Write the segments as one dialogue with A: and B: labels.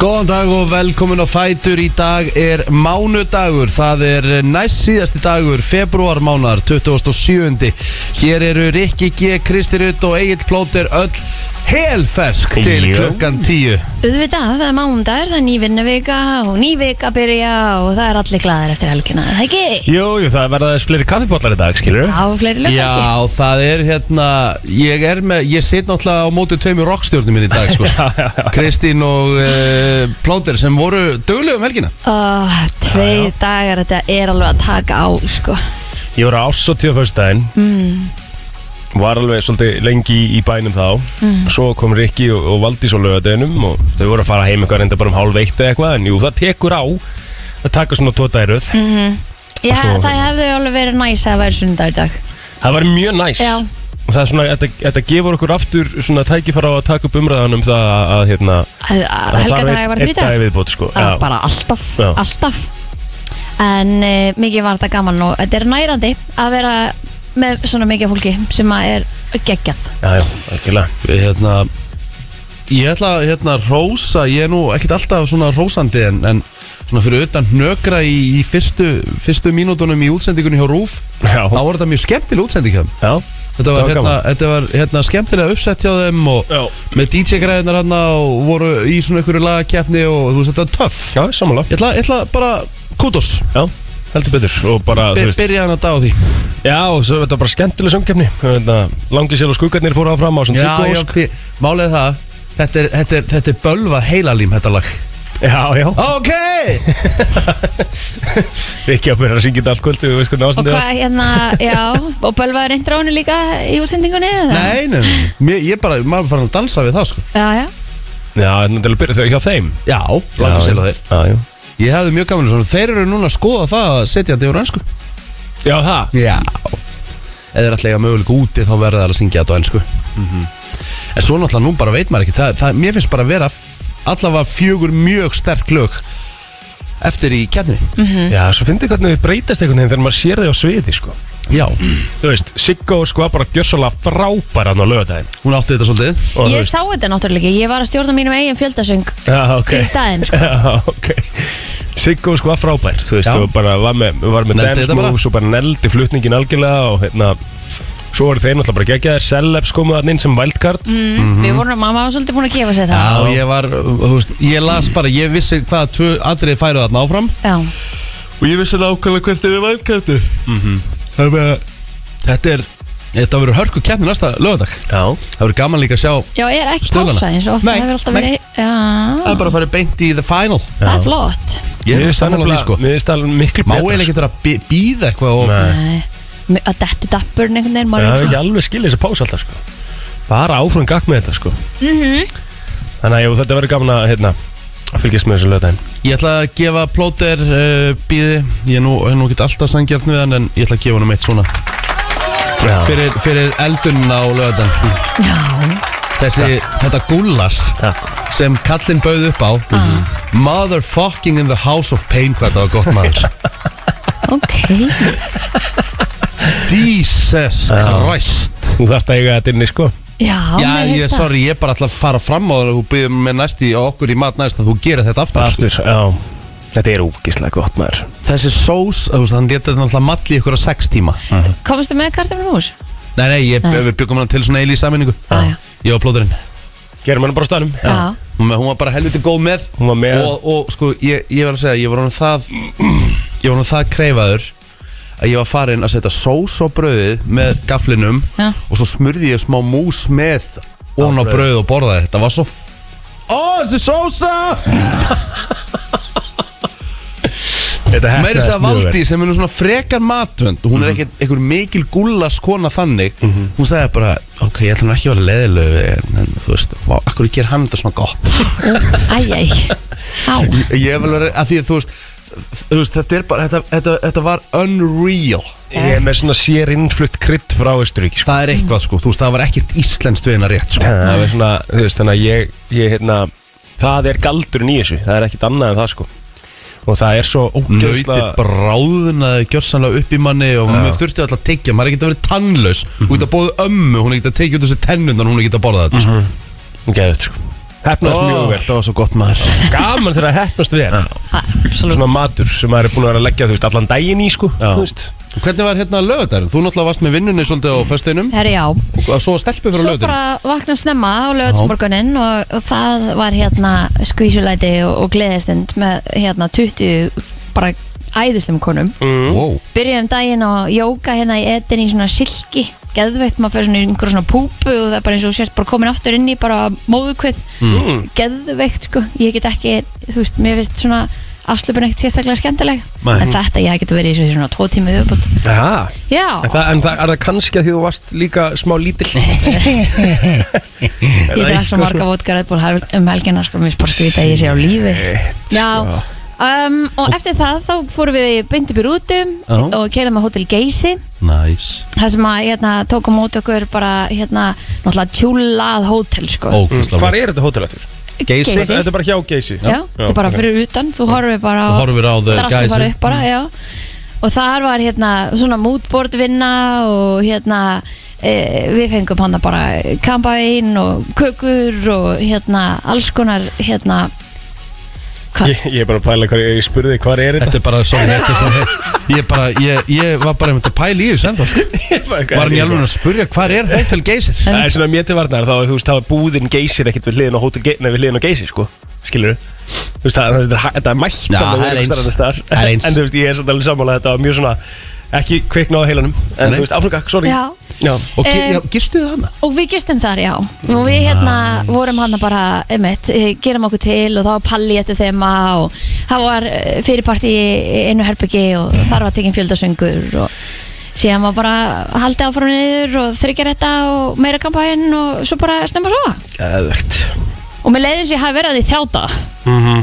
A: Góðan dag og velkomin á Fætur Í dag er mánudagur Það er næst síðasti dagur februarmánar 27. Hér eru Rikki G, Kristi Rutt og Egil Plóter öll helfersk til
B: Jú.
A: klukkan 10
C: Auðvitað, það er mándagur, það er ný vinnuvika og ný vika að byrja og það er allir glaðir eftir helgina, er það ekki?
B: Jú, jú, það verða þess fleiri kaffibotlar í dag, skilur
C: Já, og fleiri lög kannski.
A: Já, það er hérna Ég er með, ég sit náttúrulega á móti tveimur rockstjórnum minn í dag sko. Kristín og uh, Plóter sem voru dögulegum helgina
C: Ó, Tveir dagar, þetta er alveg að taka á, sko.
B: Ég var á ársóttíu á föstudaginn Mm. Var alveg svolítið lengi í, í bænum þá Svo kom Rikki og, og Valdís á lögadeginum Og þau voru að fara heim eitthvað reynda bara um hálf eitt eða eitthvað En jú, það tekur á að taka svona tóta í röð
C: Já,
B: svo- hérna.
C: það hefði alveg verið næs að væri sundag í dag.
B: Það var mjög næs
C: Já.
B: Og það er svona, þetta, þetta gefur okkur aftur svona tækifæra á að taka upp umræðanum það að, að hérna að það þarf
C: Helgarnar
B: einn-
C: hefði verið
B: einn dag
C: frítag.
B: í viðbót, sko.
C: Það
B: Já.
C: var bara alltaf,
B: Já.
C: alltaf. En uh, mikið var þetta gaman og þetta er nærandi að vera með svona mikið fólki sem að er geggjað.
B: Já, já, algjörlega.
A: Við, hérna, ég ætla að hérna, rósa, ég er nú ekkert alltaf svona rósandi en, en svona fyrir utan nökra í, í fyrstu, fyrstu mínútonum í útsendingunni hjá Rúf
B: Já.
A: þá var þetta mjög skemmtileg útsending hjá þeim
B: Já,
A: Þetta var,
B: var
A: hérna,
B: gaman.
A: þetta var hérna, skemmtilega uppsett hjá þeim og
B: Já.
A: með DJ-græðinar hann og voru í svona einhverju lagakeppni og þú veist þetta var töff
B: já, sammála.
A: Ég ætla, ég ætla bara kudos,
B: Já, heldur betur. Og bara,
A: By,
B: þú veist,
A: byrja hann að dag á því
B: Já, og svo er þetta bara skemmtileg sömkefni Langi sér og skuggarnir fóru áfram á svona
A: Já, já,
B: tíkósk
A: því- málið er það Þetta er, þetta, er, þetta er bölvað heilalím þetta lag
B: Já, já,
A: Ok,
B: ekki að byrja að syngja þetta allt kvöldu Við veist hvernig
C: Og
B: ástandið
C: hvað hérna, já, og Bölva er reyndur á henni líka í útsendingunni eða?
A: nei, nei, nei. Mér, ég bara, maður fann að dansa við það sko
C: Já, já,
B: er Já, þannig til að byrja þau hjá þeim
A: Já, langar
B: já,
A: sel á þeir
B: já, já.
A: Ég hefði mjög gaman að svona, þeir eru núna að skoða það að setja þetta yfir á ennsku
B: já, það
A: Já Ef þeir ætla eiga möguleika úti þá verða það að syngja þetta á ennsku Mhm. En svo náttúrulega nú bara veit maður ekki það, það, Mér finnst bara að vera f- allavega fjögur mjög sterk lög Eftir í kjarninni
C: Mm.
B: Já, svo fyndi hvernig þau breytast einhvern veginn Þegar maður sér þau á sviði, sko
A: Já,
B: Þú veist, Siggo sko var bara gjössalega frábæra Þannig á lögadaginn
A: hún átti þetta svolítið
B: Og þú
C: ég
B: veist-
C: sá þetta náttúrulega ekki, ég var að stjórna mínum eigin fjöldasöng
B: Já, ok
C: í staðinn, sko.
B: Já, ok Siggo sko var frábær Þú veist,
A: Já.
B: og bara var með, var með
A: Neldi
B: dance
A: þetta bara.
B: moves Og bara neldi flutningin algjörlega Og hérna Svo voru þeir náttúrulega bara geggjaðir Celebs komu þarna inn sem wildcard
C: mm. Við vorum að mamma var svolítið búin að gefa sér það
A: Já, ég var, þú veist, ég las bara, ég vissi hvaða tvö atrið færu þarna áfram
C: Já,
A: Og ég vissi nákvæmlega hvert er valkæftu Mhm. Það er bara, þetta er, þetta verður hörku kjarni næsta lögadag
B: Já,
A: Það verður gaman líka að sjá,
C: já, er ekki
A: Stuðlana.
C: pása eins og ofta
A: Nei,
C: hefur alltaf
A: nei.
C: verið
A: það
C: Já,
A: er bara að fara beint í the final
C: það er flott
A: Ég er
B: Mér finnst það
A: sammála því,
B: nefnilega-
A: sko.
B: Mér finnst það miklu sko.
A: Má
B: betra
A: eiginlega ekki þetta að býða eitthvað og
B: Nei.
C: Nei, að dettu dappurinn einhvern veginn
B: Það
C: maður
B: er
C: er
B: ekki
C: svona-
B: alveg skilja þessi pása alltaf sko Bara áfram gakk með þetta sko -hmm.
C: Mhm.
B: Þannig að jú, þetta verður gaman að hérna að fylgjast með þessu lögdæn
A: Ég ætla að gefa plóter uh, býði Ég er nú, er nú ekki alltaf sangjarn við hann En ég ætla að gefa hann um eitt svona
B: Fyrir
A: Fyrir, fyrir eldunna á löðan
C: Já,
A: Þessi, þetta gullas
B: Takk
A: Sem kallinn bauð upp á Mhm. Motherfucking in the house of pain Hvað þetta var gott maður
C: ok
A: Jesus Christ
B: Þú þarft að eiga þetta inni sko
C: Já,
A: Já,
C: mér
A: ég,
C: finnst það.
A: sorry, ég er bara alltaf að fara fram á það Þú býðir með næst í okkur í mat næst Að þú gerir þetta aftur sko.
B: Aftur, já Þetta er ógislega gott maður
A: Þessi sós, þú veist, hann leta þetta alltaf malli í ykkur á sex tíma
C: Komstu með kartaflum hús?
A: Nei, nei, ég,
C: Nei.
A: við byggum hann til svona eilí sammenningu
C: Já, já.
A: Ég og plóðurinn
B: Gerum hann bara á stanum
C: Já,
A: Hún hún var bara helviti góð með
B: Hún var með.
A: Og, og sko, ég, ég var að segja, ég var hann það Ég var hann það kreifaður Að ég var farinn að setja sós á brauðið Með gaflinum
C: Já.
A: Og svo smurði ég smá mús með Ón á
B: brauðið.
A: brauðið og borðaði Þetta var svo f- Ó, þessi sósa!
B: Þetta Mhm. hefnaðist
A: Meiri þess að
B: mjög vel.
A: Valdi sem er nú svona frekar matvönd Hún er ekkert einhver mikil gullas kona þannig
B: Mhm.
A: Hún sagði bara Ok, ég ætla hann ekki að vera leðilög En, en þú veist, vá, akkur ger hann þetta svona gott
C: æj, æj Á,
A: Ég hef alveg að því að þú veist Þú veist, þetta er bara, þetta, þetta, þetta var unreal
B: Ég er með svona sér innflutt krydd frá Östuríki sko.
A: Það er eitthvað sko, þú veist, það var ekkert íslenskt við hennar rétt sko
B: Það er svona, þú veist, þannig að ég, ég hérna, það er galdurinn í þessu, það er ekkit annað en það sko Og það er svo
A: Nauti
B: ógeðslega
A: bráðunaði gjörsanlega upp í manni og maður þurfti alltaf að tekja, maður er ekkert að vera tannlaus Hún er ekkert að bóða ömmu, hún er ekkert að tekja út þessi tennundan, hún er ekkert að borða þetta sko.
B: Geðut sko Hefnaðist Mhm, mjög vel
A: Það var svo gott maður
B: Gaman þegar að hefnast við er
C: Absolutt
B: Svona matur sem maður er búin að vera að leggja þú veist, allan daginn í sko
A: Já.
B: þú veist.
A: Hvernig var hérna lögadagurinn? Þú náttúrulega varst með vinnunni svolítið á föstinum
C: Herri, já
A: og svo stelpu fyrir
C: Svo
A: lögadagurinn
C: bara vakna snemma á lögatsmorgunin og, og það var hérna skvísulæti og, og gleðistund með hérna 20 bara æðistum konum
B: mm.
A: Hm? Wow
C: byrjuðum um daginn á jóka hérna í etin í svona silki geðveitt, maður fyrir svona í einhverja svona púpu og það er bara eins og þú sést bara komin aftur inn í bara móðukvinn, mm. geðveitt sko, ég get ekki, þú veist, mér finnst svona afslöpun ekkert sérstaklega skemmtileg
A: Nei.
C: en þetta ég get verið í þessu svona tvo tími viðbútt,
B: ja.
C: já,
B: en, það, en það er það kannski að því þú varst líka smá lítill
C: ég drakk svo marga vodka Red Bull hel- um helgina sko, mér finnst bara skvita að ég sé á lífi já, um, og eftir það þá fórum við beint upp í rútum
A: Já.
C: og keilum að Hotel Geysi
A: Næs
C: það sem að hérna, tók á móti okkur bara hérna, náttúrulega tjúlað hótel sko.
A: Ógæsla
B: Hvað er þetta hótel eftir?
A: Geysi.
C: Geysi.
B: Þetta er bara hjá Geysi
C: Já, þetta er bara fyrir utan, þú horfir bara á
A: Þú horfir á the
C: draslið
A: Geysi. Mm.
C: bara upp bara, já og þar var hérna svona moodboard vinna og hérna e, við fengum hann bara kampavín og kökur og hérna alls konar hérna hvað,
B: Ég, ég er bara að pæla hvað ég spurði hvað er þetta
A: Þetta er bara svo þetta er svo heitt Ég bara, ég, ég var bara einmitt að pæla í þessu ennþá sko. Var hann í alveg að spurja hvað er Hotel Geysir?
B: Það er svona mér til varnar þá þú veist þá er búðin Geysir ekkert við hliðin á hótel Ge- nei, við hliðin á Geysi sko skilur þú veist það það er hæ- þetta er mætt
A: Já,
B: alveg
A: það er
B: einhvers staðar
A: eins.
B: annars staðar.
A: Það er eins.
B: en þú veist ég er svolítið alveg sammála þetta var mjög svona ekki kvikna á heilanum en
A: Nei.
B: þú veist áfrugak sorry
C: Já.
B: já
A: Og ge,
C: Em.
A: já, gistu þið hana?
C: Og við gistum þar, já Og við hérna vorum hann bara einmitt, eh, gerum okkur til og þá var palli eftir þema og það var eh, fyrirparti í einu herbyggi og þar var tekinn fjöldasöngur og síðan var bara haldið áfram niður og þryggja þetta og meira kampæn og svo bara snemma svo
B: Geðvegt
C: og mér leiðum sér að hafa verið að því þrjáta
B: Mhm.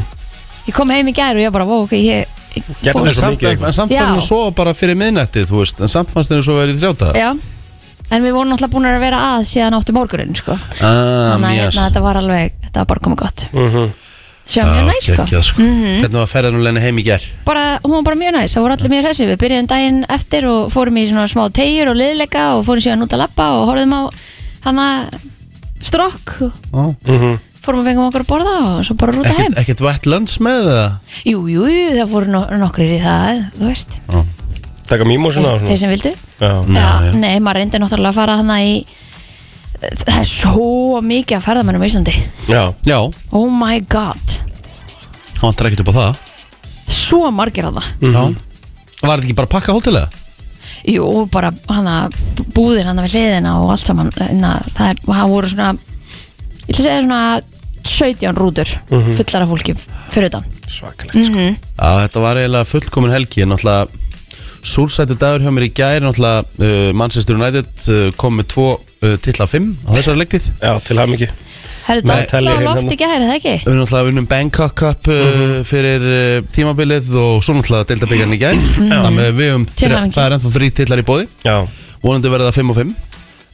C: ég kom heim í gær og ég bara, vó, ok, ég, ég
B: Gerðu
C: fór-
B: Svo
A: Samt,
B: mikið,
A: en, en samt fann
C: Já.
A: hann svo bara fyrir miðnætti þú veist, en samt fannst henni svo verið í þrjáta
C: Já, en við vorum náttúrulega búin að vera að síðan áttu morgunin, sko
A: Ah,
C: Þannig að
A: mjöss
C: hérna, þetta var alveg, þetta var bara komið gott
B: Mhm.
C: Sér mjög næ, sko
A: Kekja, Ah, sko. Hvernig var ferðan og lenni heim í ger?
C: bara, hún var bara mjög næs, það voru allir mjög hressi við byrjuðum daginn eftir og fórum í svona smá tegjur og liðleika og fórum síðan út að lappa og horfðum á hana strokk,
A: Oh.
B: Mhm.
C: fórum að fengum okkur að borða og svo bara rúta heim
A: Ekkert, ekkert wetlands með það?
C: Jú, jú, jú, það voru no nokkrir í það, þú veist
B: taka mýmósina og
C: þeir
B: svona
C: sem vildu
B: já
A: Já,
C: Já,
A: já.
C: Nei, maður reyndi náttúrulega að fara hana í það er svo mikið að ferðamennum í Íslandi
B: já
A: Já,
C: Oh my god,
A: hann vantar ekkert upp á það
C: svo margir að það
B: Mhm.
A: Já Var þetta ekki bara að pakka hótelega?
C: Jú, og bara hana búðin hana við hliðina og allt saman hana, það er, hann voru svona ég ætla að segja svona 17 rútur
A: Mhm.
C: fullar af fólki fyrir utan
B: svakalegt sko
A: Já, þetta var eiginlega fullkomin helgi en náttúrulega súlsættu dagur hjá mér í gær náttúrulega uh, Manchester United uh, kom með tvo uh, titla fimm á þessari legtið
B: já til haf mikið
C: Herru,
A: Nei,
C: það
B: telja
C: var
B: hérna.
C: loft í gæri, það ekki?
A: Við erum náttúrulega unnum Bangkok Cup uh,
C: Mhm.
A: fyrir uh, tímabilið og svo náttúrulega deildabíkarn í gær Þannig að við um
C: Til hamingju.
A: það er ennþá þrý titlar í bóði
B: já
A: vonandi verða það 5 og 5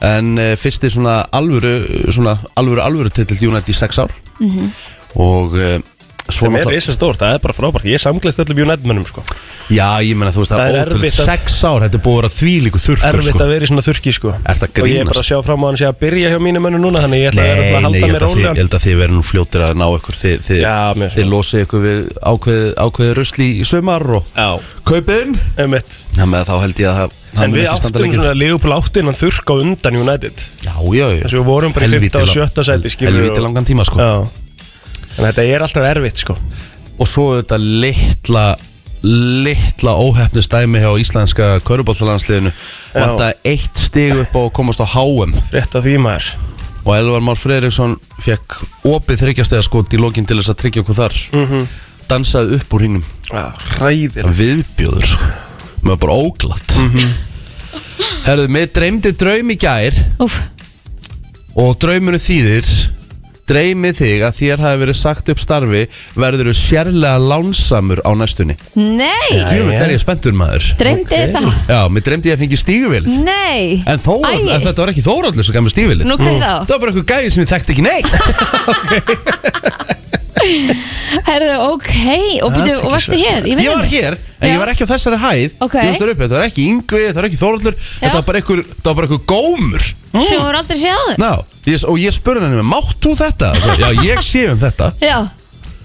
A: en uh, fyrsti svona alvöru svona alvöru alvöru titill United í 6 ár
C: Mhm.
A: og uh, svo
B: sem er
A: náttúrulega-
B: risa stórt það er bara frábært ég samgleðst öllum United-mönnum sko
A: já ég menna þú veist það,
B: Það
A: er
B: er
A: ótrúlega
B: erfitt að-
A: 6 ár þetta er búið að vera þvílíku þurrkur
B: erfitt
A: sko.
B: að vera í svona þurki sko
A: Ertu að
B: og ég er bara að
A: grínast?
B: sjá fram á hann sé að byrja hjá mínu mönnu núna þannig ég ætla að,
A: Nei,
B: að
A: nei,
B: halda
A: ég held
B: mér
A: að þið- ég
B: rólegan
A: held að þið verður nú fljótir að ná ykkur Þið, þið,
B: Já, mér
A: þið
B: svo.
A: losið ykkur við ákveðið ákveði rusli í sumar og
B: já
A: kaupin
B: Einmitt.
A: Þannig að þá held ég að það- það
B: En
A: mun
B: við
A: ekki standa
B: áttum
A: lengi.
B: svona Leopold áttin hann þurrka á undan United
A: Já, já, já
B: Þess að við vorum bara í
A: Helvíti
B: 15 og
A: lang-
B: 17 sæti, skilur við,
A: Helvíti
B: og-
A: langan tíma sko
B: Já En þetta er alltaf erfitt sko
A: og svo þetta litla litla óhefnist dæmi hjá íslenska köruboltalandsliðinu vanta eitt stig upp á að komast á HM
B: Rétt af því maður
A: og Elvar Már Fredriksson fekk opið þryggjastega skot í lokinn til þess að tryggja okkur þar
B: Mhm.
A: dansaði upp úr hinnum
B: Já, Hræðir
A: viðbjóður sko með bara óglatt
B: Mhm.
A: Herðu, mig dreymdi draum í gær
C: Úf,
A: og drauminu þýðir dreymið þig að þér hafi verið sagt upp starfi verður þú sérlega lánsamur á næstunni
C: nei,
A: Djúlum er ég spenntur maður
C: dreymdi okay. það
A: Já, mér dreymdi ég að fengi stíguvélið
C: Nei,
A: En, Þórald,
C: Æi.
A: en þetta var ekki Þóraldur sem gaf mér stíguvélið
C: nú hvað þá?
A: Það var bara eitthvað gæði sem ég þekkti ekki neitt
C: Herðu, ok, og býtu, og varstu hér í
A: Ég var
C: vinnunni?
A: hér, en
C: Já.
A: ég var ekki á þessari hæð
C: Ok.
A: Ég var uppi, þetta var ekki yngvið, þetta var ekki þóraldur Þetta var bara einhver, þetta var bara einhver gómur
C: Sem voru aldrei séð áður?
A: Ná, ég, og ég spurði henni, mátt þú þetta? Og Svo, já, ég sé um þetta
C: Já,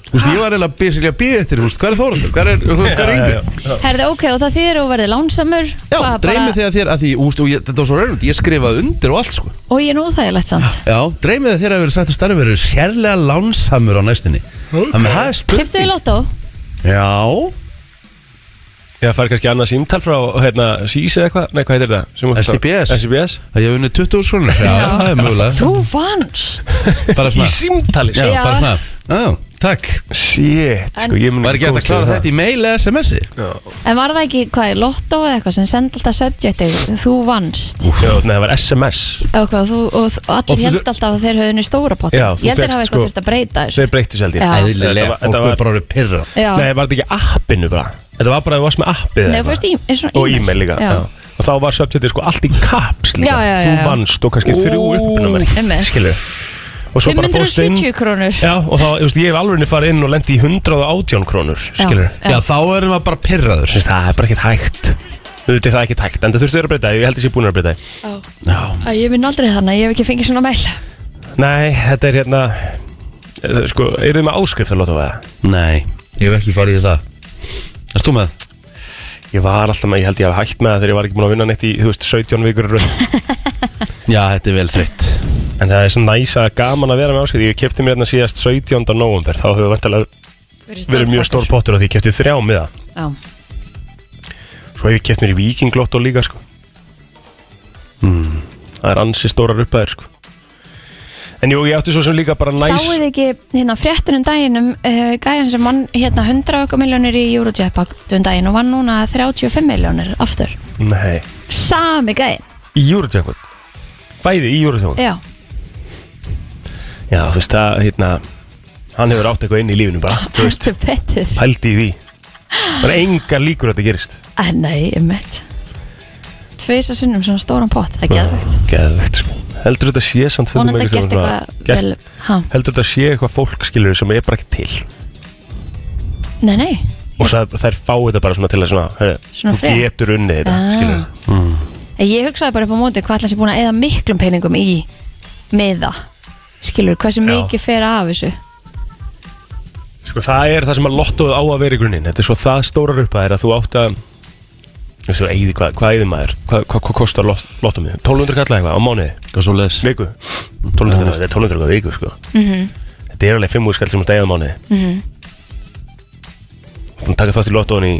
A: Þú veist, ég var eiginlega basically að býða eftir, þú veist, hvað er þóraldur? Hvað er, þú veist, hvað er yngvið?
C: herðu, ok, og það þýðir og verði lánsamur
A: Já,
C: hvað
A: dreymið þig að þér, að því, úst, og ég, þetta var svo raunund, ég skrifaði undir og allt, sko
C: Og ég er nú þægilegt samt
A: Já, dreymið þig að þér að vera sagt að starfi verið sérlega lánsamur á næstinni Þannig að það er spurning
C: Kiftu í lotó?
A: Já,
B: Já, fær kannski annað símtal frá, hérna, SIS eða eitthvað, nei, hvað heitir það? Sem þú ert að-
A: SBS.
B: SBS
A: það ég hef unnið 20 skrónur Já, það er mögulega
C: Þú vannst
A: Bara
B: Í
A: svona
B: símtali,
A: Já,
B: sko
C: Já.
A: bara svona Já, takk
B: Shit, sko, ég mun
A: Var ekki hægt að klára þetta í mail eða SMS-i?
C: En var það ekki, hvað er, lotó eða eitthvað sem sendi alltaf subjectið Þú vannst
B: Já, nei, það var SMS
C: Og, hvað, þú, og, þú-
A: Og
C: og allir
A: þú-
C: held alltaf að þeir höfðu henni stóra pott Ég
B: Já, þú
C: held þeir
B: fékkst, sko-
C: hafa eitthvað þurft að breyta þessu
B: Þeir breyttu sér held
C: Já.
B: ég
A: Eðlilega,
B: Þetta var-
A: fólk
B: þetta
A: er
B: var-
A: bara orðið pyrrað
C: Já,
B: Nei, var þetta ekki appinu bara Þetta var bara að þú varst með appið eða
C: Nei, þú fórst
B: eitthvað.
C: í er svona
B: Og e-mail líka já.
C: Já,
B: Og þá var subtitið sko allt í kaps líka
C: Já, já, já, já.
B: Þú vannst og kannski þrjú
A: Ó.
B: uppunumar
C: Einmitt.
B: Skilur Og svo bara fórstu inn
C: 570 krónur
B: Já, og þá, þú veist, ég hef alveg farið inn og lendi í 118 krónur Skilur
A: Já, þá erum við bara pyrraður
B: Þess, Það er bara ekkert hægt Þú veit, það er ekkert hægt En það þurftu að vera að breyta því, Ég held að ég sé búin að breyta því.
A: Já,
C: Æ, Ég minn aldrei þannig, ég hef ekki fengið svona mail
B: Nei, þetta er hérna eh, Sko, eru þið með áskrift að lóta það?
A: nei, ég hef ekki farið í það Erst þú með?
B: Ég var alltaf með, ég held ég hafi hægt með það Þegar ég var ekki búin að vinna neitt í, þú veist, 17 vikur í röð.
A: Já, þetta er vel þreytt
B: En það er svo næsa gaman að vera með áskrift Ég kefti mér hérna síðast 17. november Þá hefur vantilega verið mjög stór pottur Því ég kefti þrjá miða
C: Já,
B: Svo hef ég keft mér í vikinglott og líka sko. Hmm, Það er ansi stórar uppaðir sko. En jú, ég átti svo sem líka bara næs
C: Sáuð þið ekki hérna fréttunum daginn um uh, gæjan sem vann hérna 100 okkar miljónir í Eurojackpottum daginn og vann núna 35 miljónir aftur
B: Nei,
C: Sami gæjan,
B: í júrutjökun Bæði í júrutjökun
C: já
B: Já, þú veist, það, hérna Hann hefur átt eitthvað inn í lífinu bara Þú veist,
C: Heldur betur
B: pældi í því Það er engar líkur að þetta gerist
C: Æ, Nei, ég mitt Tveisa sinnum svona stóran pott, það er geðvægt
B: Geðvegt sko Heldur þetta sé samt
C: Hún
B: stundum
C: hefði
B: einhvers
C: gert
B: staðar svona-
C: eitthvað
B: gert-
C: vel ha.
B: heldur þetta sé eitthvað fólk skilur sem er bara ekki til
C: Nei, nei,
B: og það, þær fá þetta bara svona til að svona, hey,
C: Svona
B: þú
C: frétt.
B: getur unnið þetta
C: Ah.
B: skilur
C: ég hugsaði bara upp á móti hvað ætla sér búin að eða miklum peningum í meða, skilur, hversu mikið fer af þessu
B: sko það er það sem að lottoð á að vera í grunninn þetta er svo það stórar upp að þér að þú átt að þú veist þú eigði hvað, hvað eigði maður hvað, hvað, hvað kostar lot, lottum við 1200 kalla eitthvað á mánuði
A: Hvað svo leðs?
B: viku 1200 kalla, þetta er 1200 kalla viku sko
C: Mhm.
B: þetta er alveg 5 skall sem þú átt að eigða á mánuði mm -hmm. búin að taka þátt í lottoðun í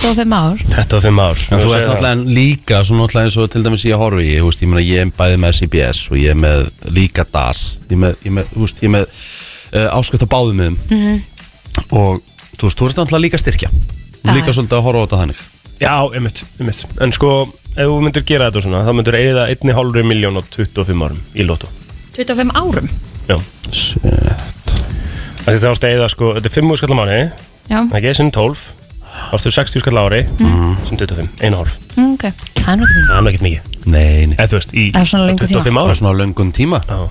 C: 25 ár
B: 25 ár
A: En þú ert náttúrulega líka, svo náttúrulega eins og til dæmis ég horfi í, þú veist, ég meina ég er bæði með CBS og ég er með líka DAS, ég er með, ég er með, þú veist, ég er með uh, áskrift á báðum miðum og þú veist, þú ert náttúrulega líka að styrkja, líka svolítið að horfa á þetta þannig.
B: Já, einmitt, einmitt En sko, ef þú myndir gera þetta svona þá myndir eigða 1,5 miljón á 25 árum í lotto
C: 25 árum?
B: Já Af Því þá ertu að eigða sko, þetta er 5 skall á mánu
C: Já,
B: ekki, sem 12 þá ertu 60 skall á ári sem 25, 1,5
C: ok, það er nú
B: Það er
C: ekki mikið
B: nú ekkert mikið
A: Nei, nei.
B: Eða þú veist, í
C: Ef svona lengur
B: 25
A: Það er
B: árum
A: svona á löngum tíma.
B: Já,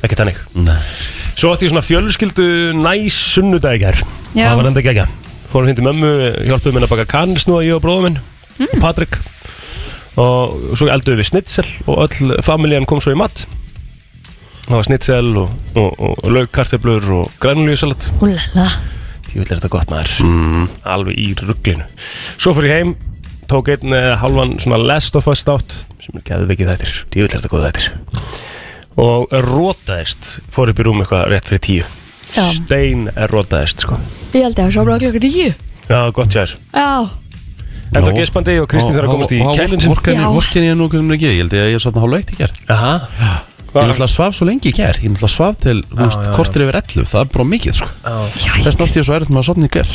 B: ekki þannig
A: Nei.
B: Svo átti ég svona fjölskyldu næs sunnudagjar
C: Já.
B: Það var enda gegja Fórum hindi mömmu, hjálpuðu minna að baka kannsnúða ég og bróðum minn mm. Patrik Og svo elduðu við snitsel Og öll familjan kom svo í mat Það var snitsel og, og, og, og laugkartöflur og grænulíusalat
C: Úlala,
B: Ég vil er þetta gott maður mm. Alveg í rugglinu Svo fyrir ég heim, tók einn eh, hálfan svona last of us státt Sem er geðvikið þættir, ég vil er þetta góð þættir Og rótaðist, fór upp í rúm eitthvað rétt fyrir tíu
C: já
B: Stein er rotaðist sko
C: Ég held að það var klokka 9
B: Já, gott sér
C: Já,
B: En það gespandi og Kristín þarf að komast í kælinn sinn
A: Vorkenni,
C: Já.
A: vorkenni ég nú hvernig ekki, um ég held ég að ég er svona hálf eitt í ger.
B: Aha
A: Ég er náttúrulega svaf svo lengi í ger, ég er náttúrulega svaf til, þú veist, kortir yfir 11, það er bara mikið, sko. Þess nátti ég svo erfitt með að sofna í ger.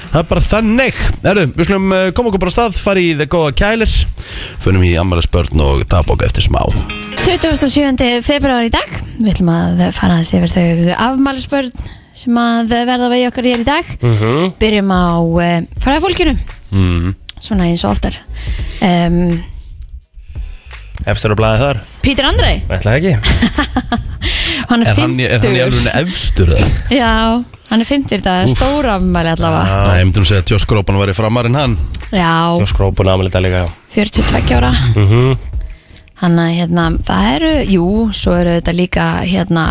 A: Það er bara þannig Herru, við skulum eh, koma okkur bara á stað fara í The Góða Kælir Fönum í Amara Spörn og Dabok eftir smá
C: 27. februar í dag Við ætlum að fara aðeins yfir þau afmælisbörn sem að verða að vegi okkar hér í dag
A: Mhm.
C: Byrjum á uh, fræðafólkinu
A: mm.
C: Svona eins og oftar um,
B: Efstur að blæða þar
C: Pítur Andrei
B: Ætla ekki
C: Hann er
A: Er hann, í- er hann í
C: 50
A: alveg efstur eða?
C: Já, hann er 50 Það er
A: Úff.
C: stóra afmæli allavega
A: Nei, ég myndum segja að Josh Groban væri framar en hann
C: Já,
B: Josh Groban ámæli þetta líka
C: 42 ára
A: Mhm.
B: mm
C: Þannig að hérna, það eru, jú, svo eru þetta líka hérna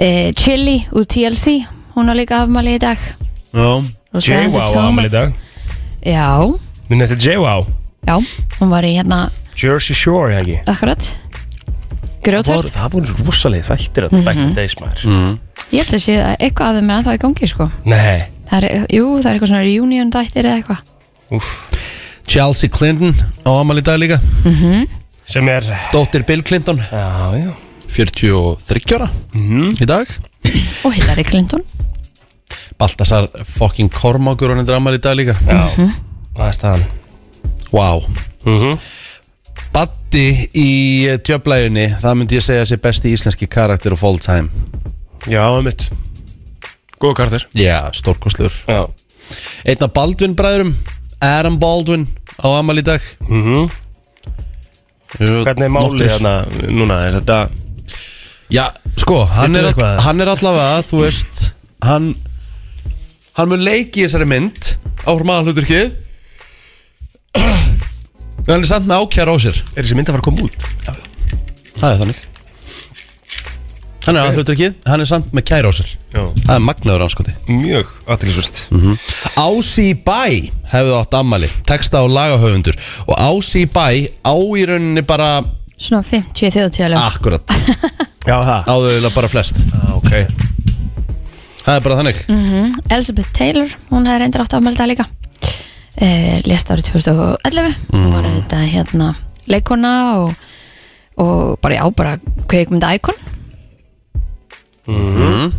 C: e, Chili úr TLC, hún á líka afmæli í dag.
A: Já,
C: Og svo er
B: J-Wow
C: þetta
B: ámæli í dag
C: Já,
B: Minn þetta J-Wow
C: já, hún var í hérna,
B: Jersey Shore, eða ekki
C: akkurat,
B: Það
C: grjótvörð.
B: voru- Það voru rosalegið þættir að back in the days maður
C: Ég held að sé að eitthvað af þeim er ennþá í gangi, sko.
B: Nei,
C: Það er, jú, það er eitthvað svona reunion dættir eða eitthvað.
B: úff
A: Chelsea Clinton á amal í dag líka
B: Sem er,
A: Dóttir Bill Clinton
B: já, já
A: 43 ára
B: Mhm.
A: í dag
C: Og Hillary Clinton.
A: Baltasar fucking Kormákur hann er amal í dag líka
B: Já, það er staðan
A: Wow
B: Mhm.
A: Batti í eh, djöflæjunni Það myndi ég segja sé besti íslenski karakter of all time
B: Já, mitt Góð kartur
A: Já, stórkostlur
B: Já
A: Einn af Baldwin bræðurum Adam Baldwin á amal í dag
B: Mhm.
A: Jú,
B: Hvernig er málið
A: nokkrir.
B: hérna núna? Er þetta
A: Já, sko, hann
B: Getur
A: er, all,
B: eitthvað?
A: hann er allavega, þú veist Hann Hann mun leiki í þessari mynd Áfram aðalhuturkið En hann er samt með ákjær á sér
B: Er þessi mynd að fara að koma út?
A: Það er þannig Hann er aðalhuturkið, hann er samt með kær á sér
B: Já Mhm.
A: Það er magnaður anskoti
B: Mjög aðtilsvöld
A: Ási Bæ hefði átt ammali Texta og lagahöfundur Og Ási Bæ á í rauninni bara
C: Svona 50
B: Ah.
C: þjóðtíðalöf.
A: Akkurat,
B: Já, það
A: áðurlega bara flest
B: ah, Ok
A: Það er bara þannig
C: Elizabeth Taylor, hún hefði reyndir átt afmæli í dag líka. E, lest árið 2011. Hún
B: Mm.
C: var auðvitað hérna leikona og, og bara já, bara kveikmynda íkon.
B: Mhm.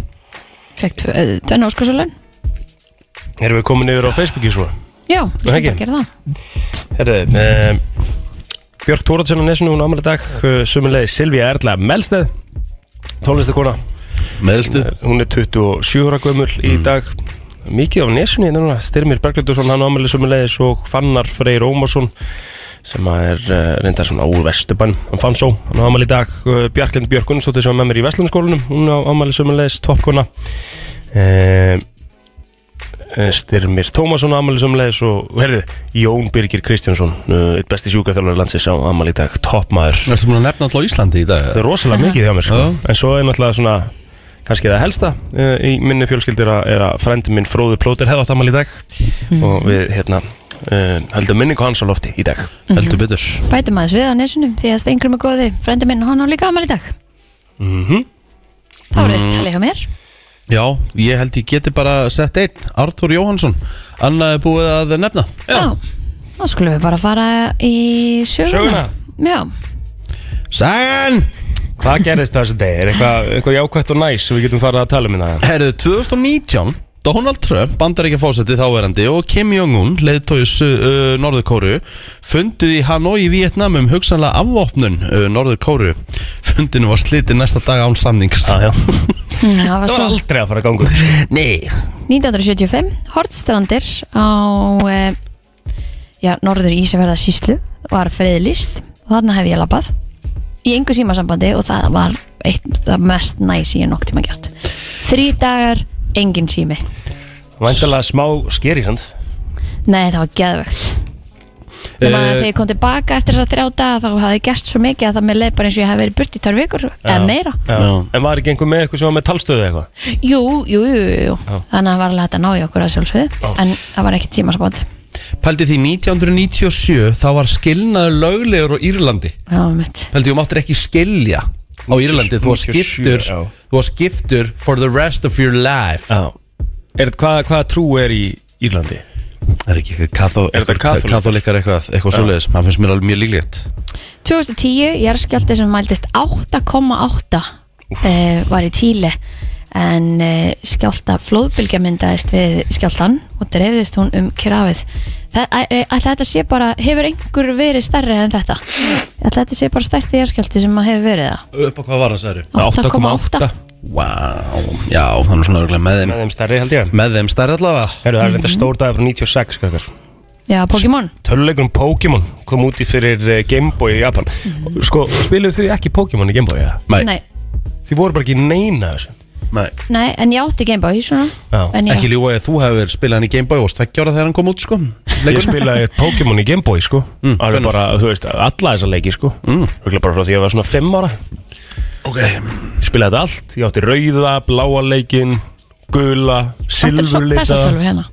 C: Fekk tve- tvenna óskarsvölun.
B: Erum við komin yfir á Facebooki svo?
C: Já, ég skal
B: ekki.
C: bara gera það.
B: Herðu um, Björk Tóraðsson á nesinu, hún ámæli dag uh, Sumulegði Silvía Erla Melsteð Tónlistakona
A: Meðlstu
B: Hún er 27 ára gömul í dag Mikið af nesinu hérna núna Styrmir Berglindusson, hann ámæli sumulegðis og Fannar Freyr Ómarsson sem að er uh, reyndar svona úr vestubann hann fann svo, hann á ámæli í dag uh, Bjarklind Björkun, stóttir sem var með mér í Vestlunarskólanum hún á ámæli sömulegis, toppkona uh, eh, Styrmir Tómasson á ámæli sömulegis og, og herðu, Jón Birgir Kristjánsson uh, einn besti sjúkaþjálfur landsins á ámæli í dag toppmaður,
A: Ertu búin að nefna alltaf á Íslandi í dag?
B: þetta er rosalega mikið hjá mér sko.
A: Já.
B: en svo er náttúrulega svona kannski það helsta uh, í minni fjölskyldur er að frendi minn Fróður Plóter hefði átt ámæli í dag og við hérna uh, höldum minningu hans á lofti í dag
A: Heldur betur
C: Bætum aðeins við á nesunum því að Steingrim er góði frendi minn, hann á líka amal í dag
B: Mhm.
C: Það voru mm. talið hjá mér
A: Já, ég held ég geti bara sett einn Artur Jóhansson Annað er búið að nefna
C: Já Þá skulum við bara fara í söguna Já,
A: Sagan!
B: Hvað gerðist þessu degi? Er eitthvað, eitthvað jákvætt og næs sem við getum farið að tala um það?
A: Herðu, 2019 Donald Trump, bandaríkja fósetti þáverandi og Kim Jong-un, leiðtóis uh, Norður-Kóru, funduð í Hanoi í Vietnam um hugsanlega afvopnun uh, Norður-Kóru. Fundinu var slitið næsta dag án samnings.
B: Ah,
C: það var
B: það var
C: svo
B: aldrei að fara að ganga upp.
A: Nei,
C: 1975, Hortstrandir á eh, já, norður Ísafjörða síslu var friðlist og þarna hef ég labbað í engu símasambandi og það var eitt, það mest næs ég hef nokk tíma gjart Þrý dagar, engin sími
B: Væntalega smá skeri, sant?
C: Nei, það var geðvegt Nefna að
A: Eh,
C: þegar ég kom tilbaka eftir þess að þrjá daga þá hafði ég gerst svo mikið að það með leið bara eins og ég hafði verið burt í tvær vikur eða meira.
B: Já.
A: Já.
B: En var ekki einhver með eitthvað sem var með talstöðu eða eitthvað?
C: Jú, jú, jú, jú, jú. Þannig að það var alveg hægt að ná í okkur að sjálfsögðu
B: Já.
C: en það var ekkert tímaspot.
A: pældi því 1997 þá var skilnaður löglegur á Írlandi.
C: Já, mitt.
A: Pældi, þú máttir ekki skilja á Írlandi. Þú var
B: 97,
A: skiptur,
B: já.
A: þú var skiptur for the rest of your life.
B: Já. Er, hvað, hvað trú er í Írlandi?
A: Er ekki eitthvað kathó,
B: Er þetta kaþólik-
A: katholikar eitthvað, eitthvað
B: Já.
A: svoleiðis? Það finnst mér alveg mjög líklegt
C: 2010, jarðskjálfti sem mæltist 8,8 uh, var í Tíli en uh, skjálta flóðbylgja myndaðist við skjáltan og dreifðist hún um krafið Alltaf þetta sé bara, hefur einhver verið stærri en þetta? Alltaf þetta sé bara stærsti jarðskjálfti sem að hefur verið það
A: Upp á hvað var hann særu? Vá, já, þannig svona örgulega með þeim
B: Með þeim stærri held ég.
A: Með þeim stærri allavega
B: Heru, það er þetta stór dag frá 96, skakar.
C: Já, Pokémon
B: Töluleikurinn um Pokémon kom Mhm. úti fyrir eh, Game Boy í Japan. Sko, spiluðu þið ekki Pokémon í Game Boy, eða?
A: Nei,
C: Nei,
B: Þið voru bara ekki í neina af þessu
A: Nei.
C: Nei, en ég átti Gameboy svona
B: Já.
C: En já,
A: Ekki ljúa ég að þú hefur spilað hann í Gameboy og stekkjára þegar hann kom út sko
B: Ég spilaði Pokémon í Gameboy sko mm, Alveg
A: hvenær?
B: bara, þú veist, alla þessa leiki sko mm. bara frá því að ég var svona 5 ára
A: Ok,
B: Ég Spilaði þetta allt, ég átti rauða, bláa leikin Gula,
C: þetta er svo þessa
B: silfurlita
C: tölvu hérna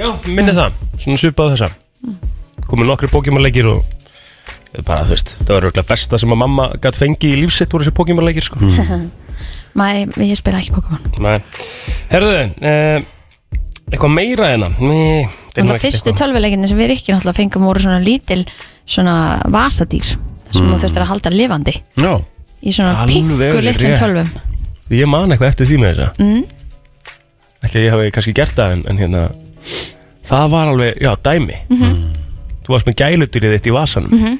B: Já, minni það, svona svipað þessa
C: Mm.
B: Komið nokkri Pokémon leikir og bara, þú veist, það var röglega besta sem að mamma gætt fengi í lífsitt voru þessi Pokémon leikir sko
C: Nei, ég spila ekki Pokémon
B: Nei. Herðu, eh, eitthvað meira hérna Nei, það
C: Það fyrstu tölvuleikinni sem við ekki náttúrulega fengum voru svona lítil svona vasadýr sem þú þurftir að halda lifandi
A: já
C: í svona
B: Mm. Alveg
C: pingu litlum
B: rétt.
C: tölvum
B: Ég man eitthvað eftir því með þetta mm. Ekki að ég hafi kannski gert það en, en hérna Það var alveg, já, dæmi Þú varst með gæludýrið þitt í vasanum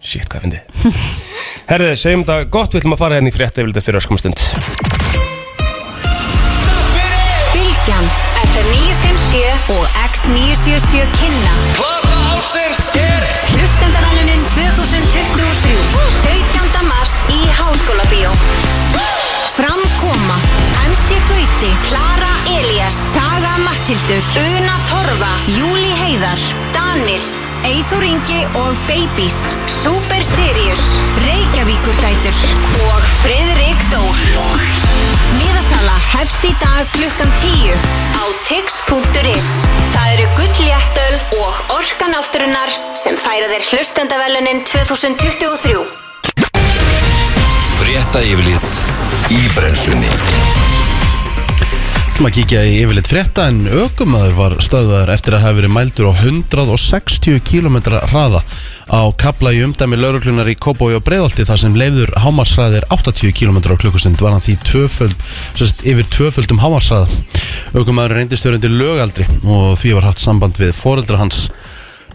B: Shit, hvað finnst þið Herðið, segjum þetta gott Við ætlum að fara hérna í frétta Ég vil þetta fyrir öskumstund
D: Bylgjan, FM 957 og X977 kynna Hlustendarannunin 2023 17. mars í Háskólabíó Fram koma MC Gauti, Klara Elias Saga Mattildur, Una Torfa Júli Heiðar, Danil Eithor Ingi og Babies Super Sirius Reykjavíkurdætur og Friðrik Dór Miðasala hefst í dag klukkan 10 á tix.is Það eru gulljættöl og orkan átturinnar sem færa þér hlustendavelunin 2023
E: Frétta yfirlit í brennslunni
A: Ætlum að kíkja í yfirleitt frétta en aukumæður var stöðaður eftir að hafa verið mældur á 160 km hraða á kabla í umdæmi lauruglunar í Kópói og Breiðolti þar sem leifður hámarsræðir 80 km á klukkustund var hann því tvöföld, sérst, yfir tvöföldum hámarsræða. Aukumæður reyndist þörundir lögaldri og því var haft samband við foreldra hans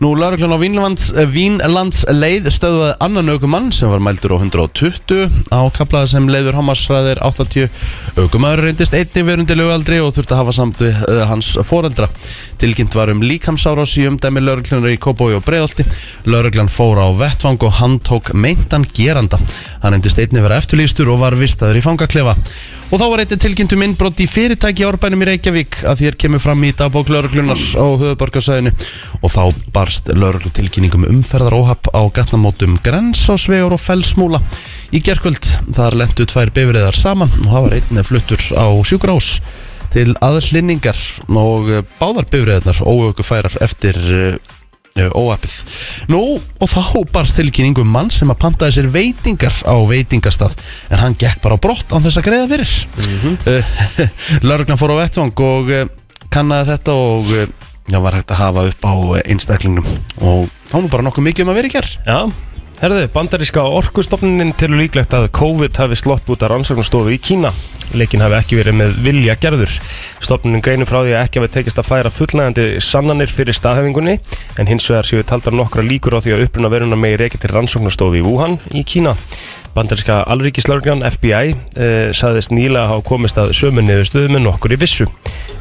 A: Nú, lauruglan á Vínlands, Vínlands leið stöðuði annan aukumann sem var mældur á 120 á kaplaða sem leiður homarsræðir 80. Aukumæður reyndist einni verundi lögaldri og þurfti að hafa samt við eh, hans foreldra. Tilkynnt var um líkamsárás í umdæmi lauruglunar í Kóbói og Breiðolti. Lauruglan fór á vettvang og handtók meintan geranda. Hann reyndist einni vera eftirlýstur og var vistaður í fangaklefa. Og þá var einnig tilkynntum innbrott í fyrirtæki í árbænum í Reykjavík að þér kemur fram í dagbók lauruglunar á höfuborgarsæðinu og þá barst lauruglu tilkynningum umferðaróhap á gatnamótum Grensásvegar og Fellsmúla í gerkvöld. Þar lendu tvær bifriðar saman og það var einnig fluttur á sjúkrahús til aðhlinningar og eh, báðar bifriðarnar óöku færar eftir eh, óapið. Nú og þá barst tilkynning um mann sem að pantaði sér veitingar á veitingastað en hann gekk bara á brott án þess að greiða fyrir mm Lörgnan fór á vettvang og eh, kannaði þetta og eh, já, var hægt að hafa upp á eh, einstaklingnum og þá nú bara nokkuð mikið um að vera í gerð
B: Já, herðu, bandaríska orkustofnunin telur líklegt að COVID hafi slott út að rannsóknastofu í Kína. Leikin hafi ekki verið með vilja gerður. Stofnunin greinir frá því að ekki hafi tekist að færa fullnægandi sannanir fyrir staðhefingunni, en hins vegar séu taldar nokkra líkur á því að uppruna veruna megi reikið til rannsóknastofu í Wuhan í Kína. Bandaríska alríkislörgjan FBI eh, saðist nýlega hafa komist að sömu niðurstöðu með nokkur í vissu.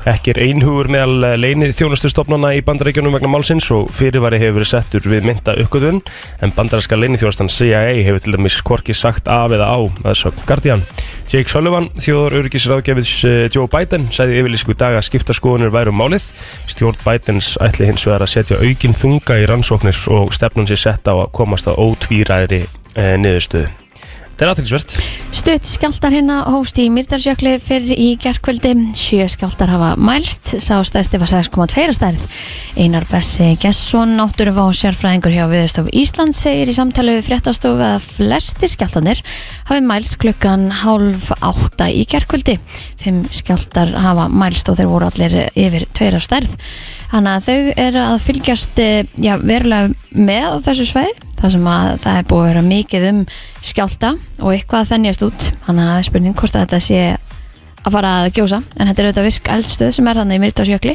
B: Ekki er einhugur meðal leinið þjónustustofnana í bandaríkjunum vegna málsins og fyrirvari hefur verið settur við mynda uppgöðun en bandaríska leinithjónustan CIA hefur til dæmis hvorki sagt af eða á að sögn Guardian. Jake Sullivan, þjóður öryggisráðgjafis Joe Biden, sagði yfirlýsku í dag að skiptaskoðunir væru um málið. Stjórn Bidens ætli hins vegar að setja aukinn þunga í rannsóknir og stefnun sér sett á að komast að ótvíræðri eh, niðurstöðu. Þetta er aðtilsvert.
C: Stutt skjáltar hérna hófst í Mýrdarsjökli fyrr í gerkvöldi. Sjö skjáltar hafa mælst, sá stærsti var 6,2 að stærð. Einar Bessi Gesson, náttúru vá sérfræðingur hjá Viðstof Ísland, segir í samtali við fréttastofu að flesti skjáltanir hafi mælst klukkan hálf átta í gerkvöldi. Fimm skjáltar hafa mælst og þeir voru allir yfir tveir að stærð. Þannig að þau eru að fylgjast eh, já, verulega með á þessu sveið þar sem að það er búið að vera mikið um skjálta og eitthvað að þennjast út þannig að spurning hvort að þetta sé að fara að gjósa en þetta er auðvitað virk eldstöð sem er þannig í Myrtasjökli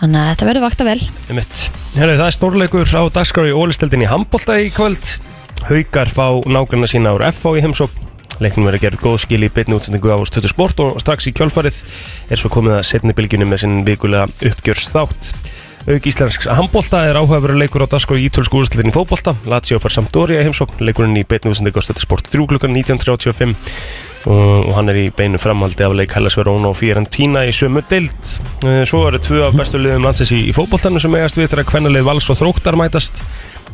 C: þannig að þetta verður vakta vel
B: Einmitt. Herri, það er stórleikur á dagskrá í ólisteldin í handbólta í kvöld. Haukar fá nágrunna sína úr FH í heimsókn. Leiknum verið gerð góð skil í beinni útsendingu á stötu sport og strax í kjölfarið er svo komið að setni bylginu með sinn vikulega uppgjörs þátt. Auk íslensks handbólta er áhugaveru leikur á dagskrá í ítölsku úrslitin í fótbolta Lazio fær Sampdoria í heimsókn Leikurinn í beinu útsendingu á stöðu sport 3 klukkan 19.35 og hann er í beinu framhaldi af leik Hellas Verona og Fiorentina í sömu deild Eh, Svo eru tvö af bestu liðum landsins í, í fótboltanu sem eigast við þegar kvennalið Vals og Þróttar mætast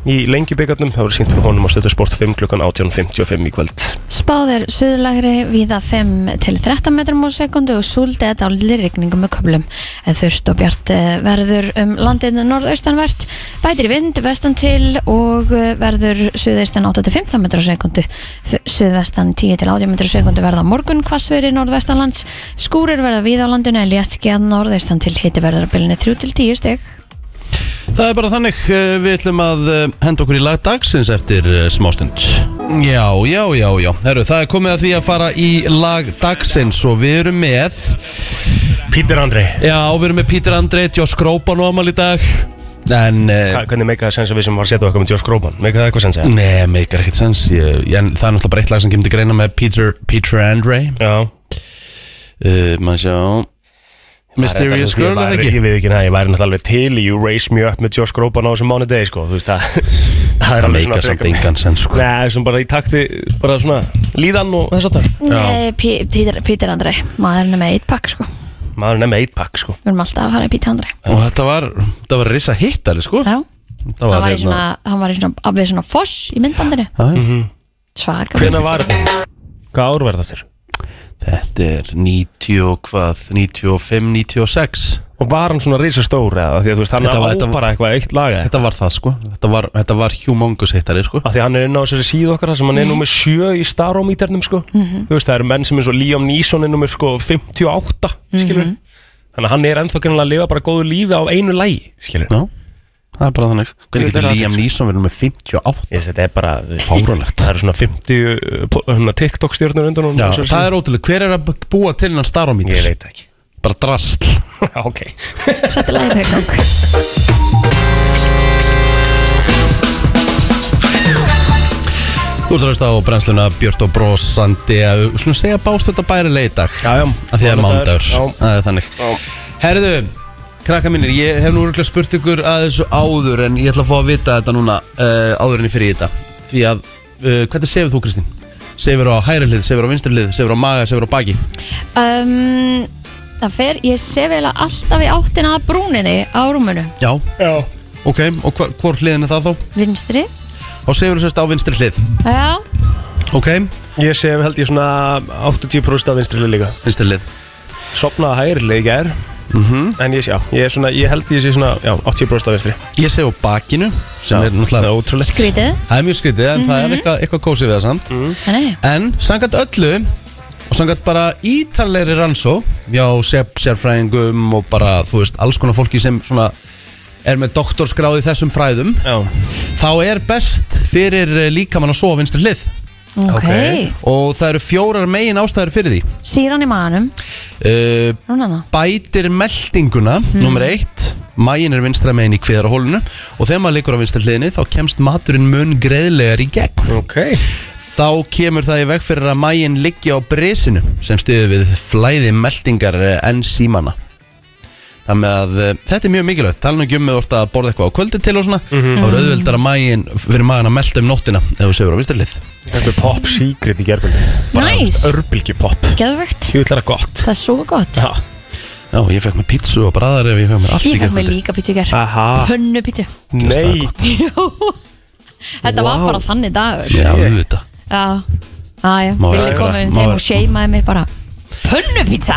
B: í lengjubyggarnum Það verður sínt fyrir honum á stöðu sport 5 klukkan 18.55 í kvöld
C: Spáðir suðlagri víða 5 til 13 metrum á sekundu og súldi eða dálítið rigningu með köflum. En þurft og bjart eh, verður um landinu norðaustanvert, bætir í vind vestan til og eh, verður suðaustan 8 til 15 metrum á sekundu. F- Suðvestan 10 til 18 metrum á sekundu verða á morgun hvassveri norðvestanlands. Skúrir verða víða á landinu en léttskjað norðaustan til hiti verður að bylunni 3 til 10 stygg.
A: Það er bara þannig, eh, við ætlum að eh, henda okkur í lag dagsins eftir eh, smástund Já, já, já, já Herru, það er komið að því að fara í lag dagsins og við erum með
B: Pítur Andri
A: Já, við erum með Pítur Andrei, Josh Grópan og Amal í dag En, eh,
B: Hva- Hvernig meika það sens að við sem var að setja okkur með Josh Groban Meika það eitthvað sens að?
A: nei, meikar ekkert sens ég, ég- En það er náttúrulega bara eitt lag sem kemur til greina með Peter, Peter Andrei
B: Já
A: uh, Maður sjá Mysterious Girl,
B: er
A: er það
B: Ég
A: ekki?
B: við ekki, ég væri náttúrulega alveg til í You Raise Me Up með Josh Groban á þessum mánu degi sko, þú veist það Það er
A: Það
B: alveg svona
A: meikar samt
B: frekar-
A: engan sens
B: Nei,
A: sko
B: það er svona bara í takti, bara svona líðan og þess að það
C: Nei, Pí- Pítur Pítur Andrei, maðurinn er með eitt pakk sko. Við
B: Maður er nefnir eitt pakk sko
C: erum alltaf að fara í Pítur Andrei.
A: Og þetta var, þetta var risa hittari sko
C: Já,
A: Það
C: hann var í
A: hérna-
C: svona, hann var í svona, við svona foss í myndbandinu
A: Já, já.
C: Svaka
B: Hvenær var þetta? Hvað ár var þetta þér?
A: Þetta er 90 og hvað, 95, 96
B: Og var hann svona risastór eða? Því að þú veist, hann
A: Þetta var-
B: á
A: þetta var-
B: bara eitthvað eitt lag eða?
A: Þetta var það sko, þetta var, þetta var humongous hittari sko
B: Af því að hann er inn á þessari síðu okkar þar sem hann er nummer 7 í starómíternum sko Þú veist, það eru menn sem er svo Liam Neeson er nummer sko 58, skilur Þannig að hann er ennþá kannan að lifa bara góðu lífi á einu lægi, skilur
A: Já, það er bara þannig
B: Hvernig
A: Hvernig getur
B: er það
A: Liam
B: til?
A: Neeson verið með 58
B: Ég, þetta er bara
A: Fáránlegt.
B: Það eru svona 50 po- hérna, TikTok stjórnur undan honum
A: Já,
B: Svo-
A: það er ótrúlega, hver er að búa til hann
B: Ég
A: starómítur?
B: veit ekki
A: Bara drast
B: Ok
C: Settu lagið fyrir gang
A: Þú ert að hlusta á brennsluna Björn og brosandi að svona segja bástöld að bæri leið í dag
B: Já, já
A: að því að mándagur
B: Já
A: það er þannig Herðu, krakka mínir, ég hef nú örgulega spurt ykkur að þessu áður en ég ætla að fá að vita þetta núna uh, áður en ég fyrir í þetta því að, uh, hvernig sefur þú Kristín? Sefur á hægri hlið, sefur á vinstri hlið, sefur á maga, sefur á baki
C: um, Það fer, ég sé vel að alltaf í áttina að brúninni á rúmunu
A: Já,
B: Já
A: ok, og hva, hvort hliðin er það þá?
C: Vinstri,
A: Og sefur þú sérst á vinstri hlið,
C: já,
A: ok,
B: Ég sé held ég svona 80% af vinstri lið líka
A: vinstri hlið
B: Sopnaði hægri lið í gær
A: Mhm.
B: En ég sé, já, ég, er svona, ég held ég sé svona já, 80% af vinstri
A: Ég sef á bakinu, sem
B: Já,
A: er náttúrulega ótrúlegt
C: skrítið
A: Það er mjög skrítið, en það er eitthvað, eitthvað kósið við það samt
B: Mhm.
C: Nei,
A: En sangat öllu og sangat bara ítalegri rannsó já, sef, sérfræðingum og bara, þú veist, alls konar fólki sem svona er með doktorskráð í þessum fræðum
B: Já
A: þá er best fyrir eh, líkamann að sofa á vinstri hlið
C: ok,
B: Ok.
A: og það eru fjórar megin ástæður fyrir því
C: Sýran í maganum,
A: uh,
C: núna það
A: bætir meldinguna nummer eitt, magin er vinstra megin í kviðarhólinu og þegar maður liggur á vinstri hliðinni þá kemst maturinn mun greiðlegar í gegn
B: Ok
A: þá kemur það í veg fyrir að mægin liggi á bresinu sem stiður við flæði meldingar enn símana Þannig að eh, þetta er mjög mikilvægt tala nú ekki um með orta að borða eitthvað á kvöldi til og svona þá er auðveldar að mægin fyrir magan að melda um nóttina ef þú sefur á vinstarlið
B: Þetta er pop secret í gerðbunni
C: Nice.
B: Örbylgi pop
C: Geðvegt,
B: Ég vil læra gott
C: það er svo gott
B: Já
A: Já, ég fekk mér pítsu og bræðar ef ég fekk mér allt
C: Ég fekk mig
A: gærkvöldi.
C: líka pítsu í gerð
A: Ah.
B: Aha
C: Pönnu pítsu
B: Nei
C: Þetta var
B: Vá.
C: bara þannig dagur
A: Já, auðvitað
C: Já, já, já,
A: Má
C: vilja
A: vera-
C: koma um
A: má
C: þeim
A: vera-
C: og seimaði mig bara Pönnupizza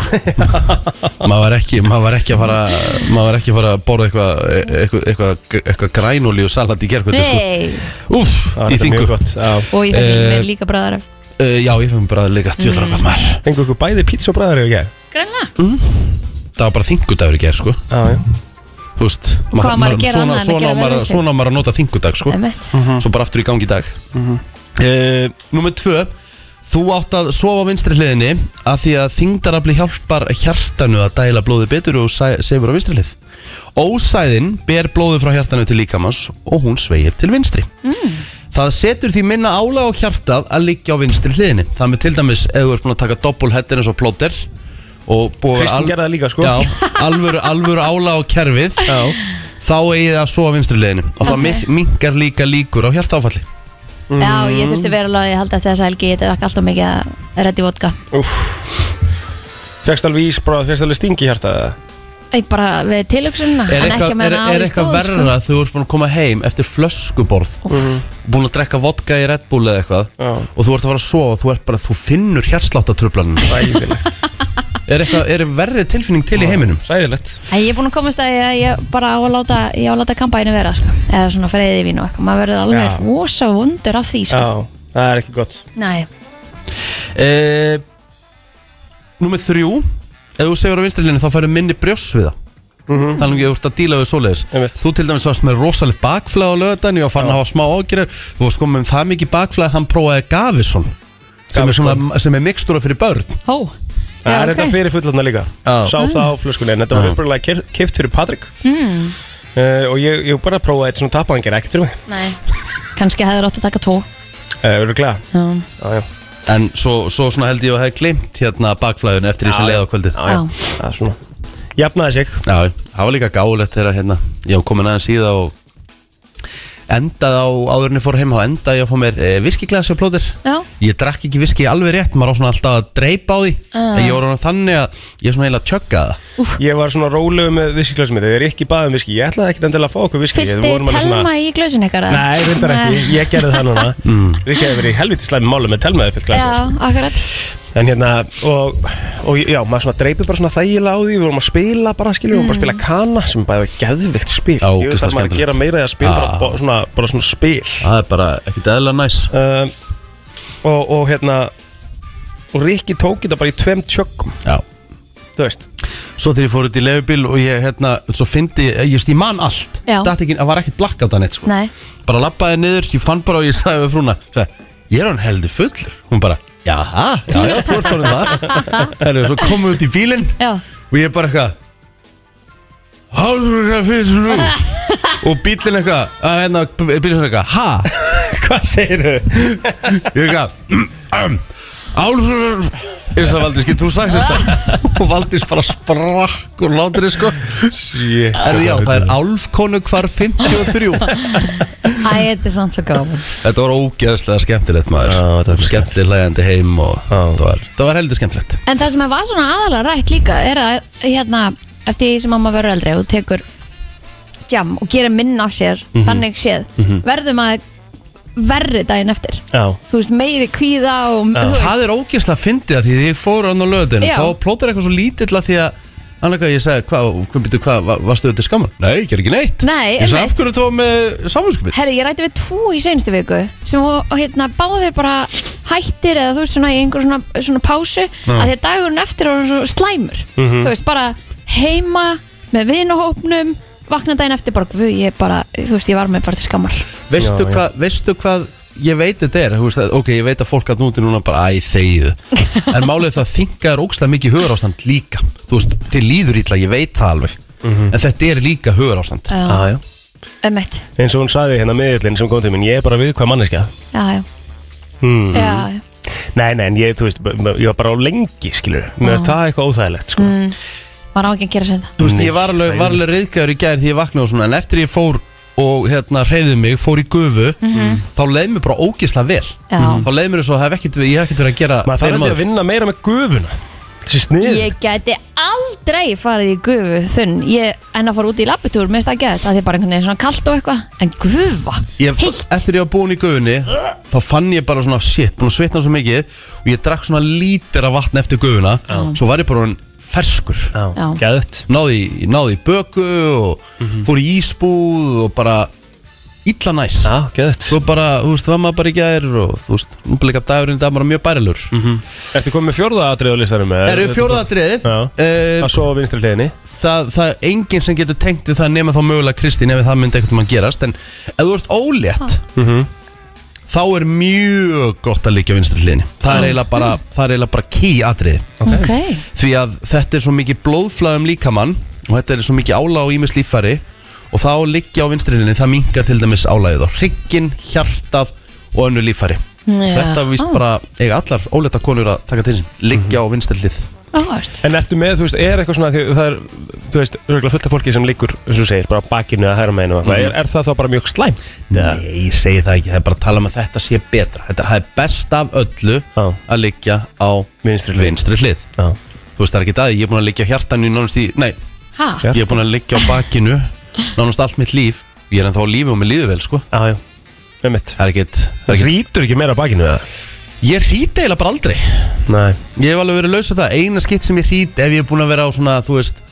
A: maður var ekki, maður var ekki að fara maður var ekki að fara að borða eitthvað eitthvað, eitthvað, eitthvað grænúli og salat í gerkvöldi sko.
C: Nei,
A: Úf, í
B: Það er mjög
A: þingu
B: gott Já
C: og ég fekk
A: Eh,
C: mér líka bræðar af
A: uh, Já, ég fekk mér bræðar líka, tjóðlar mm. maður
B: Fengu ykkur bæði pizza og bræðar yfir gerð
C: Grænlega
A: Það var bara þingudagur í gerð, sko
B: Já, já
A: Þú veist,
C: Hvað á maður að gera
A: svona-
C: annað en að
A: svona
C: gera
A: á
C: vel
A: maður
C: við sig?
A: Svona á maður að nota þingudag sko Svo bara aftur í gangi í dag mm Númer tvö Þú átt að sofa á vinstri hliðinni Af því að þingdarafli hjálpar hjartanu að dæla blóði betur og sæ- sefur á vinstri hlið Ósæðin ber blóði frá hjartanu til líkamans og hún sveigir til vinstri Það setur því minna álag á hjartað að liggja á vinstri hliðinni Það með til dæmis ef þú ert búin að taka doppul hettin eins og plóter og búið að vera
B: Kristín
A: al-
B: gerði það líka, sko.
A: Já, alvöru, alvöru ála á kerfið Já. þá eigi það að sofa vinstri leiðinu og
C: Ok.
A: það minkar líka líkur á hjartáfalli
C: Já, ég þurfti verulega að halda eftir þessa helgi Þetta er ekki alltaf mikið að reddi vodka
B: Úff Fjöxt alveg ísbráð, fjöxt alveg stingi hjarta eða?
C: Ekki bara við tilöksunna
A: Er
C: en ekki
A: eitthvað,
C: með
A: er,
C: hana á
A: er
C: í
A: eitthvað
C: stóð,
A: verra
C: sko. Mhm.
A: að þú ert búin að koma heim eftir flöskuborð búin að drekka vodka í Red Bull eða eitthvað
B: Já.
A: og þú ert að fara að sofa og þú, ert bara, þú finnur hjartsláttartrublanum
B: Ræðilegt
A: er, eitthvað- er verri tilfinning til í heiminum?
B: Ræðilegt
C: Æ, Ég er búin að komast að ég, ég bara á að láta Ég á að láta kampæni vera sko. Eða svona freyði vín og eitthvað Maður verður alveg
B: Já.
C: rosa vondur af því sko.
B: Já, það er ekki gott
C: Nei,
A: E, Númer þrjú Ef þú segur á vinstrilinu þá færðu minni brjós við það Þannig að þú ert að díla við svoleiðis
B: Einmitt.
A: Þú til dæmis varst með rosalegt bakflæð á löðan Ég var farin að hafa smá ágjörður Þú varst komið með það mikið bakflæð að Hann prófaði Gavison sem er, svona, sem er mikstúra fyrir börn
C: hó
B: Það er
C: ok.
B: þetta fyrir fullandna líka
A: Já.
B: Sá það á flöskunni En þetta var uppröðlega kipt fyrir Patrik mm.
C: Hmm.
B: Og ég, ég bara prófaði eitt svona tap og hann gerði ekkert fyrir mig
C: Nei, kannski hefur átt að taka tvo
B: Það eru glæða
C: Já,
B: Já, já
A: En svo, svo svona held ég að hefði glimt hérna bakflæðun eftir því sem
B: Já,
A: leið á kvöldið
B: já,
C: Já.
B: já. Það er svona Jafnaði sig
A: Já, það var líka gálegt þegar hérna Ég var komin aðeins í það og endaði á áðurinni fór heim og endaði ég að fá mér e, viskiglasi og plóðir
C: já
A: Ég drakk ekki viski alveg rétt, maður á svona alltaf að dreipa á því
C: Ah.
A: En ég voru þannig að ég er svona eiginlega að tjögga það
B: Ég var svona rólegu með viskiklasum mitt Þegar ég ekki baði um viski Ég ætlaði ekkert endilega að fá okkur viski Við
C: Fylgdi
B: vorum alveg
C: telma í glösun ykkar eða?
B: Nei, reyndar ekki,
C: Nei.
B: ég gerði það núna Rikki hefur verið í helviti slæmi málum með telmaði fyrir
C: Já,
B: glasið
C: akkurat
B: En hérna, og, og já, maður svona dreipið bara svona þægilega á því Við vorum að spila bara, skiljum, við vorum bara að spila kana Sem er bara var geðvikt spil
A: Já,
B: Ég veit
A: ógeðslega
B: að maður
A: skemmtilegt.
B: gera meira eða spil bara,
A: Ah.
B: bara, svona, bara svona spil
A: Það er bara ekkert eðla næs
B: um, og, og hérna Og Rikki tók þetta bara í tveim tjökkum
A: Já
B: Þú veist,
A: Svo þegar ég fór út í leifubíl og ég hérna Svo fyndi, ég, ég, ég man allt
C: Já.
A: Datt ekki, Það var ekkert blakkátt að neitt sko.
C: Nei,
A: Bara labbaði niður, ég fann bara og ég sagði við frúna sagði, Ég er hann heldur fullur Hún bara, já, já, já, þú ert honum það Herru, svo komum við út í bílinn
C: já
A: og ég bara eitthvað Hálfur eitthvað fyrir sem nú og bílinn eitthvað að hérna, bílinn svona eitthvað ha
B: hvað segirðu?
A: ég eitthvað Álfur eins og Valdís, getur þú sagt þetta og Valdís bara sprakk og látur þið sko
B: Shit,
A: Erðu já, það er Álfkonu hvar 53
C: Æ, þetta er samt svo gaman
A: Þetta var ógeðslega skemmtilegt maður
B: Já, þetta var
A: Skemmtileg hlægandi heim og það var, það var heldur skemmtilegt
C: En það sem að var svona aðalega rætt líka er að hérna, eftir því sem mamma verður eldri og tekur jam og gerir minn af sér þannig séð, verður maður verri daginn eftir
B: Já,
C: þú veist, meiri kvíða og þú veist,
A: Það er ógeðslega fyndið að því því ég fór hann á löðinu
C: Já.
A: þá plótar eitthvað svo lítill að því að annað hvað ég sagði, hvað, hvað, byrju, hvað, va- varstu þetta skamma? Nei, ég ger ekki neitt
C: Nei,
A: Ég sagði, af
C: einmitt.
A: hverju þú var með samvinskupið?
C: Herri, ég rætti við tvo í seinustu viku sem og, og hérna báðir bara hættir eða þú veist svona í einhver svona, svona pásu að því að dagurinn eftir er svo slæmur þú veist bara heima með vinahópnum vakna daginn eftir bara guð ég bara þú veist ég var með bara til skammar
A: Veistu,
B: Já, já.
A: hvað- veistu hvað ég veit þetta er, þú veist að, ok, ég veit að fólk að núti núna bara, æ, þegið en málið er það þingar ógeðslega mikið hugarástand líka, þú veist, þið líður ítla ég veit það alveg,
B: Mhm.
A: en þetta er líka hugarástand
C: já,
B: já, já
C: emmett
B: Eins og hún sagði hérna miðillin sem kom til minn Ég er bara við hvað manneskja
C: já, já,
B: hmm.
C: já, já.
B: Nei, nei, en ég, þú veist, b- b- ég var bara á lengi, skilur Mér veist það eitthvað óþægilegt, sko
C: maður á ekki að gera sér þetta
A: Þú veist, ég var alveg, var alveg reyðgæður í gær því ég vaknaði og svona En eftir ég fór og hérna reyði mig, fór í gufu
B: Mhm.
A: Þá leið mér bara ógislega vel
C: Já.
A: Þá leið mér eins og það hef ekkert, ég hef ekkert verið að gera
B: Maður
A: fyrir
B: þarf ekki að vinna meira með gufuna Þessi snið
C: ég gæti aldrei farið í gufu þunn ég enn að fara út í labbitúr minnst það gæti að því bara einhvern veginn svona kalt og eitthvað en gufa
A: ég, Eftir ég var búin í gufunni Þá fann ég bara svona shit, búin að svitna svo mikið Og ég drakk svona lítir af vatn eftir gufuna Svo var ég bara hann ferskur
B: Já,
C: Já.
B: gæðut
A: Náði, í- náði í böku og
B: Mhm.
A: fór í ísbúð og bara illa næs
B: Já, gæðut
A: Svo bara, þú veist, var maður bara í gær og þú veist, nú bleið að dagurinn í dag maður mjög bærilur
B: Mhm. Ertu komið með fjórða atrið á listanum? eða?
A: Erum við fjórðatriðið
B: Já.
A: uh,
B: Að sofa á vinstri hliðinni
A: það, það er enginn sem getur tengt við það nema þá mögulega Kristín ef það myndi eitthvað mann gerast En ef þú ert ólétt Þá er mjög gott að líka vinstri hliðinni Það er eiginlega bara, það er eiginlega bara key atriði
C: ok,
A: Því að þetta er svo mikið blóðflæðum líkamann Og þetta er svo mikið álag á ímis líffæri Og þá liggja á vinstri hliðinni Það minkar til dæmis álagið á hrygginn, hjartað og önnu líffæri
C: Já.
A: Þetta víst bara eiga allar ólétta konur að taka til sín Liggja á vinstri hlið
C: ok, áhört
B: En ertu með, þú veist, er eitthvað svona því, það er, þú veist, örgulega fullt af fólki sem liggur eins og þú segir, bara á bakinu eða hæra meginu mm. er, er það þá bara mjög slæmt? eða?
A: Nei, ég segi það ekki, það er bara að tala um að þetta sé betra Þetta það er best af öllu
B: Já.
A: að liggja á
B: Vinstri hlið.
A: vinstri hlið
B: Já,
A: Þú veist það er ekki það, ég er búin að liggja á hjartanu nánast í, nei,
C: Ha?
B: Já.
A: ég er búin að liggja á bakinu nánast allt mitt líf Ég er ennþá á lífi og mér líður vel, sko
B: já, já, með mitt
A: Það er ekkit, það er ekkit
B: Rítur ekki meira á bakinu eða?
A: Ég hrýti eiginlega bara aldrei
B: Nei
A: Ég hef alveg verið laus af það, eina skitt sem ég hrýt ef ég er búin að vera á svona, þú veist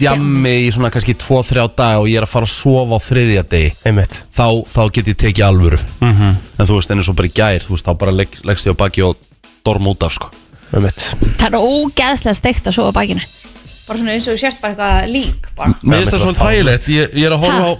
A: djammi í svona kannski 2-3 dag og ég er að fara að sofa á þriðja degi
B: Einmitt
A: þá, þá get ég tekið alvöru -hmm. en þú veist, en eins og bara í gær þú veist, þá bara legg, leggst ég á baki og dorm út af sko.
B: Einmitt
C: Það er ógeðslega steikt að sofa á bakinu Bara svona eins og þú sért bara eitthvað lík bara.
A: Mér finnst það
B: mikla
A: svona þægilegt, ég, ég er að horfa á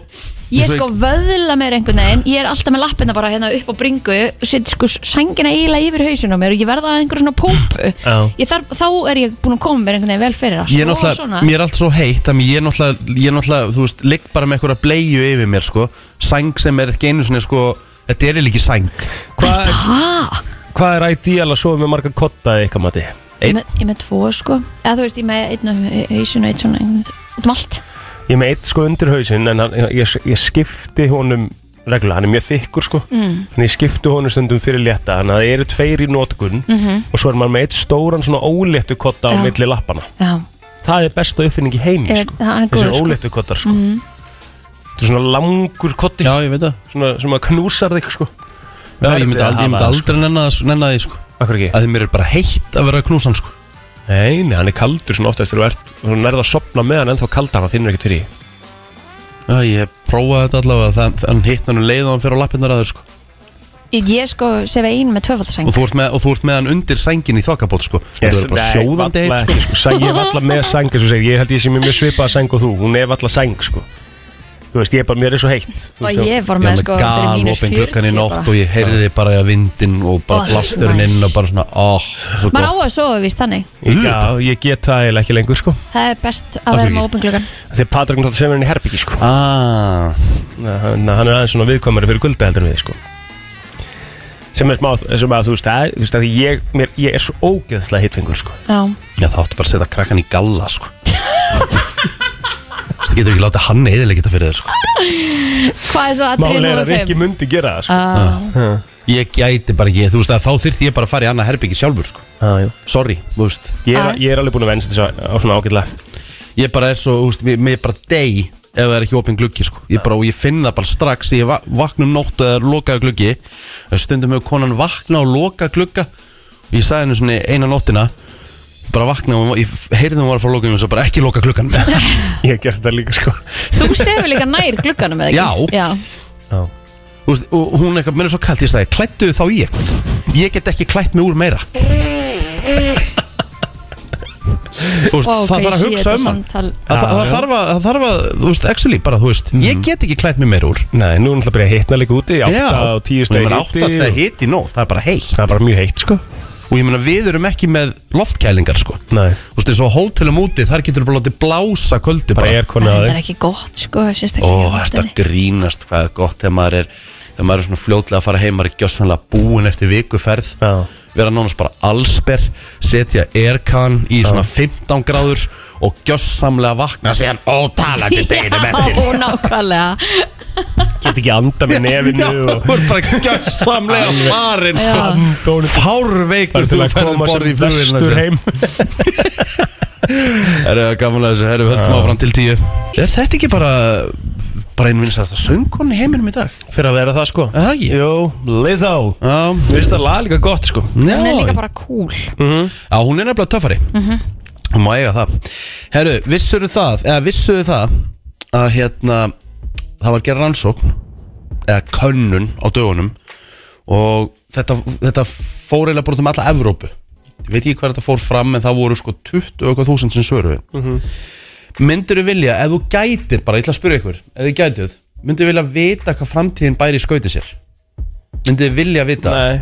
C: Ha? Ég
A: eins og
C: sko vöðla mér einhvern veginn Ég er alltaf með lappina bara hérna upp á bringu Sitt sko sængina eiginlega yfir hausinu á mér Og ég verða að einhver svona púpu
B: Já.
C: Ég þarf, Þá er ég búin að koma mér einhvern veginn vel fyrir að
A: Ég er
C: sofa
A: náttúrulega,
C: svona.
A: mér er allt svo heitt þannig ég er náttúrulega, ég er náttúrulega, þú veist, ligg bara með einhverja bleiu yfir mér, sko sæng sem er ekki einu svona, sko þetta er eiginlega ekki sæng
B: Hvað er,
C: Ha?
B: hvað er ideal að sofa með marga kotta eða eitthvað mati?
C: Ég með, ég með tvo sko Eða þú veist, ég með einn og hausinu Einn svona, einn út um allt
B: Ég er með eitt sko undir hausinn en hann, ég, ég skipti honum regla, hann er mjög þykkur sko mm. en ég skipti honum stundum fyrir létta þannig að það eru tveir í notkun -hmm. og svo er maður með eitt stóran svona óléttu kotta á
C: Mhm. Já.
B: milli lappana
C: Já,
B: það er besta uppfinning í heimi
C: Er-
B: sko.
C: hann er
B: þessi
C: góður, sko.
B: óléttu kottar sko. þetta er svona langur kotti
A: Já, ég veit það
B: svona, sem að knúsar þig sko.
A: Já, ég myndi aldrei, ég myndi aldrei nenna, það- sko. nenna því, sko
B: Akkur ekki?
A: að því mér er bara heitt að vera knúsan, sko
B: Nei, nei, hann er kaldur svona oftast þegar þú ert og nærða að sopna með hann ennþá kalda hann finnur ekkert fyrir því.
A: Já, ég prófaði þetta allavega, þann, þann hitt hann um leið og hann fyrir á lappinnar aður, sko
C: ég, ég sko sef einn með tvöfaldsæng
A: og þú ert með, og þú ert með hann undir sængin í þokkabót sko. þetta verður bara
B: Nei,
A: sjóðandi
B: varla
A: heitt sko.
B: ekki, sko. Sæ- Ég er alltaf með sæng eins og segir Ég held ég sem er mjög svipað sæng og þú Hún er alltaf sæng sko Þú veist, ég er bara mér er svo heitt Þú
C: Og
B: veist,
C: ég var
A: ég var
C: með
A: með
C: sko fyrir
A: gal
C: mínus
A: opinn klukkan í
C: 40
A: nótt
C: bara.
A: og ég heyrði bara að vindin og
C: Oh,
A: bara blasturinn
C: nice.
A: inn og bara svona oh, svo
C: Maður á
A: gott.
C: að sofa víst þannig
B: ég, já, ég get það eiginlega ekki lengur sko
C: Það er best að
A: Af
C: vera
A: hverju
C: með
A: ekki?
C: opinn klukkan
B: Þegar Patrik náttúrulega sem er henni herbyggi sko
A: Ah,
B: Na, hann, hann er aðeins svona viðkvæmari fyrir kulda heldur en við sko sem er smá, sem að þú veist að, þú veist að ég, mér, ég er svo ógeðslega hitfengur sko
C: Já,
A: já, það áttu bara að setja krakkan í galla sko. það getur ekki látið hann eðilegita fyrir þér sko.
C: hvað er svo aðrið
B: Máli er
C: númer
B: að Rikki
C: 5?
B: myndi gera það sko
C: Uh,
A: ég gæti bara ekki, þú veist að þá þyrfti ég bara að fara í annað herbyggi sjálfur sko.
B: ah, jú.
A: sorry, þú veist
B: ég,
C: Ah.
B: er, ég er alveg búin að vensa þessu á- á svona ágætlega
A: ég bara er svo, þú veist, mér, mér er bara deg ef það er ekki opinn gluggi, sko ég, bara, og ég finn það bara strax, ég va- vakna um nótt eða er lokaði gluggi, en stundum hefur konan vakna og loka glugga og ég sagði henni svona eina nóttina bara vakna og ég heyrði hún var að fara að loka og ég svo bara ekki loka gluggan
B: Ég hef gert þetta líka sko
C: þú sefur líka nær glugganum eða ekki?
A: Já.
C: Já
B: Já
A: Þú veist, og hún eitthvað, mér er svo kallt, ég sagði klættu þá í eitthvað, ég get ekki klætt mig úr meira Þú veist,
C: Ó,
A: það
C: hvað
A: þarf að
C: ég sé
A: hugsa
C: þetta
A: um hann
C: samtal.
A: Það
B: Já, Mhm.
A: það
B: já.
A: þarf að, það þarf að, þú veist, actually bara, þú veist, ég get ekki klætt mig meira úr
B: Nei, nú er náttúrulega að byrja að hitna líka úti
A: Já.
B: 8 og
A: Og
B: 10
A: ég
B: stegi
A: meina,
B: hiti
A: 8 þegar
B: og-
A: hiti nóg, það er bara heitt
B: Það er bara mjög heitt sko
A: Og ég meina við erum ekki með loftkælingar sko
B: Nei,
A: Þú veist eins og á hótelum úti, þar getur bara látið blása köldu
B: bara
A: bara
B: er konu
C: Það
B: að
C: er ekki gott sko, sérstaklega
A: Ó,
C: í
A: þetta
C: nóttunni.
A: grínast, hvað er gott þegar maður er Þegar maður er svona fljótlega að fara heim, maður er gjössanlega búin eftir vikuferð
B: Já.
A: Vera nánast bara allsber, setja aircan í svona 15 gráður Og gjössamlega vakna síðan ótalandi deginum eftir
C: Já, nákvæmlega
B: Get ekki anda með
A: Já,
B: nefinu og
A: þú ert bara sko. gjössamlega farin
C: Já.
A: Hárveikur
B: Bara til
A: þú
B: að
A: ferðum
B: koma
A: borði
B: sem
A: í flugvélina
B: vestur heim
A: Herru, gaman að þessu, herru, við höldum áfram til tíu Er þetta ekki bara bara einn vinsast að söngkonni heiminum í dag?
B: Fyrir að vera það sko
A: Er það ekki?
B: Jó, Lizzo
A: Já,
B: Mér finnst það lag líka gott sko
A: já,
C: Hún er líka
A: já,
C: bara cool
A: hún er nefnilega töffari Hún má eiga það Herru, vissuru það, eða vissuru það að hérna það var gerð rannsókn eða könnun á dögunum og þetta, þetta fór eiginlega bara út um alla Evrópu ég veit ekki hvað þetta fór fram en það voru sko 20 og eitthvað þúsund sem svöru mm -hmm. myndirðu vilja, ef þú gætir bara, ég ætla að spyrja ykkur, ef þið gætið myndirðu vilja vita hvað framtíðin bæri í skauti sér myndirðu vilja vita
B: Nei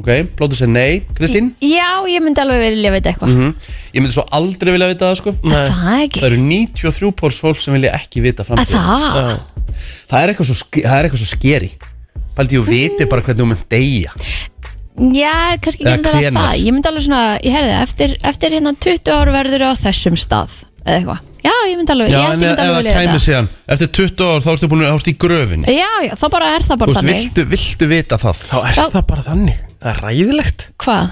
A: ok, blótu sér nei, Kristín
C: Já, ég myndi alveg vilja veit eitthvað
A: Hm? ég myndi svo aldrei vilja vita það sko
C: Að Það
A: það
C: ekki
A: eru 93 póls fólk sem vilja ekki vita
C: Að
A: framtíðin
C: Það
A: það er eitthvað svo, ske- það er eitthvað svo skeri Paldi, ég viti bara hvernig þú mynd deyja
C: Já, kannski
A: Eða
C: ekki myndi það
A: hvenær?
C: það Ég myndi alveg svona, ég herði það eftir, eftir hérna 20 ára verður á þessum stað Eða eitthvað Já, ég myndi alveg,
A: Já,
C: ég
A: en
C: held ég
A: ef
C: myndi alveg
A: það
C: vilja
A: kæmi
C: þetta
A: síðan Eftir 20 ár þá ertu búin að hást í gröfinni
C: Já, já, þá bara er það
A: Þú
C: bara
A: veist,
C: þannig
A: viltu, viltu vita það?
B: Þá er
C: Þá-
B: það bara þannig Það er ræðilegt
C: Hvað?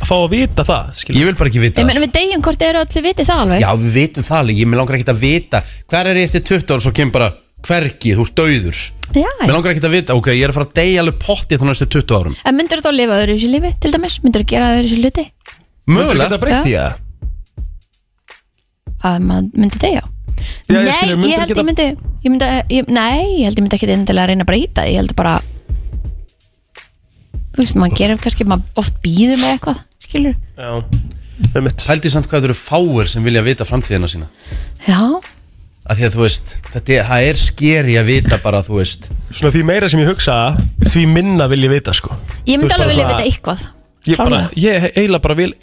B: að fá að vita það skilur.
A: Ég vil bara ekki vita
C: Ég
A: það
C: meina við degjum hvort eru allir vitið það alveg
A: Já, við vitum það alveg, ég með langar ekkert að vita Hver er ég eftir 20 ára, svo kemur bara Hvergi, þú ert dauður
C: já,
A: Mér
C: já.
A: langar ekkert að vita, ok, ég er að fara að deyja alveg potti Þannig næstu 20 árum
C: En myndur þú þá lifa öðru í þessu lífi, til dæmis? Myndur þú gera öðru í þessu hluti?
B: Myndirðu geta
A: Mögulega
B: breytt í það?
C: Að maður myndi degja?
B: Já, ég
C: nei,
B: skil,
C: ég,
B: myndirðu
C: held
B: geta-
C: ég myndi, ég myndi ég, Nei, ég held ég myndi ekki endilega að reyna að breyta því, Ég held bara Þú veist, maður gerir kannski, maður oft býður með eitthvað Skilur?
B: Já, með mitt
A: Hældi samt hvað þetta eru fáir sem vilja vita framtíðina sína
C: Já,
A: að Því að þú veist, þetta er, það er skeri að vita bara, þú veist
B: Svona því meira sem ég hugsa Því minna vil ég vita sko
C: Ég
B: Þú
C: myndi
B: veist,
C: alveg
B: bara
C: vilja
B: svona-
C: vita eitthvað
B: Ég, bara,
C: Klárlega.
B: ég eiginlega bara vil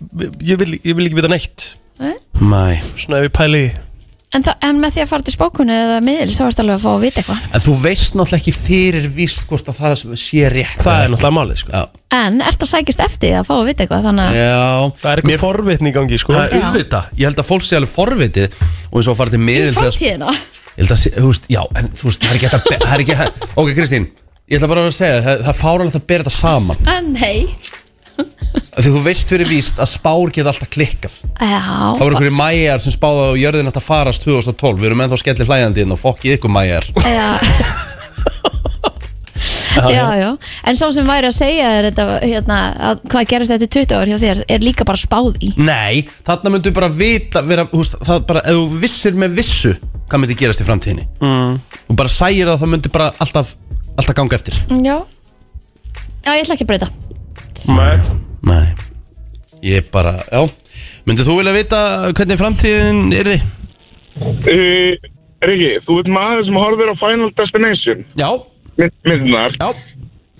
B: ég, vil ég vil ekki vita neitt
A: Mæ
B: Svona ef ég pæli í
C: en, það, en með því að fara til spákunni eða miðil þá ertu alveg að fá að vita eitthvað
A: En þú veist náttúrulega ekki fyrir víst hvort að það sé rétt
B: Það er náttúrulega málið sko
A: Já,
C: En ertu að sækist eftir því að fá að vita eitthvað Þannig að
A: Já.
B: Það er eitthvað forvitni í gangi sko
A: Það
C: Já.
A: er auðvitað, ég held að fólk sé alveg forvitið og eins og að fara til
C: í
A: miðil ég
C: framtíðina
A: held að, sé- þú veist, já, en þú veist, það er ekki hægt að be- það er ekki hægt, ok Kristín ég ætla bara að segja, þér, það, það er fáralegt að bera þetta saman
C: En hei
A: af því þú veist fyrir víst að spár geta alltaf klikkað það
C: Já,
A: voru einhverju mæjar sem spáðu á jörðin að það farast 2012, við erum ennþá skellir hlæjandi inn og fokkið ykkur mæjar
C: já. já, já En sá sem væri að segja þér þetta hérna, að Hvað gerist eftir 20 ár hjá þér Er líka bara spáð í
A: nei, þarna myndu bara vita vera, þú veist, það bara, ef þú vissir með vissu hvað myndi gerast í framtíðinni mm. og bara sægir það, það myndi bara alltaf, alltaf ganga eftir
C: Mm, Já Já, ég ætla ekki að breyta
A: Nei Ég bara, já Myndið þú vilja vita hvernig framtíðin er þið?
F: Uh, Riki, þú ert maður sem horfir á Final Destination
A: Já,
F: mynd, myndirnar.
A: já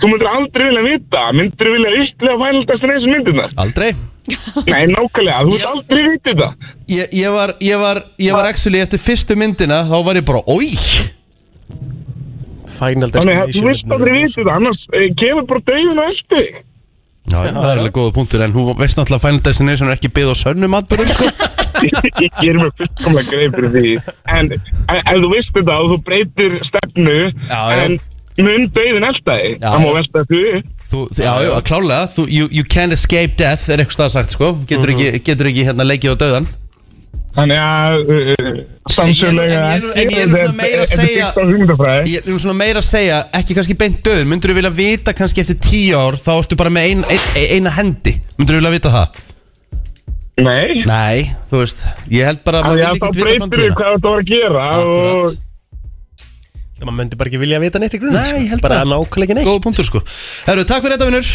F: Þú myndir aldrei vilja vita, myndir vilja ytla Final Destination myndirnar.
A: Aldrei
F: Nei, nákvæmlega, þú ert aldrei vitið það.
A: Ég, ég var, ég var, ég var actually eftir fyrstu myndina Þá var ég bara, oi
B: Final
F: Þannig að þú
B: destination
F: veist aldrei vitið það, annars eh, kemur bara dauðin á eftir þig.
A: Já, það er alveg góða punktur En hún veist náttúrulega að Final Destination er ekki byggð á sönnum atbyrðum sko.
F: Ég- ég er með fullkomlega greið fyrir því en en ef þú veist þetta og þú breytir stefnu
A: Já, já.
F: en mun döiðin eldaði
A: Já,
F: það má
A: já.
F: velta því upp.
A: Þú, já, já, klálega þú, you, you can't escape death er eitthvað stað sagt, sko Getur
B: Mhm.
A: ekki, getur ekki hérna leikið á döðan
F: þannig að uh, samsögulega
A: En ég- en ég- en ég er nú svona meira að segja-
F: þetta er hugmyndafræði
A: Ég er nú svona meira að segja, ekki kannski beint döðun Myndur þú vilja vita kannski eftir tíu ár Þá ertu bara með ein, ein, eina hendi Myndur þú vilja vita það?
F: nei,
A: Nei, þú veist, ég held bara að maður
F: þannig að
A: vil
F: þá
A: ekki vita
F: breytir þau
A: framtíðina
F: hvað þú var að gera
A: Akkurat.
F: og
B: Það maður myndi bara ekki vilja vita neitt í grunni
A: Nei,
B: sko.
A: ég held
B: Bara
A: það.
B: nákvæmlega ekki neitt
A: Góða punktur sko Herru, takk fyrir þetta vinnur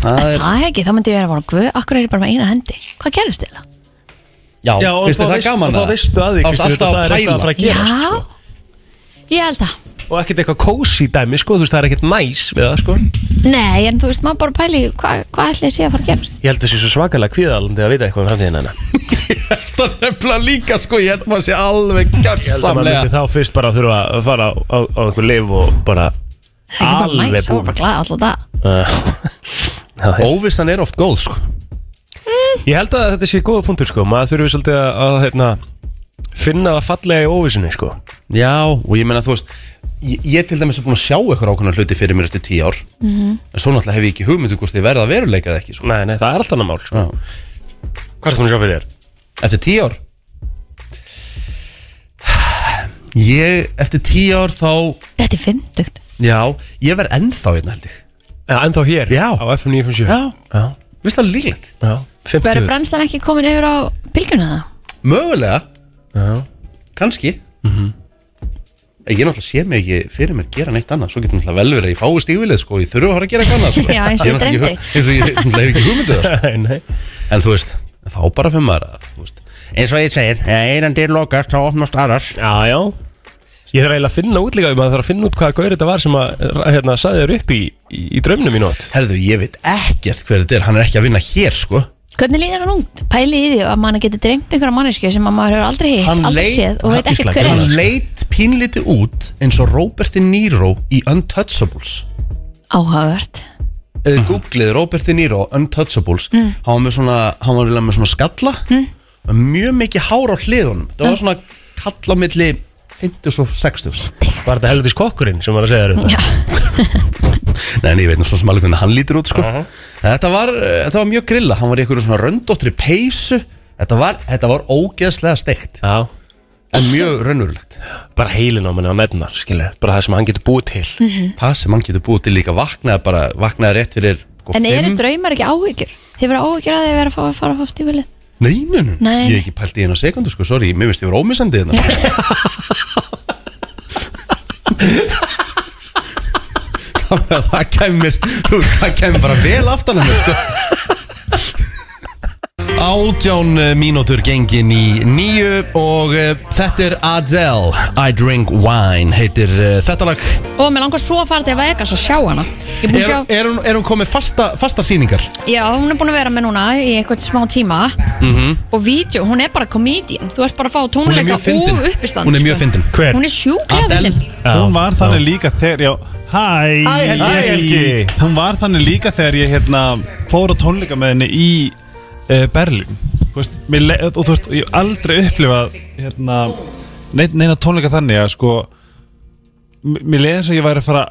A: Það er,
C: Það ekki, þá myndi ég vera bara Guð, akkur er ég bara með eina hendi Hvað gerist þér það?
A: já,
B: Já, og
A: finnst
B: þá
A: þið það
B: veist-
A: gaman
B: og þá veistu að því,
A: Þá
B: Kristín,
A: ertu alltaf
B: það
A: að
B: er eitthvað að fara
A: pæla
B: að gerast
C: Já.
B: sko.
C: Ég held að
B: Og ekkert eitthvað kósi dæmi sko, þú veist, það er ekkert næs við það sko
C: Nei, en þú veist, maður bara pæli Hvað hva ætli ég sé að fara að gerast
B: Ég held þessi svo svakalega kvíðalandi að vita eitthvað um framtíðina hennar
A: Það er nefnilega líka sko, ég held maður sé alveg
B: Ég held að maður myndi
A: gjörsamlega
B: þá fyrst bara þurfa að fara á, á, á einhver liv og bara
C: Það er ekki bara
B: Alveg
C: næs, það var
B: búin.
C: bara glæð alltaf dag
B: uh, já,
A: Óvissan er oft góð sko
B: Ég held að þetta sé góða punktur sko Maður þurfi svolítið að, að hérna, finna það fallega í óvissinni sko
A: Já, og ég meina þú veist Ég, ég til dæmis er búin að sjá eitthvað ákveðna hluti fyrir mér eftir tíu ár
C: Mhm.
A: En svo náttúrulega hef ég ekki hugmyndu hvort þið verða að veruleika eða ekki sko.
B: Nei, nei, það er alltaf annar mál sko
A: Já.
B: Hvað er það að sjá fyrir þér?
A: Eftir tíu ár Ég, eftir tíu ár þá
C: Þetta er fimmtugt
A: Já, ég verð ennþá hérna held ég
B: Ja, ennþá hér
A: Já.
B: Á FM 957 Já,
A: Vist það líklegt?
B: já, 50
C: Verður brennslan ekki komin yfir á bylgjuna það?
A: Mögulega,
B: Já. Mhm.
A: kannski Ég náttúrulega sé mig ekki fyrir mér gera neitt annað Svo getur náttúrulega vel verið að ég fái stífilið sko Ég þurfa að fara að gera eitthvað annað sko.
C: Já, eins og
A: Ég
C: ég
A: náttúrulega
C: dreymdi.
A: ekki hu- Eins og ég náttúrulega hef ekki hugmyndið það sko.
B: Nei, nei
A: En þú veist, þá bara fyrir maður að, þú veist. Eins og ég segir, ef einan dyr lokast þá opnast aðrar
B: Já, já Ég þarf eiginlega að finna út líka Maður þarf að finna út hvaða gaur þetta var sem að hérna, saði þér upp í, í, í draumnum í nótt
A: Herðu, ég veit ekkert hver þetta er, hann er ekki að vinna hér sko
C: Hvernig líður hann út? Pæli í því að mann geti dreymt einhverja mannesku sem að maður hefur aldrei hitt,
A: Hann
C: aldrei
A: leit-
C: séð og veit ekkert
B: Ísland,
C: hver
A: Hann
C: er
A: leit pínliti út eins og Robert De Niro í Untouchables
C: Áhugavert
A: eða googlið Robert De Niro Untouchables hann var með svona, hann var eiginlega með svona skalla mjög mikið hár á hliðunum það var svona kall á milli 50 og 60
B: Var þetta helvitis kokkurinn sem var að segja þér þetta?
A: Nei, en ég veit nú svo sem alveg hvernig hann lítur út sko. þetta, var, eh, þetta var mjög grilla hann var í einhverju svona röndóttri peysu þetta var, þetta var ógeðslega steikt
B: Já,
A: en mjög raunurlegt
B: bara heilin á manni á nætunar, skilur Bara það sem hann getur búið til
C: Mm.
A: það sem hann getur búið til líka vaknaði bara vaknaði rétt fyrir sko,
C: En eru
A: fimm.
C: draumar ekki áhyggjur? Hefur áhyggjur að þið vera að fá- fara að fá stífilið?
A: Nei, nei, nei,
C: Nei.
A: ég hef ekki pælt í eina sekundu sko, sorry, mér finnst ég vera ómissandi hérna Þannig að það kemur, þú veist, það kemur bara vel aftan að mér sko Átján eh, mínútur gengin í nýju og uh, þetta er Adele, I Drink Wine, heitir uh, þetta lag
C: Og mér langar svo að fara til Vegas að sjá hana Ég er búin
A: Er,
C: að sjá
A: er, hún, er hún komið fasta, fasta sýningar?
C: Já, hún er búin að vera með núna í einhvern smá tíma -hmm. og vídeo, hún er bara komedian þú ert bara að fá
A: Mhm. Hún er
C: tónleika
A: mjög fyndin,
C: og uppistand sko.
A: hún er mjög fyndin
B: Hver?
C: Hún er sjúklega
A: Adele.
C: fyndin
G: Hún var þannig líka þegar ég Hæ
A: Hæ, Helgi.
B: Hæ, Helgi.
G: Hún var þannig líka þegar ég hérna, fór á tónleika með henni í uh, Berlín Þú veist, mér le- og þú veist, ég hef aldrei upplifað hérna, neina, neina tónleika þannig að sko m- Mér leiði eins og ég væri að fara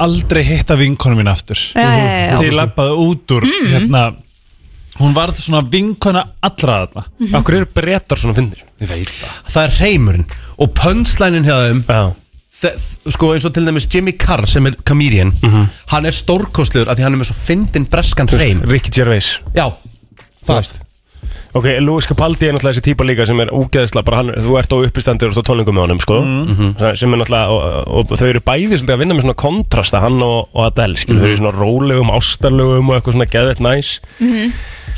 G: aldrei hitta vinkonu mín aftur
C: Já, já, já, já.
G: Þegar ég labbaði út úr hérna, Hún varð svona vinkona allra þarna
B: Akkur eru brettar svona fyndir?
A: það er reymurinn og pönslænin hjá þeim
B: Já
A: þe- þ- sko eins og til dæmis Jimmy Carr sem er comedian hann er stórkostlegur af því hann er með svo fyndin breskan
B: Þú
A: reym
B: veist, Ricky Gervais
A: já,
B: Þú
A: það
B: veist. Ok, Louis Capaldi er náttúrulega þessi típa líka sem er ógeðsla bara hann, þú ert á uppistandur og þú tónlingum með honum sko, Sem- sem er náttúrulega og, og, og þau eru bæði svolítið að vinna með svona kontrasta hann og, og Adele, skilur, þau eru í svona rólegum ástarlegum og eitthvað svona geðvett næs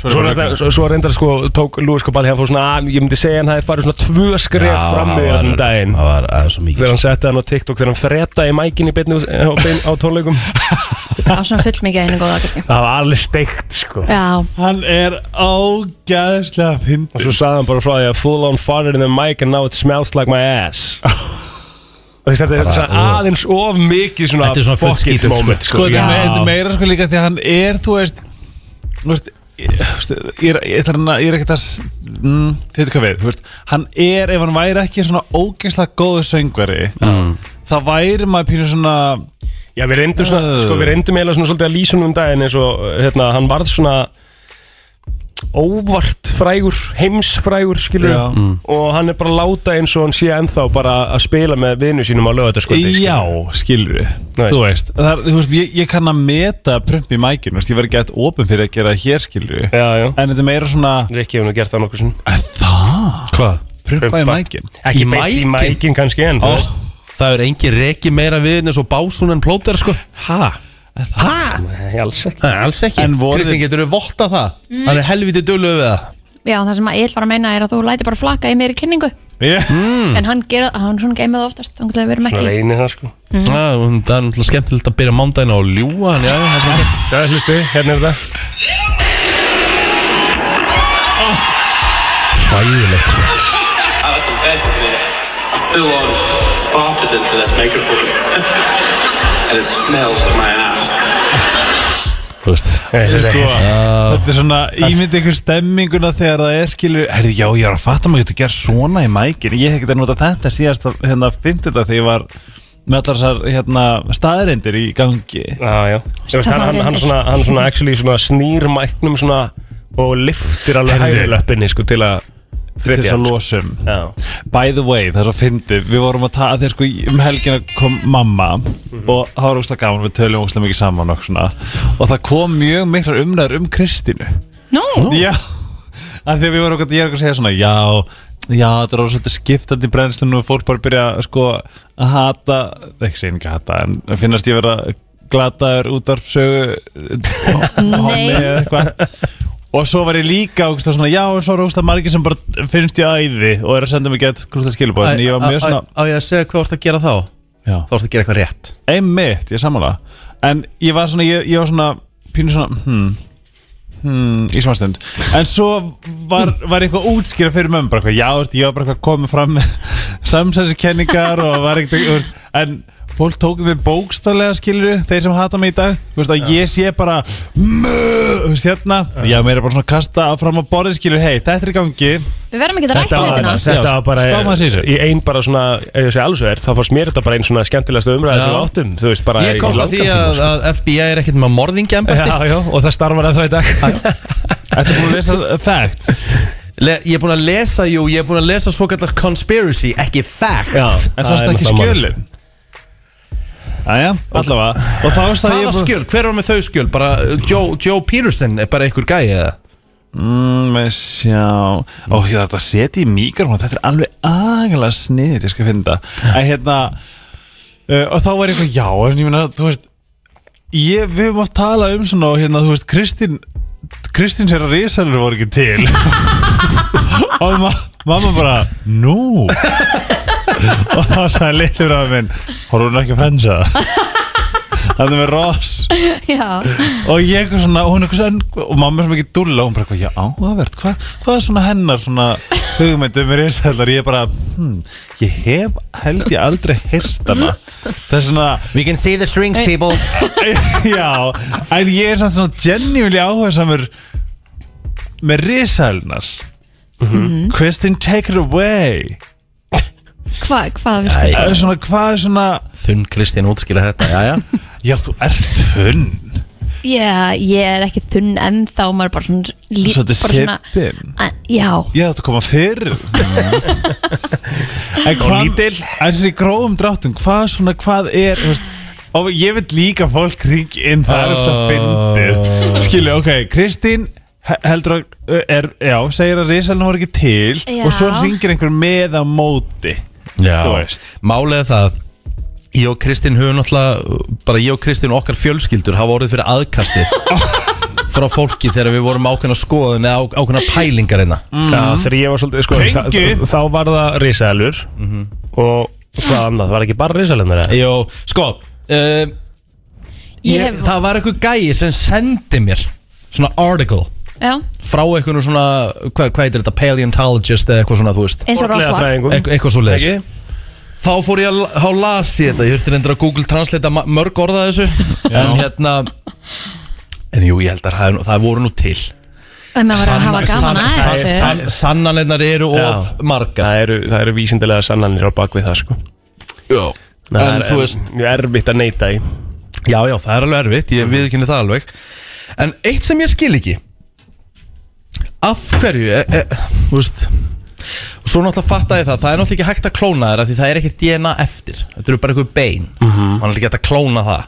B: svo, svo, reyndar, svo, svo reyndar sko tók Louis Capaldi, hann fór svona að, ég myndi segja hann hafi farið svona tvö skref fram
A: hérna
B: með
A: um
B: þann daginn
A: það var aðeins svo
B: þegar
A: mikið
B: hann setti hann á TikTok þegar hann fretaði mækinni beinni á, bein, á tónleikum
C: Það er svona full mikið að henni góða kannski
B: það var alveg steikt sko
C: Já,
G: Hann er ágæðslega
B: og
G: fyndin
B: svo sagði hann bara frá því að full on farted in the mic and now it smells like my ass og þess að þetta er svona aðeins of mikið svona
A: Þetta er svona full
B: fuck it
A: skítugt, sko.
B: moment sko,
G: sko, þetta er me- þetta er
B: já.
G: meira sko líka því að hann er, þú veist þú veist ég, þú veist, ég, er- ég, þarna, ég er ekkert að s- mm, þið veitir hvað við, þú veist hann er, ef hann væri ekki svona ógeðslega góðu söngveri þá væri maður pínu svona
B: já, við reyndum svona, sko, við reyndum eiginlega svona svolítið að lýsa hún um daginn eins og, hérna, hann varð svona óvart frægur heimsfrægur, skilur
G: Já.
B: og hann er bara að láta eins og hann sé ennþá bara að spila með vinu sínum á lögataskvöldi
G: já, skilur við,
B: Nei.
G: þú veist það, er- þú veist, ég, ég kann að meta prump í mækinn, þú veist, ég verði gett opin fyrir að gera það hér, skilur við
B: já, já
G: en þetta er meira svona,
B: Rikki hefur nú gert það nokkuð sinn
G: "Æ, það
A: hvað?
G: prumpa í
B: Prumpa.
G: mækinn
B: Ekki
A: Í
B: beint í
A: mækinn?
B: mækin kannski en þú veist.
A: það er engin reki meira við en svo básúnan plóter sko
G: hæ?
A: hæ?
B: Nei, alls ekki
A: alls ekki
G: En voruð-
A: Kristín getur þú votta það hann er helviti dölöf við það
C: já, það sem að ég ætla að meina er að þú læti bara flaka í meiri kynningu
G: Yeah.
C: en hann, gera, hann svona geymið oftast þannig að við erum
B: Það
C: ekki
B: reynir það sko
A: mm. það er náttúrulega skemmtilegt að byrja mándaginn á að ljúa hann, já, já, já.
B: Já, hlustu, hérna er þetta
A: Hræðilegt, sko.
H: I have a confession to make. I full on farted into this microphone. and it smells like my ass.
A: Þú veist.
G: sko, þetta er svona ímynd ykkur stemminguna þegar það er skilur herri, já, ég var að fatta maður getur gerð svona í mækin ég hef ekkert að nota þetta síðast hérna 50 þegar ég var með allar þessar hérna, staðreindir í gangi
B: Já, já Þú veist, hann, hann, hann, svona, hann svona actually svona snýr mæknum svona og liftir alveg
G: Heyrðu.
B: hægri löppinni sko til að
G: til þess
B: þriðja
G: að losum
B: Já,
G: by the way, það er svo fyndi við vorum að taða þegar sko um helgina kom mamma
B: Mhm.
G: og það var óslega gaman við tölum óslega mikið saman og, svona, og það kom mjög miklar umræður um Kristínu
C: Nú,
G: Já, af því að við vorum okkur, ég er okkur að segja svona Já, já, þetta er orðið svolítið skiptandi í brennslunum og fólk bara byrja sko að hata, ekki segja ekki að hata en að finnast ég vera glataður útvarpsögu hommi eða eitthvað og svo var ég líka okkur svona já, en svo er okkur margir sem bara finnst ég æði og er að senda mig gett grústa skilubóð en ég var mjög svona,
A: Á- á- á ég að segja hvað vorst að gera þá þá
G: já,
A: vorst að gera eitthvað rétt
G: einmitt, ég sammála en ég var svona, ég, ég var svona pínu svona, hmm Hmm, í smástund en svo var, var eitthvað útskýra fyrir mömmu bara eitthvað, já, þú veist, ég var bara eitthvað komið fram með samsæðiskenningar og var eitthvað, þú veist, en fólk tók mig bókstarlega skilur þeir sem hata mig í dag þú veist að ég sé bara "Mö", þú veist hérna já, mér er bara svona að kasta fram á borðið skilur hei, þetta er í gangi
C: Við verðum ekki að rætt hlutina
B: bara- þetta var bara
G: Spá maður sig í þessu.
B: Í einn bara svona, ef ég segi alls verð Þá fannst mér þetta bara einn svona skemmtilegasta umræði sem við áttum Þú veist bara
A: Ég
B: í
A: komst að því
B: langan tíma,
A: að,
B: sko.
A: að FBI er ekkert með morðingi embætti
B: Já, já, og það starfar að það í dag
G: Þetta er búin að lesa facts
A: Le, Ég er búin að lesa, jú, ég er búin að lesa svo kallar conspiracy, ekki fact
B: Já,
G: En
B: það
G: sást
B: er
G: ekki
B: náttúrulega málið. sko.
G: skjölin Æja, allavega Og þá veist að
A: Hvaða
G: ég
A: skjöl, hver var með þau skjöl? Bara uh, Joe, Joe Peterson er bara einhver gæi eða?
G: Mm, ég sjá Ó, ég þarf þetta að setja í mikrofón Þetta er alveg agalega sniður Ég skal finna þetta Æ, hérna uh, Og þá var ég eitthvað, já En ég meina, þú veist ég, Við höfum oft talað um svona og Hérna, þú veist, Kristín Kristín sér að risalur voru ekki til Og ma mamma bara Nú Og þá sagði litur af minn Horfum hún ekki að frensa Þannig með Ross
C: Já,
G: og ég eitthvað svona, og hún eitthvað svona og mamma er svona ekki dúlla, og hún bara eitthvað, já áhugavert hva, hvað er svona hennar svona hugmyndum er einsæðlar, ég er bara hm, ég hef, held ég aldrei heyrt hana, það er svona
A: We can see the strings people
G: já, en ég er samt svona genuinely áhugasamur með risælnar Kristin take it away
C: Hva, hvað viltu?
G: það er svona, hvað er svona
A: Þunn Kristín útskýra þetta, já já
G: já, þú ert hunn
C: Já, ég er ekki þunn ennþá maður er bara svona lít,
G: Svolítið
C: bara
G: sippin.
C: Að- Já,
G: Ég ætti að koma fyrr En
B: Og lítil.
G: En svona í grófum dráttum Hvað svona, hvað er þú veist, Og ég veit líka að fólk ring inn Það er eftir
B: Oh.
G: að fyndið Skilju, ok, Kristín he- heldur að eh, er, Já, segir að risalinn var ekki til
C: Já.
G: Og svo ringir einhver með á móti Þú
A: Já,
G: veist.
A: málið er það Ég og Kristín höfum náttúrulega bara ég og Kristín og okkar fjölskyldur hafa orðið fyrir aðkasti frá fólki þegar við vorum ákveðna skoðin eða á- ákveðna pælingar hérna
B: Já, þegar ég var svolítið sko,
G: Kringu.
B: þá, þá var það risalur Og hvað annað, það var ekki bara risalennir eða?
A: Jó, sko uh,
C: ég
A: ég,
C: hef
A: Það var einhver gæi sem sendi mér svona article
C: já,
A: frá einhvern svona, hvað hva heitir þetta, paleontologist eða eitthvað svona, þú veist
C: eins og rásvar
B: Fornleifafræðingum.
A: Eitth- eitthvað svo leiðis
B: Ekki?
A: þá fór ég að há lasi þetta ég þurfti reyndar að Google Translate ma- mörg orða að þessu en hérna en jú, ég held að það, það voru nú til
C: En maður var að hafa gaman að
A: sann-
C: þessu
A: sann- sannanirnar eru of
B: Já.
A: margar
B: Það eru, það eru vísindilega sannanir á bakvið það sko
A: já.
B: Nei, það
A: en
B: er-
A: þú
B: er
A: veist
B: Mjög erfitt að neyta í
A: já, já, það er alveg erfitt,
B: Mm.
A: ég viðkynni það alveg en eitt sem ég skil ekki af hverju e, e, þú veist svo náttúrulega fatta ég það, það er náttúrulega ekki hægt að klóna þér af því það er ekki DNA eftir þetta eru bara einhver bein, mm
B: Mhm.
A: -hmm. er ekki hægt að klóna það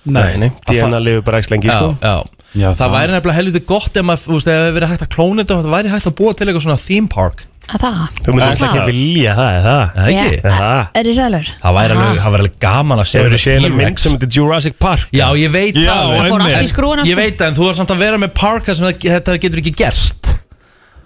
B: Nei, nei, DNA
A: það-
B: lifur bara ekki lengi sko
A: já, já.
G: Já,
A: það,
G: það-
A: væri nefnilega helviti gott ef maður, þú veist, ef það hefði verið hægt að klóna þetta það væri hægt að búa til eitthvað svona theme park
C: Að það
B: Þú myndir alltaf ekki
C: það-
B: vilja það, er það
A: eða ekki?
B: Já. Aha.
C: Er þið sælur?
A: það væri alveg, það væri alveg gaman að sjá
B: Þeir eru
A: þetta
B: séð einu mynd
A: T-Rex.
B: sem heitir Jurassic Park
A: já, ég veit
G: Já,
A: það
G: Það
A: alveg.
C: fór allt í
A: En-
C: skrúfuna, sko.
A: ég veit það, en þú er samt að vera með park þar sem það- þetta getur ekki gerst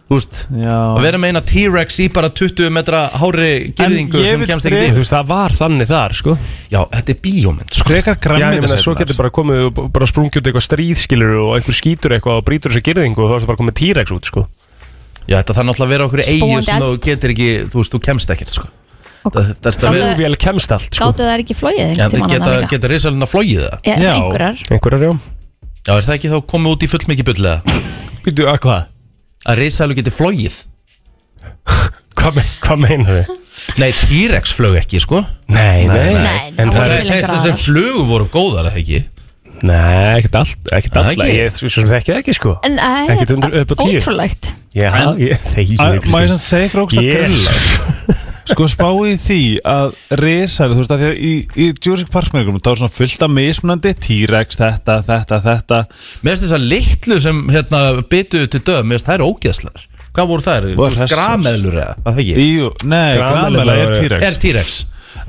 A: þú veist,
G: Já.
A: að vera með eina T-Rex í bara 20 metra hári gyrðingu
G: ég
A: sem
G: vil
A: kemst
G: frekar-
A: ekki
B: Þú
A: til
B: veist, það var þannig þar, sko
A: já, þetta er bíómynd sko.
B: Já,
G: Frekar
B: ég meina, svo
G: græmmiðasæðnar
B: getur bara komið og b- bara sprungið út eitthvað stríðskilur og einhver skýtur eitthvað og brýtur þessu girðingu og þá er það bara komið T-Rex út, sko
A: já, þetta þarf náttúrulega að vera okkur eigi
C: Spóandi
A: sem þú
C: eld.
A: getur ekki, þú veist, þú kemst ekki sko. það,
C: Og
A: það, það,
C: Gátu-
A: það,
B: Flugvél kemst allt, sko
C: Gáttu það ekki flóið
A: Já,
C: einhvern
A: þau
C: tímann annað
A: geta,
C: líka?
A: geta risalina flogið það
C: Já,
G: Já.
C: einhverjar
B: Einhverjar, já
A: Já, er það ekki þá komið út í fullmikið bullega?
B: Býtu, að hvað?
A: Að risalu geti flogið?
B: Hvað me- Hvað meinar þið?
A: Nei, T-Rex flög ekki, sko
B: Nei, nei,
C: Nei,
A: Það er
B: En það
C: það til
A: þess
C: einhverjar
A: að sem
C: aðrar.
A: flugu voru góðar, eða ekki?
B: Nei, ekkert allt, ekkert
A: Það
B: allt
A: ekki?
B: Ég svo sem þekki það ekki, sko
C: En æ,
B: Ekkert undir- upp á tíu.
C: Ótrúlegt
B: Já, ég þegi
G: Má ég samt segja ykkur ógst að grilla Sko spáið því að risæli, þú veist að því að í, í Jurassic Park með ykkur, það var svona fullt af mismunandi T-Rex, þetta, þetta, þetta
A: Mér finnst þess að litlu sem hérna byttuðu til döð, mér finnst það er ógeðslar Hvað voru þær?
G: Voru
A: Þú veist,
G: hressar.
A: Grameðlur eða, að það ekki?
G: Jú, nei,
B: Gramelar
G: gramela er
B: eru-
A: Er
G: T-Rex
A: T-Rex?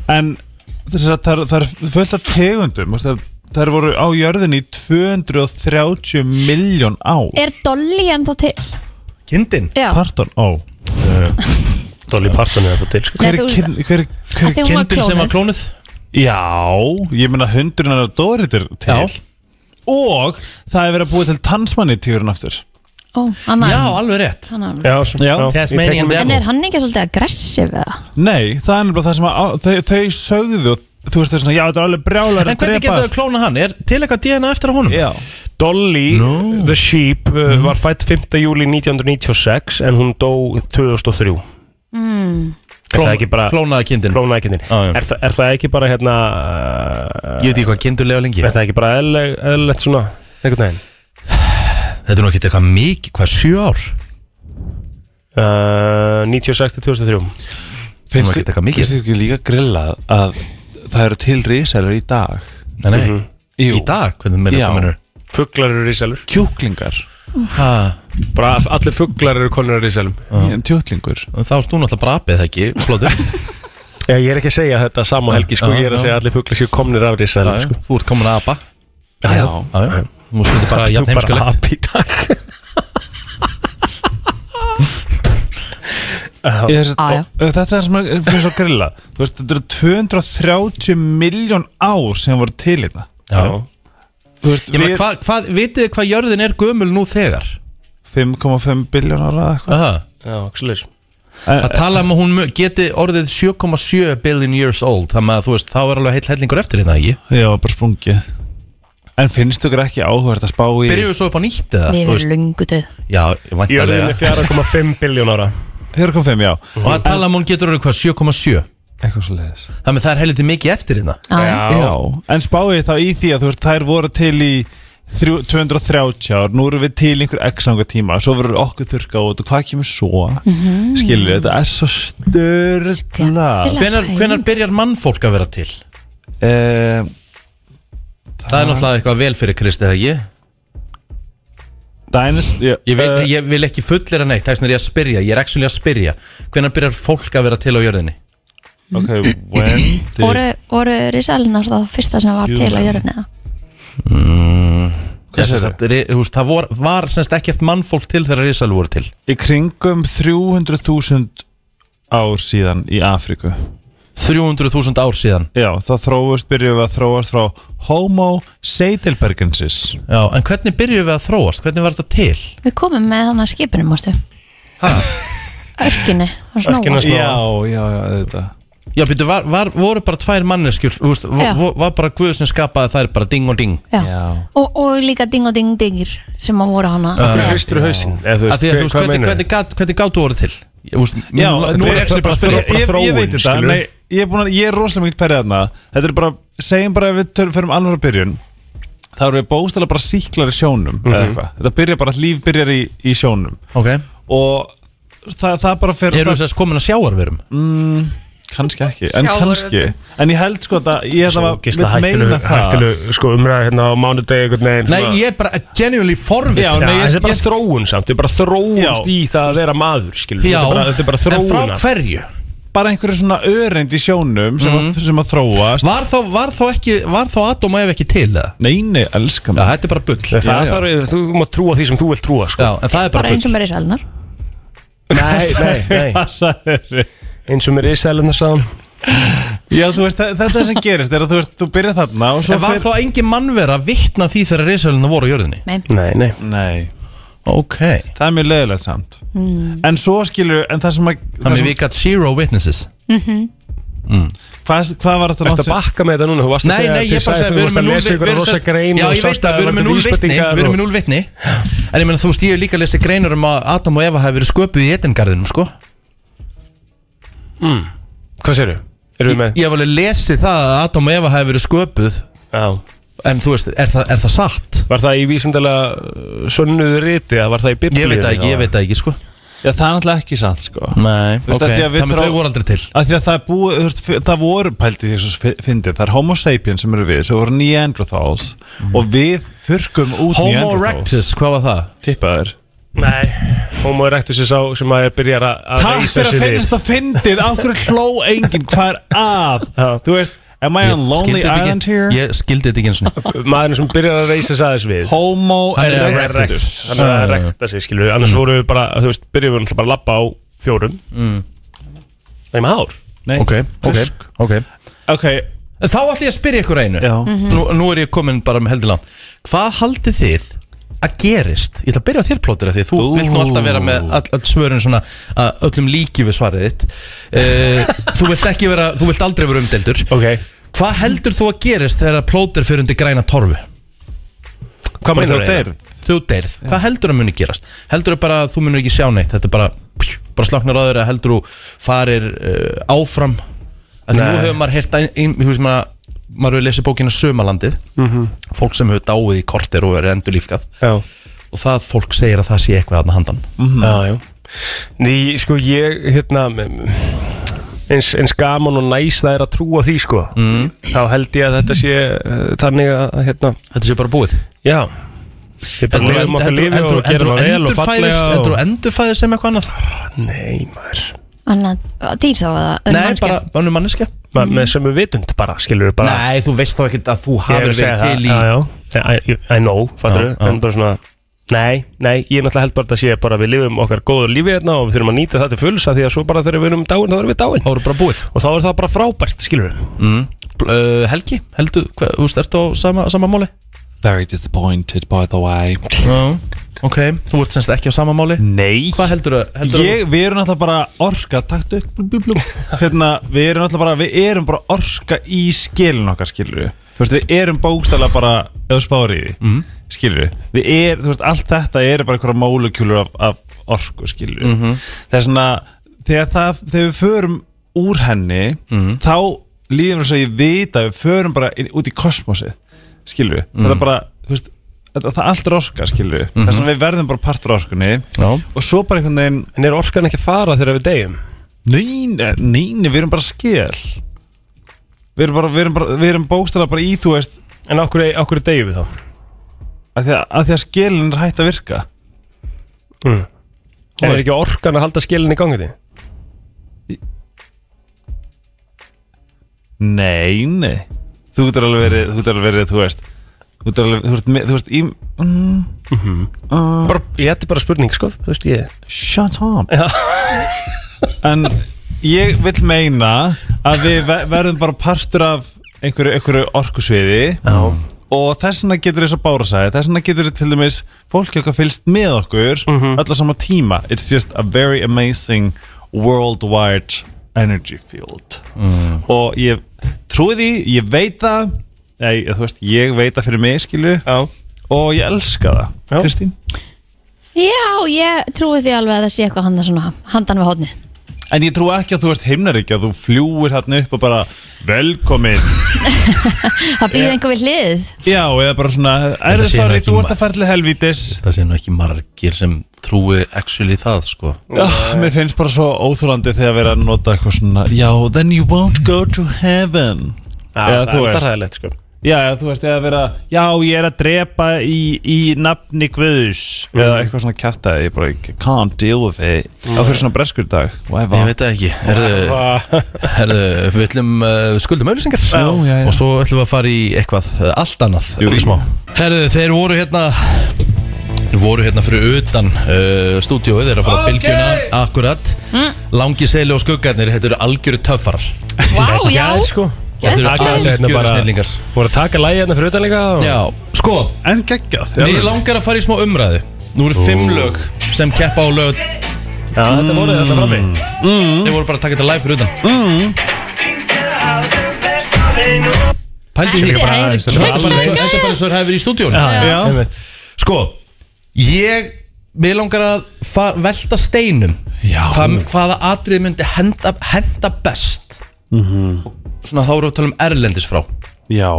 G: En þess að það, er- það er fullt af tegundum þú veist að Það er voru á jörðinni í 230 miljón á
C: Er Dolly ennþá til?
A: Kindin?
C: Já,
G: Pardon, ó
B: Dolly Parton er það til, sko
C: Nei,
G: Hver er
C: þú-
G: kyn- hver er- hver
C: Af því
G: er
C: hún var
A: Kindin sem var klónuð?
G: Já, ég meina hundurinn er að Dorit er til
A: Já.
G: Og það er verið að búið til tannsmanni tíurinn aftur
C: ó, annar
A: Já, alveg rétt
C: Hann er-
B: Já, svo-
G: Já.
B: já, ég
A: Tasmanian
B: tek-
A: devil.
C: En er hann ekki svolítið aggressiv eða?
G: Nei, það er nefnilega það sem að, á, þau, þau sögðu og þú veist það er svona, já þetta er alveg brjálar
A: En hvernig getur þau að klóna hann? Er til eitthvað DNA eftir að honum?
G: Já,
B: Dolly the Sheep uh, var fætt 5. júli 1996 en hún dó 2003 mm. Er það ekki bara
A: Klónaða kindin
B: klónaði kindin
A: Já, já.
B: er, þa- er það ekki bara hérna uh,
A: Ég veit ekki hvað kindurlega lengi
B: Er það ekki bara eðlileg- eðlilegt svona einhvern veginn
A: Þetta er nú ekki eitthvað mikið, hvað, sjö ár?
B: uh, 96 til 2003
A: Hún var
G: finnst
A: ekki að taka mikið.
G: þið ekki líka grillað að það eru til risalar í dag
A: Nei, nei, í dag, hvernig meina
G: Já.
A: kominur
B: Fuglar eru rísælur
G: Kjúklingar,
A: Þá
B: Bara allir fuglar eru konur að rísælum
G: tjótlingur
A: ert þú náttúrulega bara apið, það ekki, flóttur
B: Já, ég er ekki að segja þetta sama helgi sko,
A: Já,
B: ég er að
A: já.
B: segja að allir fuglar séu komnir af rísælum sko.
A: Þú ert komin að apa
B: Já, já,
A: Já, já. Nú stundir bara
B: Þú
A: jafn
B: bara
A: heimskulegt
B: api í dag
G: Ég, þessi,
A: Ah,
C: Á, já.
G: og, og þetta er það sem er fyrir svo grilla Þú veist, þetta eru 230 miljón ár sem voru til í það
A: Já.
G: Þú veist,
A: Ég meina,
G: við
A: hvað, hvað, vitið þið hvað jörðin er gömul nú þegar?
G: 5,5 biljón ára eða eitthvað
A: Aha.
B: Já, okkur
A: Að tala um að hún mu- geti orðið 7,7 billion years old Þannig að þú veist, þá er alveg heill hellingur eftir hérna, ekki?
G: Já, bara sprungið En finnst ykkur ekki áhverð að spá í
A: Byrjuðu svo upp á nýtt eða?
C: Við
A: Þú
C: erum
A: veist,
C: lungu döð
A: Já,
B: Jörðin er
A: vantarlega
B: 4,5 biljón ára
G: 4,5, já
A: Og að tala um að hún getur orðið hvað, 7,7
G: Eitthvað svo leiðis
A: Þannig að það er heiliti mikið eftir hérna
G: Já, en spáði þá í því að þú veist, þær voru til í þrjú- 230 ár, nú eru við til einhver x ánga tíma, svo verður okkur þurrka út og hvað kemur svo mm
C: Mhm.
G: skilju, þetta er svo störla
C: Skemmtilegt.
A: Hvenar, hvenar byrjar mannfólk að vera til?
G: eh,
A: Það er náttúrulega eitthvað vel fyrir Kristi, eða ekki?
G: Dænist ég, eh,
A: Ég, veit, ég vil ekki fullera neitt, þess vegna er ég að spyrja, ég er actually að spyrja Hvenær byrjar fólk að vera til á jörðinni?
G: Ok, when did,
C: Voru, voru risalunar þá fyrsta sem var til á
G: Júlan.
C: jörðinni eða?
A: Ég, sem sagt, ri- þú veist, það vor, var semst ekkert mannfólk til þegar risal voru til
G: í kringum 300.000 ár síðan í Afríku
A: 300.000 ár síðan
G: Já, þá þróast byrjuðum við að þróast frá Homo Seidelbergensis
A: Já, en hvernig byrjuðum við að þróast? Hvernig var þetta til?
C: Við komum með hann að skipinu, mástu Örkinni, hann snóa
B: Örkinni- Já,
G: já, já, þetta
A: Já, byrju, var, var, voru bara tvær manneskjur þú veist,
C: Já.
A: var, var bara Guð sem skapaði þær bara ding og ding
C: Já.
G: Já.
C: Og, og líka ding og ding dingir sem að voru hana
B: Þú hristur hausinn eða þú
A: Af
B: veist,
A: Því að þú veist,
B: hvað
A: hvernig,
B: meinur
A: hvernig, gat, hvernig gáttu voru til? Ég, úst,
G: Já,
A: nú er ekki bara að
B: þró-
A: spyrja
B: bara
G: ég, ég,
B: þróun,
G: veit þetta,
B: skilurðu.
G: nei, ég, er búin að, ég er rosalega mikið perrið þarna Þetta er bara, segjum bara ef við tölum fyrir um alveg byrjun þá erum við bóstala bara síklar í sjónum eða eitthvað. Þetta byrjar bara, líf byrjar í, í sjónum
A: Ok,
G: Og það, það bara fer
A: eru
G: það,
A: þess að komin að sjáarverum?
G: Kannski ekki, en kannski En ég held sko að ég held að
B: Svo
G: maður
B: gísla
G: vill meina
B: hættilu,
G: það
B: hættilu sko, umræði hérna á mánudegi einhvern veginn
A: Nei,
B: svona-
A: ég er bara genuinely forvitt
G: Já,
B: Já,
G: nei, ég-
B: þetta er bara
G: ég-
B: þróun samt, við bara þróumst
G: Já.
B: í það að vera maður, skilur þetta er bara, þetta er bara
A: en frá
B: þróun
A: hverju?
G: Bara einhverju svona öreind í sjónum sem, að, sem að þróast
A: Var þá, var þá ekki, var þá Adam og Eva ekki til það?
G: Nei, nei, elska
A: Já,
G: mig
A: þetta er bara bull
B: Það
G: Já, já.
B: þarf, þú mátt trúa því sem þú vilt trúa, sko
A: Já, en það er bara
C: bara eins og
A: bull
C: með risalunar
B: Nei, nei, nei,
G: Hvað sagðirðu?
B: eins og mér ísælina sáum
G: Já, þú veist, þa- þetta er sem gerist er að þú, veist, þú byrjar þarna og svo
A: En var
G: fer-
A: þá engin mannvera vittna því þegar risalina voru á jörðinni?
C: Nei,
B: Nei, nei,
G: Nei,
A: Ok
G: það er mjög leiðilegt samt En svo skilur, en það sem að það
A: Þannig
G: sem,
A: við gætt zero witnesses
G: hvað, hvað var þetta
B: ertu að bakka með þetta núna, þú varst að
A: Nei,
B: segja
A: nei, ég bara segi
B: að þú varst að lesa ykkur rosa grein
A: Já,
B: og
A: ég
B: sást
A: veit að við erum með
B: það
A: núl
B: vantaði
A: vitni Við erum með
B: vísbendingar
A: núl vitni En ég meina þú veist, ég hef líka lesið greinur um að Adam og Eva hafi verið sköpuð í etengarðinum, sko
B: og- Hvað sérðu? Erum við með?
A: Ég hef alveg lesið það að Adam og Eva hafi verið sköpuð
B: Já
A: En þú veist, er, það- er það satt?
B: Var það í vísindalega uh, sönnuðu riti eða var það í biblíu?
A: Ég veit það ekki, ég veit það ekki, sko
G: Já, það er náttúrulega ekki satt, sko
A: Nei,
G: Þú veist, af því að við
A: Þannig
G: þrá-
A: þau voru aldrei til
G: Af því að það, er búið, þú veist, f- það voru pælti því sem fyndið, það er homo sapiens sem eru við, sem voru Neanderthals og við þurrkum
A: Mm.
G: út
A: Homo
G: Neanderthals
A: erectus, hvað var það?
G: Tippaður
B: Nei, homo erectus er sá sem að er byrjar að- að
G: Takk
B: reisa
G: fyrir að
B: sig við
G: finnast það fyndið, af hverju hló enginn, hvað er að
B: Já.
G: Þú veist, am I
A: Ég
G: on lonely
A: skildi þetta ekki-
G: island here?
A: Ég skildi þetta ekki eins og
B: Maðurinn sem byrjar að reisa sig aðeins við
G: Homo
A: Hann er
G: erectus
A: erectus. Ah. Mm.
B: Hann er að rekta sig, skilur við Annars voru við bara, þú veist, byrjum við náttúrulega bara að labba á fjórum
A: Mm.
B: Nei, um með hár
G: Nei,
A: Ok, ok,
G: frisk.
A: ok
G: Ok,
A: En Þá ætlum ég að spyrja ykkur einu Mhm.
G: Já.
A: nú, nú er ég komin bara með heldur langt Hvað haldið þið að gerist? Ég ætla að byrja á þér plótir af því Þú vilt nú alltaf vera með all, all svörin svona að Eh, öllum líki við svarið þitt uh, Þú vilt ekki vera, þú vilt aldrei vera umdeldur
B: Ok
A: Hvað heldur þú að gerist þegar plóter fyrir undir græna torfu?
B: Hvað
G: Þú
B: meinar
G: deyr
A: Þú deyrð, hvað heldur að muni gerast? Heldur þú bara að þú munir ekki sjá neitt? Þetta er bara, pjú, bara slaknar á þér að heldur þú farir uh, áfram að því nú
B: Nei.
A: hefur maður heyrt ein, ein, þú veist, maður, maður hefur lesið bókina Sömalandið
B: Mhm.
A: fólk sem hefur dáið í korter og er endurlífgað
B: Já
A: og það fólk segir að það sé eitthvað aðna handan
B: Já, já Ný, sko, ég, hérna m- eins, eins gaman og næs það er að trúa því, sko
A: Mm.
B: þá held ég að þetta sé uh, þannig að, hérna,
A: Þetta sé bara búið
B: já Við bara
A: Heldur
B: lifum
A: þú-
B: okkar
A: heldur-
B: lífi
A: heldur-
B: og gerum
A: heldur
B: það vel og fallega
A: endurfæðist- heldur þú
B: og...
A: endurfæðist sem eitthvað annað?
B: Nei, maður
C: Annað dýr þá að það
A: Nei, bara önnu manneskja
B: Ma, með sem við vitund bara, skilur við bara
A: Mm. Nei, þú veist þá ekkert að þú
B: ég er
A: hafir
B: að segja
A: verið
B: það,
A: til í
B: já, já, I, I know, fattur
A: Já, já.
B: en bara svona, nei, nei, ég er náttúrulega held bara að sé bara að við lifum okkar góðu lífi hérna og við þurfum að nýta það til fulls að því að svo bara þegar við erum dáin, þá erum við dáin
A: Það voru bara búið
B: og þá er það bara frábært, skilur við
A: mm. uh, Helgi, heldur, hvað, þú ert á sama, sama máli?
G: Very disappointed by the way
A: Já Ok, þú ert semst ekki á sama máli
G: Nei
A: Hvað heldur að, heldur
G: Ég, við erum alltaf bara orka Taktu upp blub, blub, blub. Hérna, Við erum alltaf bara Við erum bara orka í skilin okkar skilur við Þú veist, við erum bókstæla bara Ef spári í því mm.
A: Mhm.
G: Skilur við Við er, þú veist, allt þetta er bara einhverja mólekjúlur af, af orku skilur við
A: Mhm.
G: Það er svona Þegar, það, þegar við förum úr henni
A: Mhm.
G: Þá líðum við svo ég vita Við förum bara inn, út í kosmosi Skilur við
A: Mhm.
G: Það er bara, þú veist Það, það allt er orka, skilur við Það er svona við verðum bara partur af orkunni
A: Já.
G: Og svo bara einhvern veginn
B: En er orkan ekki að fara þegar við deyjum?
G: Nein, eh, nein, við erum bara skil Við erum bara, við erum, bara, við erum bókstæla bara í, þú veist
B: En okkur, okkur deyjum við þá?
G: að því að, að, því að skilin er hægt að virka
B: Er ekki orkan að halda skilin í gangi því?
G: Nei, nei Þú getur alveg verið, þú getur alveg verið, þú veist Þú getur alveg, þú veist, með- þú veist í, mm,
B: Bara, ég ætti bara spurning, sko, þú veist ég
G: Shut up
B: Já.
G: En ég vil meina að við ver- verðum bara partur af einhverju, einhverju orkusviði
B: Já.
G: og þess vegna getur þess að bára sæði þess vegna getur til dæmis fólki okkar fylst með okkur mm
B: Mhm.
G: alla sama tíma it's just a very amazing worldwide energy field
B: Mm.
G: og ég trúi því ég veit það ég, þú veist, ég veit það fyrir mig skilu
B: Já
G: og ég elska það
B: Já.
G: Kristín
C: Já, ég trúi því alveg að það sé eitthvað handan, svona, handan við hodnið
G: En ég trú ekki að þú veist himnaríkja þú fljúir þarna upp og bara velkomin
C: Það býður einhver við hlið
G: Já, eða bara svona Er
A: Þetta
G: það
A: sé nú
G: svarið,
A: ekki
G: þú
A: ma-
G: ert að fara til helvítis
A: Það sé nú ekki margir sem trúi actually það, sko
G: Já, Ah, Mér finnst bara svo óþúlandi þegar verið að nota eitthvað svona Já, then you won't go to heaven
B: Já,
G: Eða
B: það
G: þú
B: er
G: veist
B: ræðilegt, sko
G: Já, eða þú veist, eða vera Já, ég er að drepa í, í nafni Guðs Eða eitthvað svona kjartaði Ég bara, I can't deal with it Á hverju svona breskur dag Whatever.
A: Ég veit það ekki Herðu, herðu við ætlum uh, skuldum auðlýsingar
G: Ah. Já, já, já.
A: Og svo ætlum við að fara í eitthvað uh, allt annað
G: Jú.
A: eftir smá. Herðu, þeir voru hérna þeir voru hérna fyrir utan uh, stúdíóið, þeir eru að fara á bylgjuna akkurat, langi seili og skuggarnir þetta eru algjöru töffarar
C: Vá, já,
B: Já, sko
A: Þetta eru
B: Taka þetta hérna
A: algjöru
B: bara
A: snillingar
B: Voru að taka lægi hérna fyrir utan líka og...
A: Já, sko,
G: En geggjað
A: Mér langar að fara í smá umræðu Nú eru fimm lög sem keppa á lög
B: Já, þetta voru þetta frammi
A: Þeir voru bara að taka þetta live fyrir utan Pældi því Þetta
C: Þetta
B: bara
C: eru
B: aðeins, þetta er
A: er bara eins og- þetta er bara eins og þeir hafi verið í stúdíónu
B: Já, einmitt.
A: Sko, ég Mér langar að fa- velta steinum
G: Já.
A: Hvað, Hvaða atrið myndi henda, henda best -hmm. Svona þá erum við að tala um erlendis frá
G: Já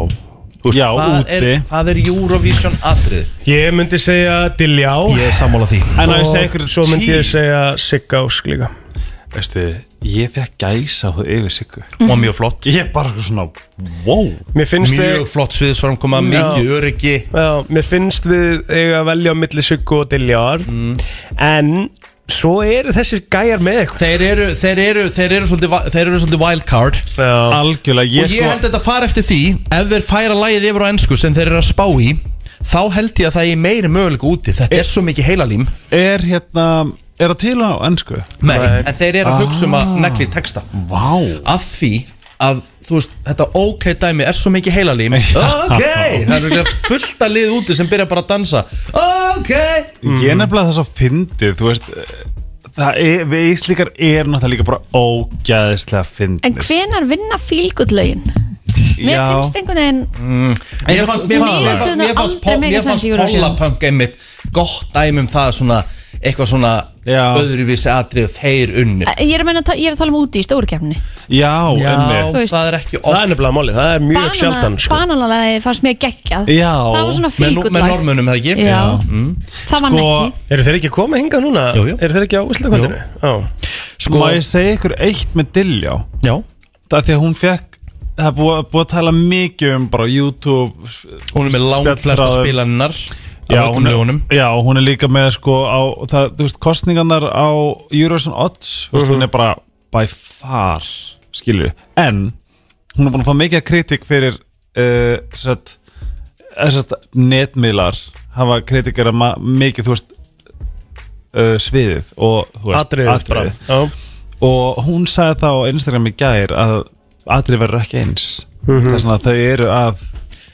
A: Þú
G: Já,
A: hvað
G: úti
A: er, hvað er Eurovision atrið?
B: Ég myndi segja Diljá
A: Ég er sammála því
G: En að ég segja ykkur
B: Svo myndi ég
G: tí-
B: segja Siggásk líka
G: Veistu, ég fekk gæsa á þau yfir Siggu
A: Og mjög flott
G: Ég er bara eitthvað svona, wow
B: Mér finnst við
A: Mjög flott sviðsframkoma, mikið öryggi
B: Já, mér finnst við eiga að velja á milli Siggu og Diljar En svo eru þessir gæjar með eitthvað
A: Þeir eru, þeir eru, þeir eru svolítið, va- þeir eru svolítið wildcard
B: Já,
G: Algjörlega,
A: Og
G: ég, sko
A: ég held að þetta fara eftir því Ef þeir færa lægið yfir á ennsku sem þeir eru að spá í Þá held ég að það er meiri möguleika úti Þetta er svo mikið heilalím
G: sko er hérna, er það til á ennsku?
A: Nei, en þeir eru að hugsa um að negli texta
G: Vá
A: Af því að, þú veist, þetta ok dæmi er svo mikið heilalím Ok, það er örugglega fullt að lið úti sem byrja bara að dansa Ok
G: Ég er nefnilega það svo fyndið, þú veist eh, Það er, við Íslíkar erum náttúrulega líka bara ógæðislega fyndið
C: En hvenar vinna fílgudlögin? Mér
G: Já.
C: finnst einhvern veginn
A: Mér fannst, mér fannst, mér fannst, mér fannst, pop- mér
C: Niðurstöðurnar aldrei make
A: fannst
C: sense í Eurovision.
A: Pollapunk einmitt gott dæmi um það svona eitthvað svona
G: Já.
A: öðruvísi atrið þeir unni
C: eh, Ég er að, menna, ég er að tala um úti í stórkefni
G: Já, einmitt
C: Þú veist.
A: um, það er ekki
B: Það er
A: oft
B: nefnilega málið, það er mjög sjaldan sko.
C: Bananalagi fannst mér geggjað
G: Já.
C: Það var svona
A: með, nú-
C: fíkulag
A: með normunum eða ekki
C: Já, það
B: Mm.
C: vann
G: Sko-
C: ekki
B: Eru þeir ekki að koma hinga núna?
A: Jú, jú.
B: Eru þeir ekki á Íslakvöldinu? Já
A: Sko-
G: Má ég segja ykkur eitt með Dilljá
A: Já.
G: Það er því að hún fekk Það er búið, búið að tala mikið um bara YouTube
A: hún er með langt flesta
G: Spjallráðum.
A: spilannar af öllum
G: hún er,
A: lögunum
G: já, hún er líka með sko á, það, þú veist, kostningarnar á Eurovision Odds, þú veist,
A: Mhm.
G: hún er bara by far, skilju en, hún er búin að fá mikið kritik fyrir uh, satt, eh, satt, netmiðlar hafa kritikera ma- mikið, þú veist uh, sviðið og þú veist,
B: Atriðið bara
G: atriðið.
B: Já
G: og hún sagði það á Instagram í gær að atrið verður ekki eins
A: Mhm.
G: þess vegna að þau eru að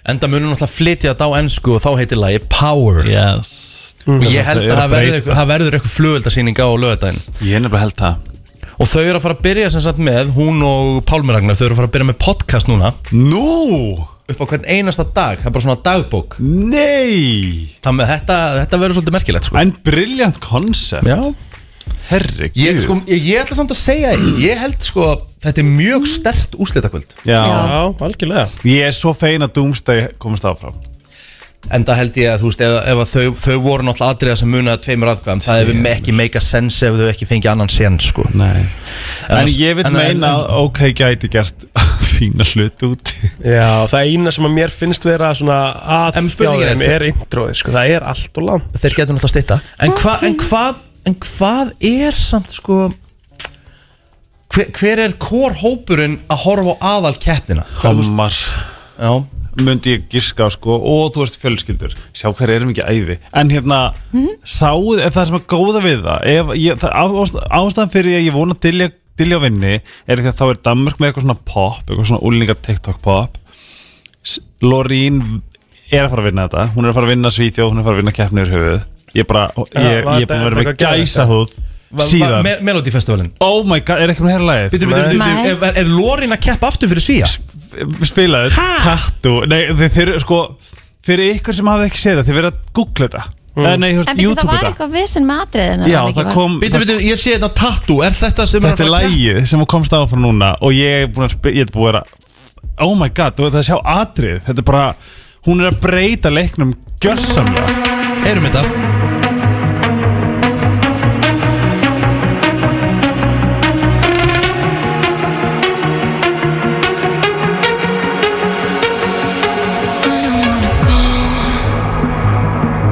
A: enda munum náttúrulega flytja þetta á ennsku og þá heitir lagi Power
G: yes.
A: og ég held að
G: Þau eru
A: það verður
G: að breyta.
A: eitthvað- það verður eitthvað flugöldasýninga á lögadaginn
G: ég er nefnilega held það
A: og þau eru að fara að byrja sem sagt með hún og Pálmi Ragnar þau eru að fara að byrja með podcast núna
G: Nú,
A: upp á hvern einasta dag, það er bara svona dagbók
G: nei
A: þannig að þetta, þetta verður svolítið merkilegt sko.
G: En briljant koncept Herri,
A: Ég, sko, ég, ég ætla samt að segja Ég held sko Þetta er mjög stert úslitakvöld
G: Já.
B: Já, algjörlega
G: Ég er svo fein að Doomsday komast áfram
A: En það held ég að þú veist Ef, ef að þau, þau voru náttúrulega atriða sem munaði tveimur aðkvæðan Það hefur ekki meika sense Ef þau ekki fengið annan sen sko.
G: Nei En
A: annars-
G: ég vil
A: en- en- en-
G: meina að OK gæti gert fína hlut úti
B: Já, það eina sem að mér finnst vera svona að
A: En spurningin er-
B: er, er introið, sko, það er allt og langt
A: Þeir getur náttúrulega stitta en, hva, en, hvað, en hvað er samt sko Hver, hver er kórhópurinn að horfa á aðal keppnina? Hvað, þú veist-
G: Hommar
A: Já,
G: Mundi ég giska sko Og þú veist fjölskyldur Sjá hver erum ekki æði En hérna Sáuð er það sem er góða við það Ef ég, það á- ást- Ástæðan fyrir ég, ég vona að dilja, dilja á vinni Er því að þá er Danmark með eitthvað svona pop Eitthvað svona úlinga TikTok pop Lorín er að fara að vinna þetta Hún er að fara að vinna Svíþjóð Hún er að fara að vinna keppni yfir höfuð Ég er bara, ég, ég er
B: var
G: búin að vera
B: þetta
G: með
B: eitthvað geðveikt,
G: gæsa húð
A: va, va,
G: Síðan
A: me, Melody Festivalin
G: Oh my god, er ekki með að heyra lagið?
A: Bittu, bittu, bittu,
C: Nei.
A: bittu, er, er Lorin að keppa aftur fyrir Svíja?
G: spilaði Tattoo Nei, þeir, þeir sko Fyrir ykkur sem hafði ekki séð það Þeir verið að googla þetta mm. Nei, þú
C: En byrju,
G: veist,
C: það
G: YouTube
C: var
G: þetta
C: eitthvað vesen með atriðin
G: Já, það kom
A: Bittu, bittu, ég sé þetta tattoo, er þetta sem
G: Þetta
A: að fara
G: er
A: að keppa?
G: lægið sem hún komst á frá núna Og ég er búin að spila Ég er búin að vera Oh my god, þú veit að sjá atrið Þetta er bara Hún er að breyta leiknum Gjörsamlega
A: Heyrum þetta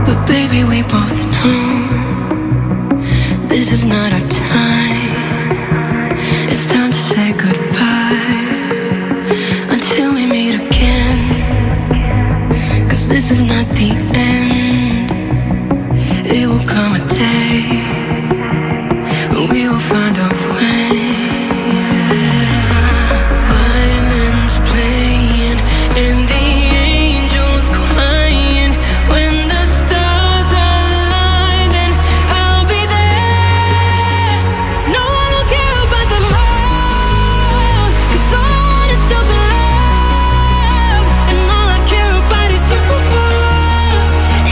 D: But baby, we both know this is not our time. It's time to say goodbye until we meet again. Cause this is not the end. It will come a day when we will find a way. Violins playing and the angels crying. When the stars align, then I'll be there. No one will care about the miles, 'cause all I want is to be loved, and all I care about is you.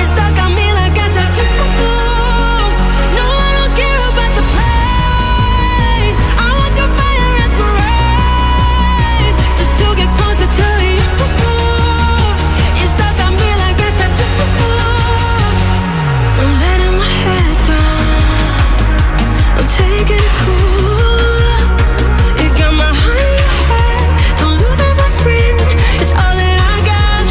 D: It's stuck on me like a tattoo. No one will care about the pain. I want your fire and parade just to get closer to you. It's stuck on me like a tattoo. I'm letting my head down. I'm taking it cool. It got my high high. Don't lose it, my friend. It's all that I got.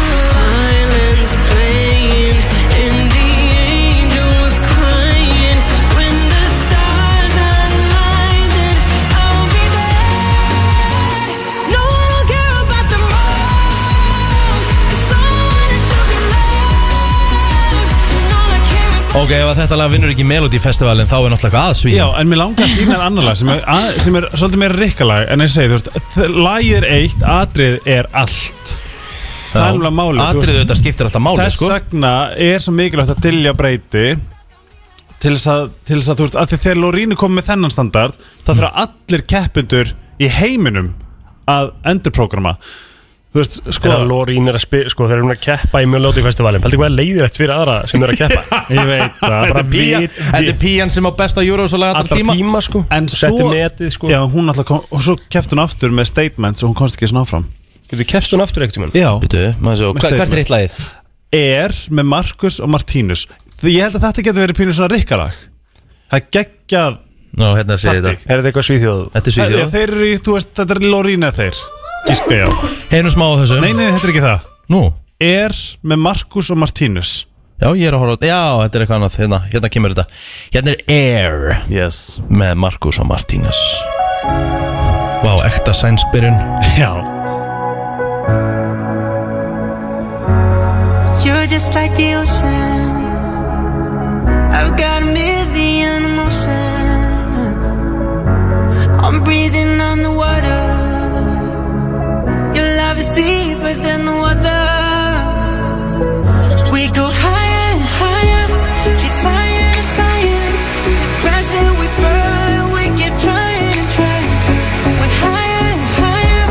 D: Violins playing and the angels crying. When the stars align, then I'll be there. No one will care about the wrong. 'Cause all I want is to be loved, and all I care about.
A: Ok, ef að þetta lag vinnur ekki Melody Festivalin þá er náttúrulega eitthvað
G: Já,
A: aðsvíja
G: en mér langar að sína en annar lag sem er, að, sem er svolítið meira rikkalag En ég segi, þú veist þ- Lagið er eitt, atrið er allt Það er alveg málið þú veist.
A: Atriðu þetta skiptir alltaf máli
G: Þess
A: sko
G: vegna er svo mikilvægt að dilja breyti til þess að, til
B: Mm.
G: þess að þú veist, að því þegar Lorínu kom með þennan standard þá þurfa allir keppundur í heiminum að endurprogramma Þú veist, sko
B: Þegar Lorín er að spila, sko, þegar hún er að keppa í Mjölóti festivalin Pældi hvað er leiðilegt fyrir aðra sem er að keppa
G: Ég veit það
B: Bara
A: Pían-
B: við,
A: Þetta er píjan sem á besta júrós og laga
B: allra
A: allar tíma
B: tíma, sko
G: En
B: Setti
G: svo-
B: netið, sko
G: Já, hún alltaf kom Og svo kefti hún aftur með statements Og hún komst ekki svona áfram
B: Getur keppt hún aftur eitthvað
G: Já
A: Býtu, maður svo, hva- hvert
G: Með statement.
A: er hitt lagið?
G: Er með Markus og Martínus Því Ég held að þetta getur verið pínu svona rikkalag Það geggja
A: Ná, hérna sé ég
G: Taktík.
A: þetta
B: Er þetta eitthvað svíþjóð?
A: Þetta er
G: Já,
A: svíðjóð
G: Þeir eru í, þú veist, þetta er Lorína þeir Gíska já
A: Heinu smá á þessu
G: Nei, nei, þetta er ekki það
A: Nú,
G: Er með Markus og Martínus
A: já ég er að horfa á- Já, þetta er eitthvað annað Hérna, hérna kemur þetta Hérna er Air
G: Yes
A: með Markus og Martínez Vá, ekta sænsbyrjun
G: Já
I: You're just like the ocean. I've got a million emotions. I'm breathing on the water. Your love is deeper than the water. We go higher and higher, get fire and fire. We crash and we burn, we keep trying and trying. We're higher and higher,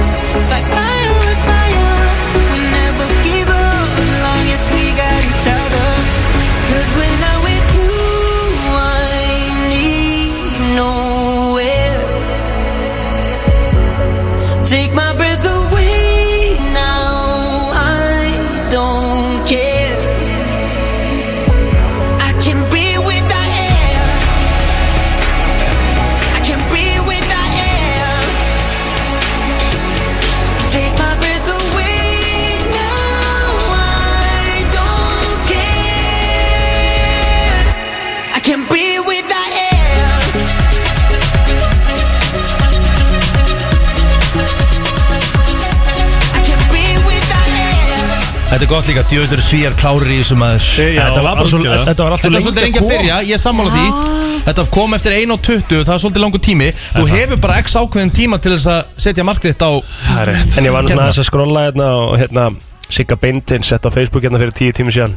I: fight fire with fire. We never give up, long as we got each other. 'Cause when I'm with you, I need nowhere. Take my breath away now. I don't care. I can breathe with the air. I can breathe with the air. Take my breath away now. I don't care. I can breathe with the air. I can breathe with the air.
A: Þetta er gott líka, djöður svíjar klárir í þessum maður
B: Þetta var bara svo,
G: algjörlega.
B: þetta var alltaf
A: Þetta er svolítið lengi að byrja, ég er sammála því Þetta kom eftir 1.20, það er svolítið langur tími Þú hefur bara x ákveðin tíma til þess að setja markið þitt á
G: Það er rétt
B: En ég var
A: Gerðu
B: svona aðeins að skrolla hérna og hérna Sigga Bindin sett á Facebook hérna fyrir tíu tími síðan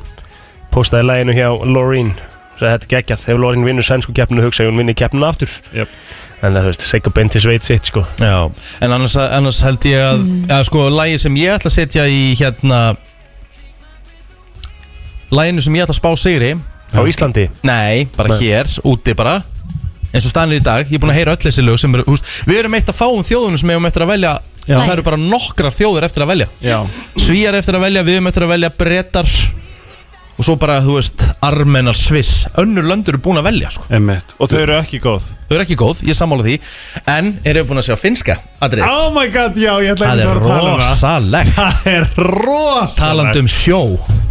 B: Postaði læginu hjá Loreen Sæði þetta er geggjað, ef Loreen vinnur sænsku keppninu hugsa ég hún vinnir keppninu aftur
G: Jöp.
B: En það þú veist, Sigga Bindin sveit sitt sko
A: Já, en annars, annars held ég að, að sko, lægi sem ég ætla að setja í hérna Læginu sem ég ætla að spá sigri
B: Á Íslandi
A: Nei, bara
B: Nei.
A: hér, úti bara eins og stanir í dag, ég er búin að heyra öll þessi lög sem eru, húst, við erum eitt að fá um þjóðunum sem hefum eftir að velja,
G: Já.
A: það eru bara nokkrar þjóður eftir að velja,
G: Já
A: svíjar eftir að velja við erum eftir að velja brettar og svo bara, þú veist, armenar sviss, önnur löndur eru búin að velja sko.
G: Einmitt. Og þau eru ekki góð
A: þau eru ekki góð, ég er sammála því en eru búin að sjá finska, atrið
G: Oh my god, já, ég ætla
A: það
G: ekki að
A: er
G: fara að tala um
A: rosalegt
G: það Það er rosalegt
A: talandi um sjó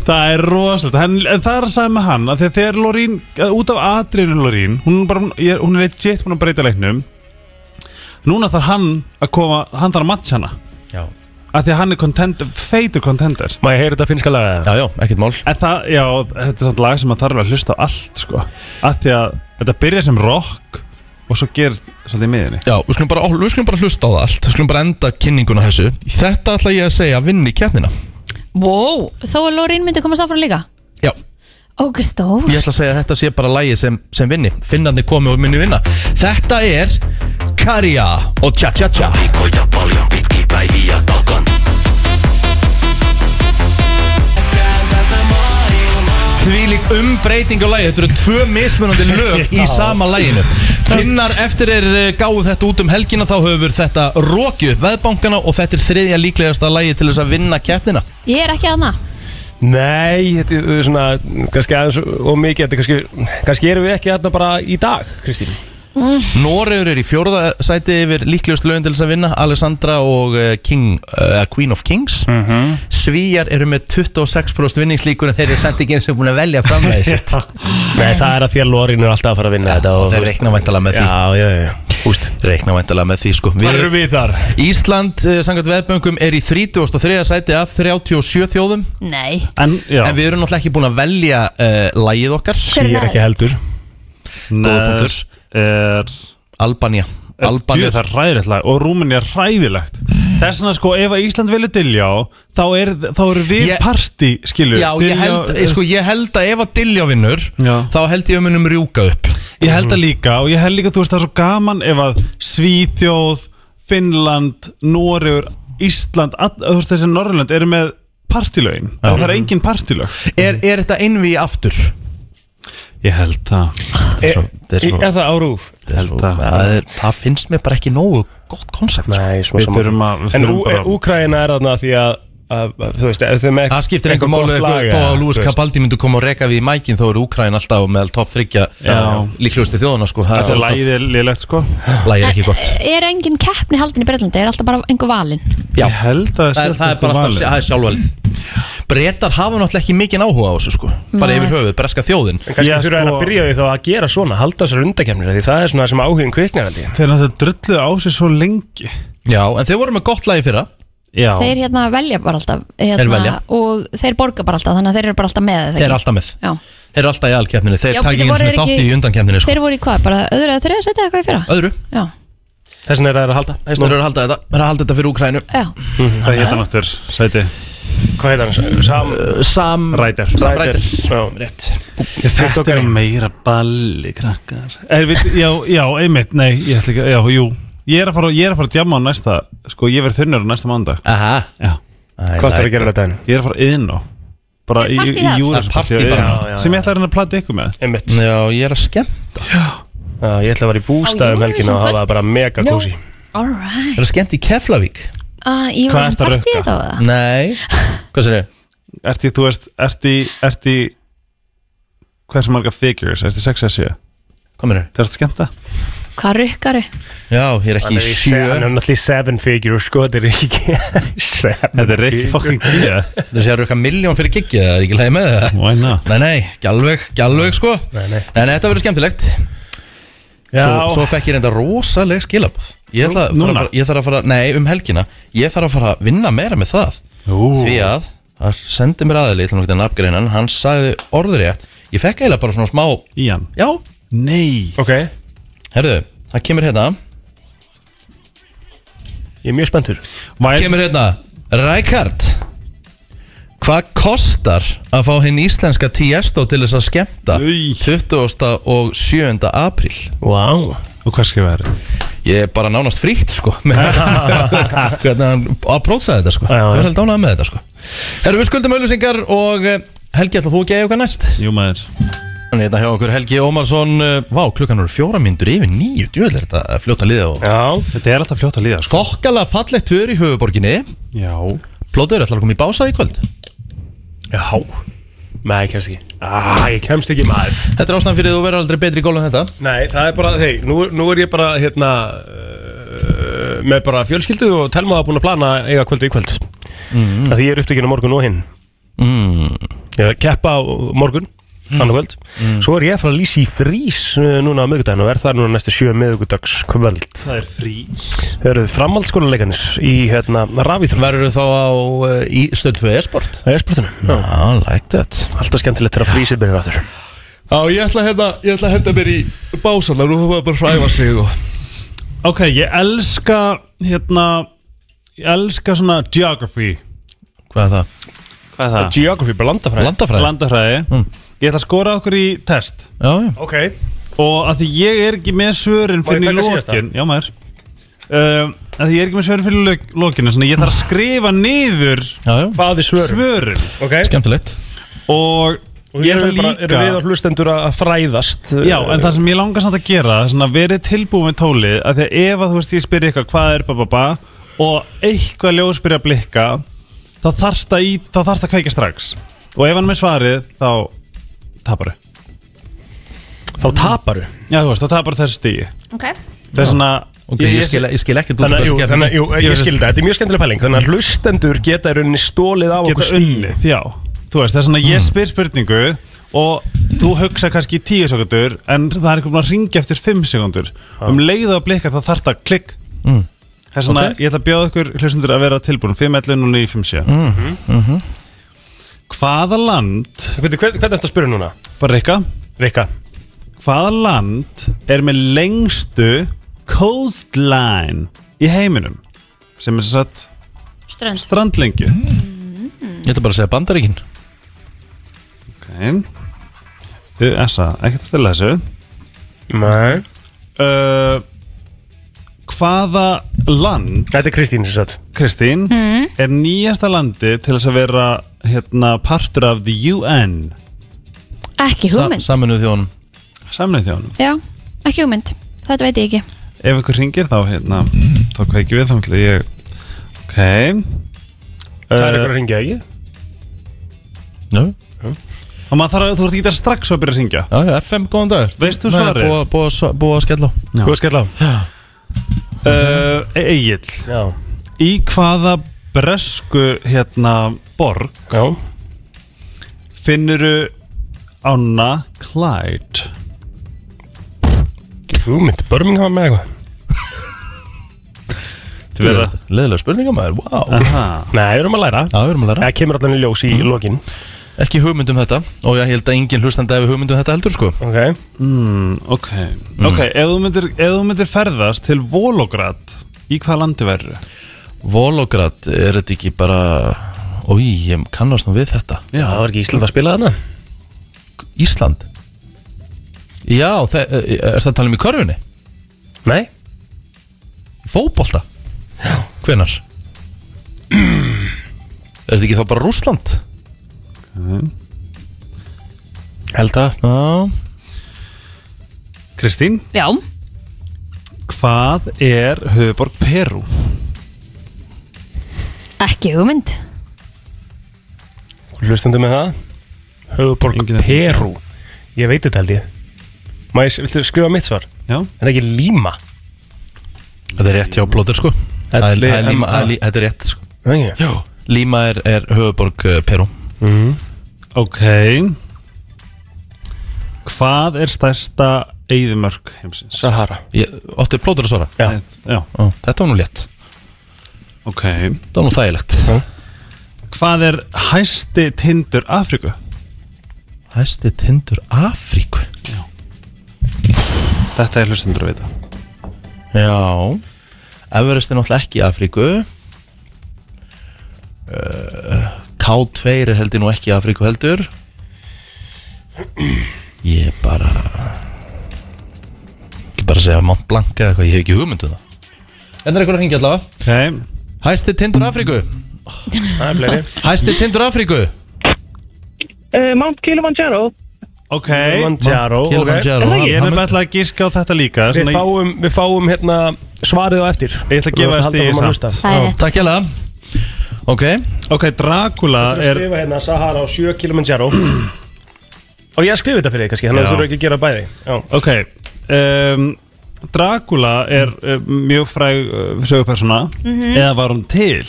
G: Það er rosalegt hann, en Það er að sagði með hann að Þegar þegar Lorín að Út af atriðinu Lorín Hún, er bara, ég er- hún er legit búin að breyta leiknum Núna þarf hann að koma Hann þarf að matcha hana
A: já,
G: að Því að hann er contender, feitur contender
B: Má ég heyra þetta finska laga
A: já,
B: það?
A: já ekkert mál
G: En það, já, þetta er svona lag sem að þarf að hlusta á allt sko. að Því að þetta byrja sem rock Og svo gerð svolítið í miðinni
A: Já, við skulum, bara, við skulum bara hlusta á það allt Við skulum bara enda kynninguna þessu Þetta ætla ég að segja að vinni keppnina
C: Wow, þó að Lórín myndi komast áfram líka
A: Já,
C: Ógur stór
A: Ég ætla að segja að þetta sé bara lægi sem, sem vinni Finnandi komi og minni vinna Þetta er Karja og Tja Tja Tja
E: Viikkoja paljon pitkiä päiviä takan.
A: Þvílík umbreyting á lægi Þetta eru tvö mismunandi lög í sama læginu Finnar eftir er gáðu þetta út um helgina Þá höfur þetta rókju upp veðbankana Og þetta er þriðja líklegasta lægi til þess að vinna keppnina
C: Ég er ekki aðna
B: Nei, þetta er svona kannski aðeins og mikið þetta er kannski, kannski erum við ekki þarna bara í dag, Kristín
A: Noregur er í fjórða sæti yfir líklegust lögin til þess að vinna Alessandra og eh, King, uh, Queen of Kings Svíjar eru með 26% vinningslíkur En þeir eru samt ekki eins og búin að velja framlæði sitt
B: Nei, það er að því að Lorín er alltaf að fara að vinna þetta og
A: Þeir
B: þú veist-
A: reikna væntalega með því
B: Já, já, já, já Úst
A: Reikna væntalega með því sko
B: Þar erum
A: við,
B: við þar
A: Ísland, eh, samkvæmt veðböngum, er í 33. sæti af 37 þjóðum
C: Nei,
G: En, já,
A: En við erum náttúrulega ekki búin að velja uh, lægið okkar
B: Ég er
C: hver er
B: ekki
C: næst?
B: heldur
A: Góða punktur
G: er
A: Albania
G: Albanir
A: Albanir
G: það er ræðilegt lag og Rúmeni er ræðilegt Þess vegna sko ef að Ísland vilja diljá þá er, þá er við
A: Ég-
G: parti skilju
A: Já, ég held, ég, sko, ég held að ef að Dilljá vinnur
G: Já.
A: Þá held ég að munum rjúka upp
G: ég held að líka og ég held líka þú veist það er svo gaman ef að Svíþjóð Finnland, Noregur, Ísland all, þú veist þessi Norrlönd eru með partilögin og það er engin partilög
A: Er, er þetta innví aftur?
G: Ég held það
A: Er, er svo,
B: Er það árúf?
A: er svo,
G: held að-
A: það, er, það finnst mér bara ekki nógu gott konsept sko.
B: Nei,
G: Við þurfum að við
B: En
G: þurfum bara-
B: Úkraina er þarna því að að- að- Þú veist, er þau með
A: Það skiptir einhver máli
B: gott lag,
A: eitthvað, þó
B: eða,
A: að Lúis
B: þú veist.
A: Cabaldi myndi koma og reka við í mækin þá eru Úkræn alltaf meðal top 3
G: Já.
A: líklegustu þjóðana sko.
G: Þetta
A: Það
G: er lægið er lélegt sko
A: lægir ekki gott
C: Er engin keppni haldin í Breitlandi? Er alltaf bara einhver valinn?
A: Já.
G: Ég held að
A: Það er, það er bara alltaf það er sjálfvalið Bretar hafa náttúrulega ekki mikinn áhuga á þessu sko Bara
C: Nei.
A: yfir höfuð, breska þjóðin
B: En kannski
G: Já,
B: þurfa sko...
G: sko-
B: að byrja því þá að gera svona, halda þessar undakemnir Því það er svona það sem áhugin kviknar held ég
G: Þeir náttúrulega drullu á sig svo lengi
A: Já, en þeir voru með gott lagi fyrra
G: Já,
C: Þeir hérna velja bara alltaf hérna,
A: Þeir velja.
C: Og þeir borga bara alltaf Þannig að þeir eru bara alltaf með
A: Þeir
C: eða
A: eru
C: ekki?
A: alltaf með
C: Já.
A: Þeir eru alltaf í alkeppninni, þeir
C: Já,
A: taka
C: bíddu,
A: ekki eins
C: voru
A: og
C: þeir
A: þátt í
C: ekki-
A: undankeppnininu sko
C: Þeir voru í hvað? Bara öðru eða þriða setja eitthvað í fyrra?
A: Öðru,
C: Já,
B: Þess vegna er það að halda
A: þess vegna eru að halda þetta Þeir eru að halda þetta fyrir Úkrænu
C: já
G: hvað hétt hann aftur? Sæti
B: Hvað heit hann? Sam
A: Sam
G: Ræder
A: Sam Ræder
B: Já,
A: Rétt
G: Þetta
B: TikTok
G: er
B: er-
G: meira balli krakkar er, við, Já, já, einmitt, nei Ég ætla ekki, já, jú Ég er að fara, ég er að fara að djamma á næsta Sko, ég verð þunnur á næsta mándag
A: Aha
G: Já,
B: hvað þarf að gera þetta enn?
G: ég er að fara inn á Bara
C: Er
G: í, í,
C: partí
G: í
C: þar?
A: Það
G: Júrus
A: er partí bara.
B: Já, já,
G: Sem ég ætla að reyna að plata ykkur með
B: Einmitt
A: Já, ég er að skemm
B: Já, Ég ætla að vera í
C: Á,
B: bústað um
C: Eurovision
B: helgina og hafa það bara mega kósi
A: Ég
C: Alright
A: er að skemmt í Keflavík
C: ah, Ég
G: Hvað
C: var
G: ertu
C: sem
G: að
C: partíð
G: rukka?
C: þá
B: Ah.
C: eða?
A: Nei Hvað sér ég?
G: Ertu, í- þú veist, ertu, í- ertu í- Hversu marga figures? Ertu í 6 að 7?
A: Hvað mér er?
G: Það er skemmta?
C: Hvað rukkaru?
A: hérna. Já, ég er ekki í sjö
B: Hann er náttúrulega í seven figure sko, þetta er ekki seven
G: Þetta er ekki fucking 10
A: Það sé að rauka miljón fyrir giggið, það er ekki lægi með það
G: Why not?
A: Nei, nei, ekki alveg, ekki alveg sko
B: Nei, nei.
A: þetta verður skemmtilegt
B: Já,
A: svo, svo fekk ég reynda rosaleg skilabóð ég, ætla að fara-
G: Núna?
A: ég þarf að fara, nei, um helgina Ég þarf að fara að vinna meira með það
G: Ú.
A: Því að, það sendi mér aðeili Þannig að nafngreinan, hann sagði orður rétt Ég fekk eiginlega bara svona smá
G: Ían
A: Já,
G: Nei
B: ok,
A: herðu, það kemur hérna
B: ég er mjög spenntur
G: Væri-
A: Kemur hérna, Rækard Hvað kostar að fá hinn íslenska Tiesto til þess að skemmta
G: Új.
A: 20. og 7. apríl
B: Vá,
G: Og hvað skrifaði það?
A: Ég er bara nánast frítt sko með- Hvernig hann aprótsaði þetta sko
B: Já, já.
A: Ég er held ánað með þetta sko Herru við skuldum auðlýsingar og eh, Helgi ætla þú ekki að eiga eitthvað næst
G: Jú maður
A: Þannig hérna hjá okkur Helgi Ómarsson eh, Vá klukkan eru fjóra myndur yfir nýju Djöðl er þetta fljóta liða og
B: já,
G: Þetta er alltaf fljótt að líða sko
A: Þokkala fallegt fyrir í höfuborginni
G: Já
A: Plóður ætlar að koma í básað í kvöld
B: já Nei, ég kemst ekki ah, Ég kemst ekki maður
A: Þetta er ástæðan fyrir að þú verður aldrei betri í gólum þetta
B: Nei, það er bara, hei, nú, nú er ég bara hérna uh, með bara fjölskyldu og telma að búin að plana að eiga kvöldu í kvöld mm. Því ég er upptökinn á morgun og hinn
A: mm.
B: Ég er að keppa á morgun, mm. kvöld Svo er ég að fara að lýsa í frís uh, núna á miðvikudaginn og er það núna næstu sjö miðvikudags kvöld
G: Það er frí
B: Eru framhaldsskóluleikarnir í hérna rafíþrú
A: Verður þú þá á uh, í stöldföðu e-sport?
B: Það er spurtunum
A: Ah, I like that
B: Alltaf skemmtilegt þegar frísið byrjar aftur
A: Já, ég ætla að henda, ég ætla að henda mér í básana Nú þarf maður bara að fræfa sig og...
G: Ok, ég elska hérna Ég elska svona geography
A: Hvað er það?
G: Hvað er það?
B: Geography, bara landafræði
A: Landafræði?
G: Landafræði Ég ætla að skora okkur í test
A: Já, já
B: Ok
G: Og að því ég er ekki með svörin
B: Má ég
G: fyrir
B: taka síðasta?
G: lokin Já maður um, Að því ég er ekki með svörin fyrir lok- lokinu Svona ég þarf að skrifa niður
A: Já, já
B: Hvað er svörum?
G: svörin
B: Ok
A: Skemmtilegt
G: Og
B: Og
G: ég
B: hér
G: ætla
B: eru við bara-
G: líka
B: Erum við á hlustendur að að fræðast eh,
G: Já,
A: Eh,
G: en það sem ég langar samt að gera svona, verið tilbúið með tólið af því að ef að þú veist ég spyrir eitthvað hvað er bababa og eitthvað ljós byrja að blikka þá þarfst að, í, þá þarfst að kveika strax og ef hann er með svarið þá tapar þau
B: Þá taparu
G: Já, þú veist, þá tapar þessu stíi
C: Ok
G: Það er svona
A: Ok, ég, skil, ég skil ekkert út
B: Þannig að, jú, þannig að, jú,
G: Ég
B: ég
G: veist-
B: skildi það, þetta er mjög skemmtileg pæling Þannig að hlustendur geta í rauninni stólið á okkur
G: geta unnið, já Þú veist, það er svona ég spyr spurningu og þú hugsa kannski í tíu sekundur en það er eitthvað að ringja eftir fimm sekundur um leiðu að blikka þá þarf það klikk Það er svona, ég ætla að bjóða ykkur hlustundur að vera tilbúin 5.11 og 9.50 mm. Hvaða land
B: Hvernig hvern, hvern er þetta að spyrja núna?
G: bara Rikka,
B: Rikka
G: hvaða land er með lengstu coastline í heiminum sem er svo satt
C: Strönd
G: strandlengju
A: Ég ætla bara að segja bandaríkin
G: Ok Þú, Essa, ekkert að stilla þessu
B: Nei
G: uh, Eh, hvaða land
B: Þetta er Kristín sem sagt
G: Kristín er nýjasta landi til þess að vera hérna, partur af the UN
C: Ekki hugmynd
A: Saminuð þjónum
G: samlega þjónum
C: Já, ekki hugmynd, þetta veit ég ekki
G: ef ykkur ringir þá hérna, þá kveiki við þá ætla ég ok
B: Það er
G: Eh,
B: eitthvað að ringja ekki
A: Já,
G: og maður þarf að þú ert ekki að strax að byrja að ringja
A: já, já, FM, góðan dag
G: Veist þú
A: Nei,
G: svarið?
A: búið að- Búið að s- búið að skella á.
B: Góð skell á
G: uh,
B: Mhm.
G: Egil
B: Já
G: í hvaða bresku hérna borg
B: Já
G: finnuru Anna Clyde
B: Hugmynd, Birmingham með eitthvað
G: Þú verða
A: Leðilega spurningamæður, wow
G: Aha.
B: Nei, við erum að læra
A: Já, við erum að læra
B: Það kemur allan í ljós í lokin
A: Ekki hugmynd um þetta Og ég held að enginn hlustandi hefur hugmynd um þetta heldur sko
B: Ok
G: Mm, ok, ok, ef þú myndir, ef þú myndir ferðast til Volograd í hvaða landi verður?
A: Volograd, er þetta ekki bara Ói, ég kannast nú við þetta
B: Já, það var ekki Ísland að spila þarna
A: Ísland Já, þe- er það að tala um í körfunni?
B: Nei
A: Í Fótbolta? Hvenar? Er þetta ekki þá bara Rússland?
B: Held að
A: Já,
G: Kristín,
C: Já,
G: hvað er höfuborg Perú?
C: ekki hugmynd
B: Hlustandi með það Höfuborg
G: Engin að-
B: Perú Ég veit þetta held ég Má ég, viltu skrifa mitt svar?
G: Já,
B: Er það ekki Líma?
A: þetta er rétt hjá blóður sko Það er- það er Líma- það er lí- Þetta er rétt sko
B: Okay.
A: Já Líma er, er höfuborg uh, Perú
G: ok Hvað er stærsta eyðumörk heimsins?
B: Sahara
A: Ég Ótti plótur að svara
B: Já.
G: Já,
A: Ó, Þetta var nú létt
G: ok
A: Þetta var nú þægilegt
G: Hvað er hæsti tindur Afríku?
A: Hæsti tindur Afríku
G: Þetta er hlustendur að vita
A: Já Everest er náttúrulega ekki í Afríku uh, K2 er heldur nú ekki í Afríku heldur Ég bara Ekki bara að segja Mont Blanc eða eitthvað, ég hef ekki hugmyndu það En það er eitthvað að hringja allavega
G: Ok,
A: Hæsti tindur Afríku
B: Það er fleiri
A: Hæsti tindur Afríku
J: Uh, Mount Kilimanjaro
G: ok
B: Kilimanjaro ok.
A: Kilimanjaro hann-
G: Ég er
A: hann-
G: nefnilega ætla að gíska á þetta líka
B: Við
G: svona,
B: fáum, við fáum hérna svarið á eftir
G: Ég ætla að gefa þér stig samt.
C: Það er rétt
A: Takk ég lega Ok,
G: Ok, Dracula
B: er...
G: er
B: skrifa hérna Sahara og 7 Kilimanjaro og ég skrifa þetta fyrir þig kannski þannig
G: Já.
B: að þú eru ekki að gera bæði já,
G: Ok um, Dracula er um, mjög fræg uh, sögupersona eða var hún til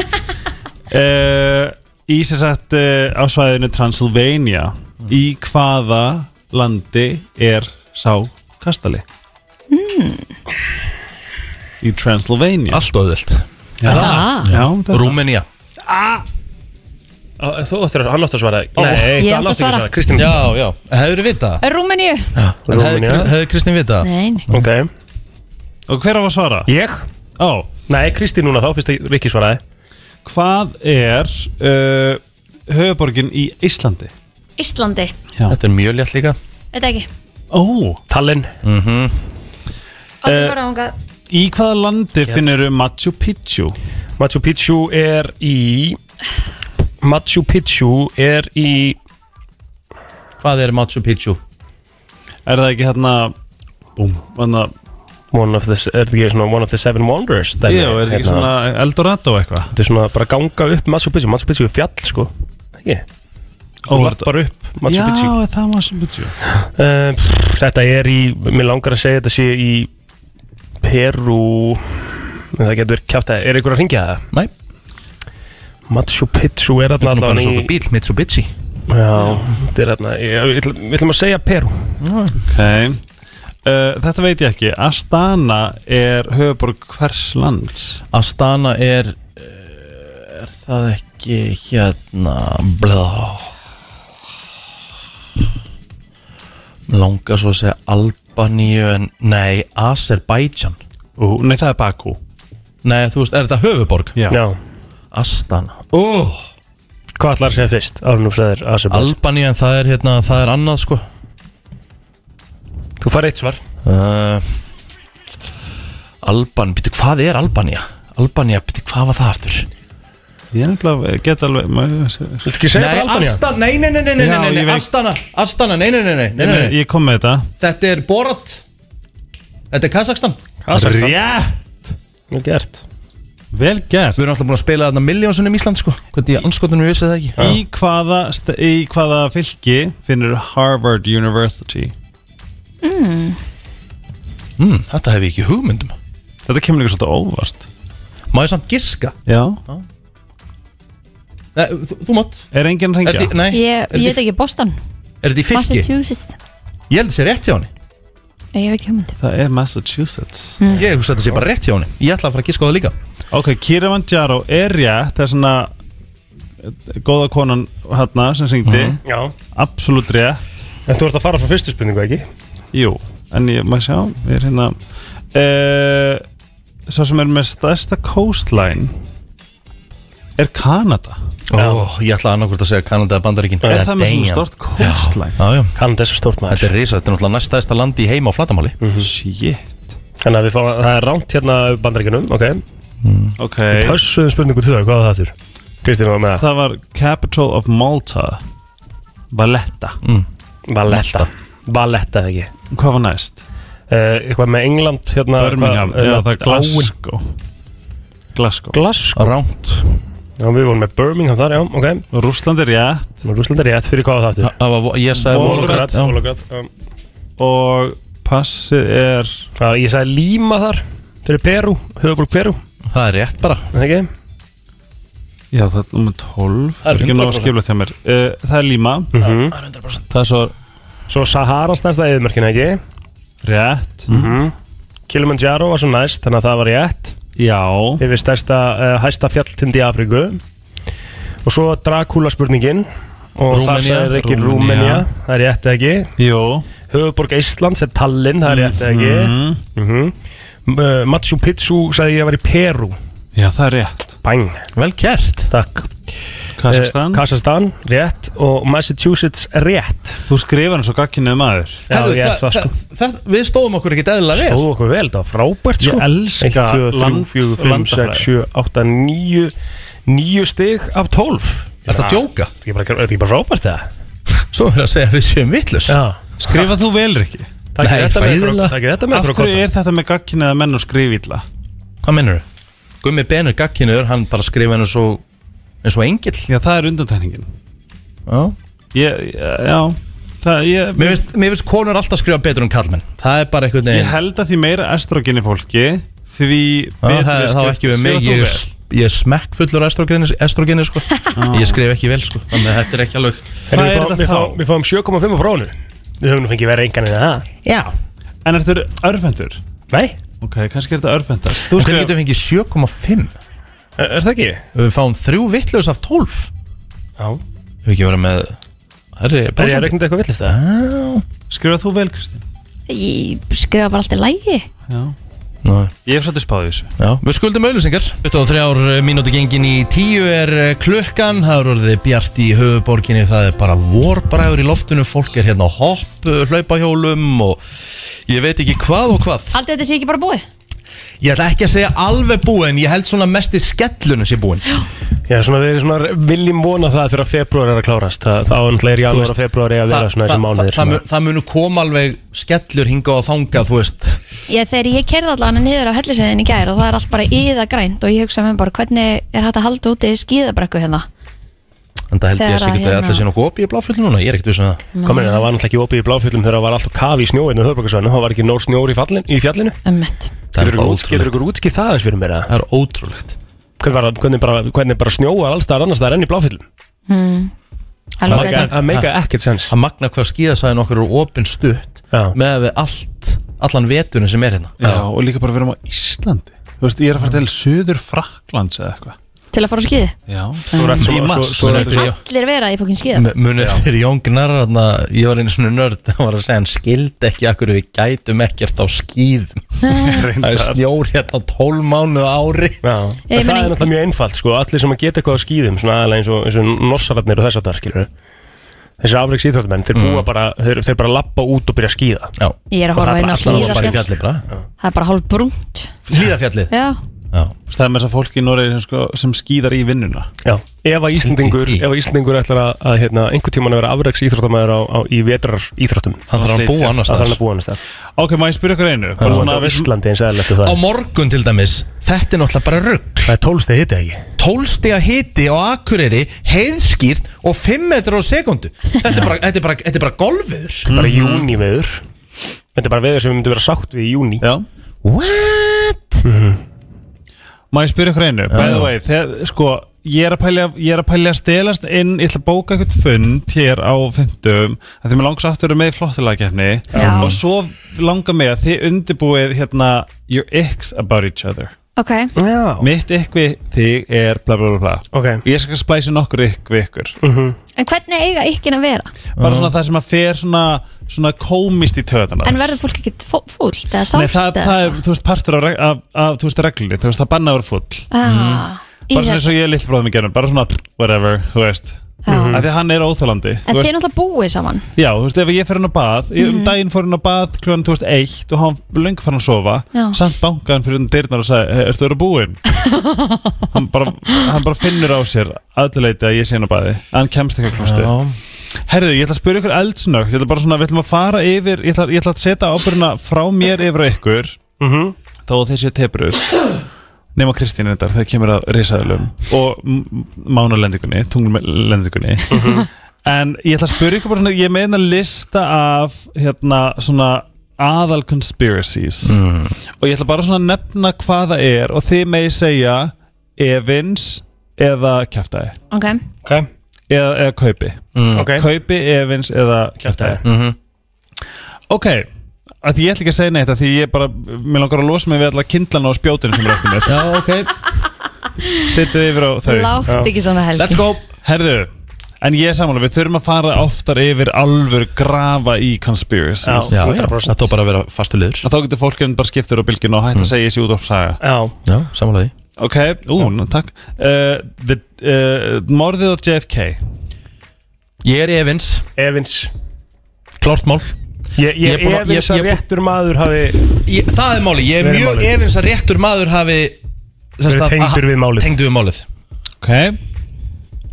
G: uh, í sér sagt uh, á svæðinu Transylvania í hvaða landi er sá kastali í Transylvania
A: allt óðvilt
G: Já,
C: Það?
G: já, það er-
A: Rúmenía
B: Á, þú áttur að, hann áttur að svara
G: Ó.
B: nei,
C: Ég
B: hann
C: átti að
B: áttur ekki að
C: svara.
B: svara Kristín
A: Já, já, hefur þið vitað?
C: Rúmeníu
A: það? En hefði
B: Rúmenía.
A: Kris- Hefði Kristín vitað? það?
C: Nei, nei.
B: ok,
G: Og hver á að svara?
B: ég?
G: Ó,
B: nei, Kristín núna þá, fyrst að Rikki svaraði
G: hvað er uh, höfuborgin í Íslandi?
C: Íslandi,
A: Þetta er mjög létt líka
C: þetta ekki
G: Ó,
B: Tallinn,
C: Allir
G: Eh,
C: bara ángað
G: Í hvaða landi finnur Machu Picchu?
B: Machu Picchu er í Machu Picchu er í
A: Hvað er Machu Picchu?
G: Er það ekki hérna Búm hérna, Þannig að
B: one of the, er þetta ekki svona one of the seven wonders dæmi?
G: Jú, er það ekki
B: Hérna,
G: svona Eldorado eitthvað?
B: þetta er svona bara ganga upp Machu Picchu, Machu Picchu er fjall sko ekki, þú lappar upp Machu
G: Já,
B: Picchu
G: er það er Machu Picchu
B: Uh, pff, þetta er í, mér langar að segja þetta sé í Perú en það getur verið kjátt að, er einhver að ringja það?
A: Nei,
B: Machu Picchu er
A: það
B: þarna
A: er bara
B: allavega
A: svona
B: í
A: bíl Mitsubishi
B: Já, þetta er þarna, ég- við ætlum- við ætlum að segja Perú
G: Ok uh, Þetta veit ég ekki Astana er höfuborg hvers lands
A: Astana er eh, Er það ekki hérna Blá Langar svo að segja Albaníu en Nei, Azerbaijan
G: Ú, Nei, það er Baku
A: Nei, þú veist, er þetta höfuborg?
G: Já,
B: Já,
A: Astana oh.
B: hvað ætlar að segja fyrst? Árnum sæðir Azerbaijan
A: Albaníu en það er hérna Það er annað sko
B: Þú fær eitt svar
A: uh, Eh, Alban, býttu hvað er Albania? Albania, býttu hvað var það aftur?
G: Ég er nefnilega, get alveg Viltu
A: Nei, Astana, nei, nei, nei, nei, nei,
G: Já,
A: nei,
G: ég
A: nei
G: veit.
A: Astana, Astana, nei, nei, nei, nei, nei, nei, nei.
G: Ég kom með þetta
A: Þetta er Borat Þetta er Kazakstan
G: Kasakstan. Rétt.
B: Vel gert
G: Vel gert
A: Við erum alltaf búin að spila þarna miljónsunum Ísland sko Hvernig í anskotunum við vissið það ekki
G: Í hvaða, st- í hvaða fylki finnur Harvard University?
K: Mm.
A: mm, Þetta hef ég ekki hugmyndum
G: Þetta kemur líka svolítið óvart
A: Má ég samt giska?
G: Já
A: Nei, þú, þú mátt
G: Er enginn að
A: Er
G: ringja?
A: þetta í- nei,
C: Ég,
A: er
C: ég veit
A: þetta í-
C: ekki Boston
A: er þetta í fylki?
C: Massachusetts
A: Ég held að sé rétt hjá henni
C: Ég hef ekki hugmynd
G: Það er Massachusetts
C: Mm.
A: Ég hugsa að þetta sé bara rétt hjá henni Ég ætla að fara að giska á það líka
G: Ok, Kiravanjaro er rétt Það er svona Góða konan hérna sem syngdi
B: Mhm. Já.
G: Absolutt rétt
B: En þú ert að fara frá fyrstu spurningu, ekki?
G: Jú, en ég maður sjá Ég er hérna uh, Sá sem er með stærsta coastline Er Kanada
A: Ó, Ég ætla að annarkvort að segja Kanada eða Bandaríkin
G: Er það með svona
A: Eh, Damn.
G: stort coastline?
A: Já, já
B: Kanada er svo stort maður
A: Þetta er risa, þetta er náttúrulega næstæðsta landi í heima á flatamáli
B: mm
G: Shit
B: Þannig að við fáum, það er ránt hérna bandaríkinum, ok
G: Ok
B: Við Pössuðum spurningu til þau, hvað var það þurr? Kristín var með það
G: Það var Capital of Malta Valletta
A: mm.
B: Valletta Valletta ekki
G: Hvað var næst?
B: Uh, eitthvað með England hérna hvað,
G: Birmingham, já,
B: hérna,
G: það er Glasgow. Glasgow
B: Glasgow
A: Ránt
B: Já, við vorum með Birmingham þar, já, ok
G: Rúsland er rétt
B: Rúsland er rétt, fyrir hvað var það
A: Það var, ég sagði Volgograd, já.
B: Volograd
G: Og passið er
B: Já, ég sagði Lima þar Fyrir Peru, höfubólk Peru
A: Það er rétt bara
B: Það ekki?
G: Já, það er nummer 12
B: Það er
G: ekki
B: 100%.
G: nóg skiplega hjá mér uh, Það er Lima
B: Mhm.
A: Það er 100%
G: Það er svo
B: Svo Sahara stærsta eðumörkin, ekki?
G: rétt
B: Mm Kilimanjaro var svo næst, þannig að það var rétt
G: Já
B: Yfir stærsta, uh, hæsta fjalltind í Afríku Og svo Dracula spurningin Og þar
A: Rúmenía.
B: sagði ekki
A: Rúmenía.
B: Rúmenía Það er rétt eða ekki
G: Jó
B: Höfuborg Íslands er Tallinn, það er rétt eða ekki
G: Mhm.
B: mm Machu Picchu sagði ég var í Peru
G: Já, það er rétt
B: Bang
A: Vel gert
B: Takk
G: Kazakstan.
B: Eh, Kazakstan, rétt Og Massachusetts, rétt
G: Þú skrifar eins og gagkinnið maður
B: Já,
A: Herru,
B: ég
A: það,
B: er það,
A: það,
B: sko
A: það, Við stóðum okkur ekkert eðla vel
B: Stóðu okkur vel, það var frábært sko
G: Ég elska
B: 1, 2, 3,
G: land-
B: 4, 5, 6, 7, 8, 9 9 stig af 12
A: Ertu að djóka?
B: Ég bara, er þetta ekki bara frábært það?
A: Svo er að segja að við séum vittlust
B: Já
G: Skrifað þú vel, Rikki?
B: Takk
A: Nei,
B: fyrir þetta með
A: hræðilega.
B: okkur Takk fyrir þetta með
G: Af
B: okkur á
G: hverju
B: koddann.
G: er þetta með gagkinnið að menn og skrifa illa?
A: Hvað mennur þau? Gummi Benur Gagkinur, hann bara skrifa henni svo eins og engill
G: Já, það er undantekningin
A: Já.
G: Ég, já Það, ég,
A: Mér finnst, mér finnst konur alltaf skrifa betur en kallmenn Það er bara einhvern
G: Ég
A: veginn
G: held að því meira estrogen í fólki Því
A: Já, Það það var ekki við mig Ég, er s-
G: skrifar
A: ég er smekk fullur estrogenir, estrogenir sko. Ég skrif ekki vel sko. Þannig að þetta er ekki alveg
B: Herru,
G: Hvað
B: við
G: er
B: fáum-
G: þetta
B: við
G: þá?
B: fáum- Við fáum 7,5 á prófunu Við höfum nú fengið verið engan en það
A: Já
G: þú vel. En ertu örfendur?
B: Nei,
G: Ok, kannski er þetta örfendar Þú
A: En hvernig
G: skrifar
A: getum við fengið 7,5?
B: er, er það ekki?
A: Ef Við fáum þrjú vittlust af 12
B: Já
A: Hefur ekki verið með Herri,
B: Það er ég að
A: prósentu.
B: reikna eitthvað villist það
G: skrifar þú vel, Kristi
C: Ég skrifa bara alltaf lægi
G: Já
A: Nei.
G: Ég hef svolítið spáðið þessu
A: Já, við skuldum auðlýsingar 23 mínúti eh, gengin í 10 er eh, klukkan Það er orðið bjart í höfuborginni Það er bara vorbræður í loftinu Fólk er hérna á hopp, eh, hlaupahjólum Og ég veit ekki hvað og hvað
C: Haldið þetta sé ekki bara búið?
A: Ég ætla ekki að segja alveg búin Ég held svona mest í skellunum sé búin
B: Já, svona við svona viljum vona það þegar februar er að klárast Það, það áhengilega er
A: Þú
B: janúar
A: veist,
B: og februar er að vera svona þessi mánuðir
A: það,
B: sem
A: mun- það munu koma alveg skellur hinga og þanga Þú veist
C: Ég, þegar ég kerði allan niður á hellisæðin í gær og það er allt bara íða grænt og ég hugsa með bara hvernig er hægt að halda úti í skíðabrekku hérna
A: En það held ég
C: Þegar
A: að sé ekki
C: að
A: að
C: hérna-
A: alltaf sé nokkuð opið í bláfullu núna Ég er ekkert vissum það
B: að- Kom inn, það var náttúrulega ekki opið í bláfjöllum þegar það var alltaf kafi í snjóinu höfbrukarsvæðinu, það var ekki nór snjór í, fallin, í fjallinu
C: Ömmett
A: Það er
B: Getur ykkur
A: náttúrulega
B: út- Getur ykkur útskipt það aðeins fyrir mér að
A: Það er ótrúlegt
B: hvernig, var, hvernig, bara, hvernig bara snjóar alls staðar annars staðar enn í bláfyllum
C: mm. Það
B: Það
C: lókar
B: make-
C: þetta.
B: það make ekkert sens
A: að magna hvað skíðasæðin okkur eru opinn stutt
B: Já.
A: með að við allt, allan veturinn sem er hérna
G: Já, og líka bara við erum á Íslandi Þú veist, ég er að fara til Suður Fraklands eða eitthvað
C: Til að fara á skíði
G: Já
B: Svo er allt
G: Í
B: sem- svo-
G: mars.
B: svo er allt-
A: Þetta er-
C: Allir vera í fókin skíða
A: M- Muni eftir Jón Gnar þarna, ég var einu svona nörd það var að segja hann skildi ekki akkur við gætum ekkert á skíðum það er snjór hérna 12 mánuð á ári
B: Já,
C: Ég
B: en það
C: meina-
B: er náttúrulega mjög einfalt sko, allir sem að geta eitthvað á skýðum, svona aðalega eins og, eins og nossararnir og þess að það skilur þessi afreiks íþróttamenn, þeir
A: Mm.
B: búa bara þeir, þeir bara lappa út og byrja að skýða
A: Já.
C: Ég er að horfa inn á hlýðarfjall
A: bara
C: Það er bara hálf brúnt
A: Hlýðarfjallið
C: Já,
G: Það er með þess að fólki í Noregi sem, sko, sem skýðar í vinnuna
B: Já, ef að Íslendingur, ef að Íslendingur ætlar að, að hérna, einhvern tímann að vera afreiks íþróttamæður á, á, í vetrar íþróttum
A: Hann þarf að
B: Flytja.
A: búa annars
B: Hann þarf
A: staðar.
B: að búa annars þar
G: Ok, maður spyrja ykkur einu
B: Hann búa á Íslandi eins eðlilegt og
A: Á
B: það er.
A: morgun til dæmis, þetta er náttúrulega bara rugg
B: Það er tólsteg hiti ekki
A: Tólstega hiti á Akureyri, heiðskýrt og 5 metrar á sekundu Þetta er bara, þetta er bara, þetta er bara golfur
B: Þetta er bara júniveður Þetta er bara veður sem við myndum vera sátt við í júni
G: Já
A: What?
G: Má ég spyrja ykkur einu? By the way, þegar, sko, ég er að pælja ég er að pælja að stelast inn ég ætla að bóka eitthvað fund hér á fymtum að þið mér langs aftur með í flottilagerni
C: Já.
G: og svo langar mig að þið undirbúið hérna your icks about each other
C: ok
B: Já.
G: Mitt ykk við þig er bla bla bla bla
B: okay.
G: Ég skal splæsi nokkur ykk við ykkur
C: En hvernig eiga ykkin að vera?
G: Bara svona það sem að fer svona, svona komist í töðana
C: En verður fólk ekki fúlt eða sárt?
G: Nei, það,
C: eða-
G: það er, þú veist, partur af, reg- af, af þú veist, reglunni, þú veist, það banna að vera full
C: Ah, í
G: Mhm. Bara svona eins
C: þessu
G: og ég er lill bróðum í gerum, bara svona, whatever, þú veist
C: Mm.
G: Af því að hann er óþólandi
C: En
G: Mhm. þú
C: þið
G: veist,
C: náttúrulega búið saman
G: Já, þú veist, ef ég fer hann á bað, ég um
C: Mhm.
G: daginn fór hann á bað kljóðan, þú veist, eitt og hann löngu fann að sofa
C: Já.
G: Samt bankaðan fyrir hann dyrnar og sagði, "Hey, ertu að vera búinn? hann, bara, hann bara finnur á sér aðleiti að ég sé hann á baði að Hann kemst ekki að klosti Herðu, ég ætla að spyrja ykkur eldsnögt Ég ætla bara svona, við ætlum að fara yfir Ég ætla, ég ætla að setja ábyrðina frá mér yfir á ykkur mm -hmm. Þó að þessi tepruð Nefna Kristín þetta þegar kemur að risaðlum Og m- mánalendingunni, tunglendingunni En ég ætla að spyrja ykkur bara svona Ég meina lista af Hérna svona aðal conspiracies Og ég ætla bara svona að nefna hvað það er Og þið megi segja Evins eða kjaftaði
C: Ok,
B: okay.
G: eða, eða kaupi
B: Mm. Ok.
G: kaupi, evins eða kjartæði Mhm. ok að því ég ætla ekki að segja neitt að því ég bara mér langar að losa mig við alla kindlana og spjótin sem er eftir mér
A: já ok
G: setið yfir á þau
C: Látt ekki svona helgi
G: herðu En ég er samanlega, við þurfum að fara oftar yfir alvör grafa í conspiracies
A: Já, já, það tók bara að vera fastu liður
G: Að Þá getur fólkinn bara skiptur á bylginu og
A: Mm.
G: hægt að segja þessi út og saga
B: Já,
A: Já, samanlega því
G: Ok, ú, ná, takk uh, the, uh, Morðið á JFK
A: Ég er Evins,
B: Evins
A: klárt mál
B: Ég, ég,
A: Ég er búin að-
B: Evins
A: ég- ég
B: að
A: er búin-
B: réttur maður hafi
A: ég, Það er máli, ég er
B: Verið
A: mjög
B: málið.
A: Evins að réttur maður hafi sem
B: Verið
A: sagt,
B: tengdur
A: að-
B: við málið.
A: Tengdur við málið
G: Ok,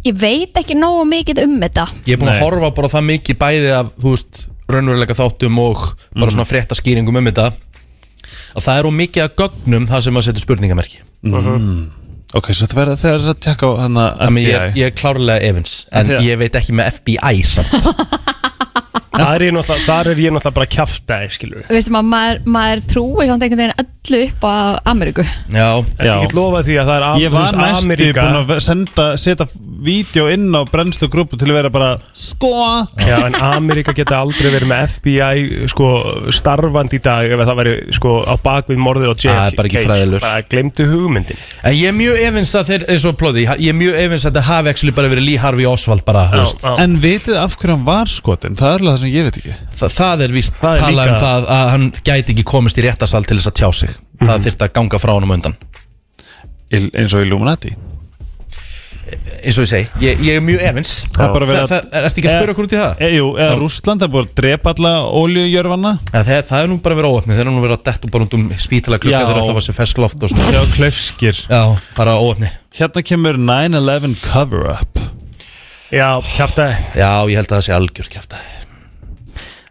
C: Ég veit ekki nógu mikið um þetta
A: Ég er búin
G: Nei.
A: að horfa bara á það mikið bæði af, þú veist, raunveruleika þáttum og bara
B: Mm.
A: svona frétta skýringum um þetta að það er of mikið að gögnum það sem að setja spurningamerki
G: ok, svo það verður það er að tjekka á hana
A: Þannig
G: FBI
A: ég, er- ég er klárlega Evans en
G: Af því að-
A: ég veit ekki með FBI samt
B: Þar er ég náttúrulega, þar er ég náttúrulega bara kjaftaði skilur við.
C: Veistu maður, maður, maður trúi samt einhvern veginn öllu upp á Ameríku
A: Já,
B: En
G: Já.
B: ég get lofað því að það er af-
G: Ég
B: þú
G: var
B: veist,
G: næstu
B: Ameríka-
G: búinn að ve- senda, setja vídeo inn á brennslu grúpu til að vera bara Sko
B: Já, en Ameríka geta aldrei verið með FBI sko, starfandi í dag ef það væri sko, á bakvið morðið og JFK
A: Það er bara ekki fræðilegur.
B: Bara glemdu hugmyndin
A: en ég er mjög Evans að þeir eins og plóði, ég er mjög Evans að þetta hafi actually bara verið Lee Harvey Oswald bara, þú veist
B: já.
G: En vitið af hverju hann var skotin? Það er alveg það sem ég veit ekki
A: Þa, það er víst
B: Það er
A: talað um
B: líka-
A: það að hann gæti ekki komist í réttarsal til þess að tjá sig það
G: Mhm.
A: þyrfti að ganga frá honum á undan
G: Il, Eins og Illuminati
A: eins og ég segi, ég, ég er mjög evins
G: Það er bara verið
A: það,
G: að-
A: það, er eftir ekki að spyrja okkur út í það
G: e, Jú, eða Rússland, það er búin að drepa alla óljujörfanna
A: það, það, það er nú bara verið óöfnið, þeir eru nú verið að detta bara út um spítala klukka
G: Já.
A: þeir ætla að fá sér feskloft og svona
G: Já, klaufskir
A: já, bara óöfnið,
G: Hérna kemur 9-11 cover-up
B: já, kjaftaði
A: já ég held að það sé algjör kæft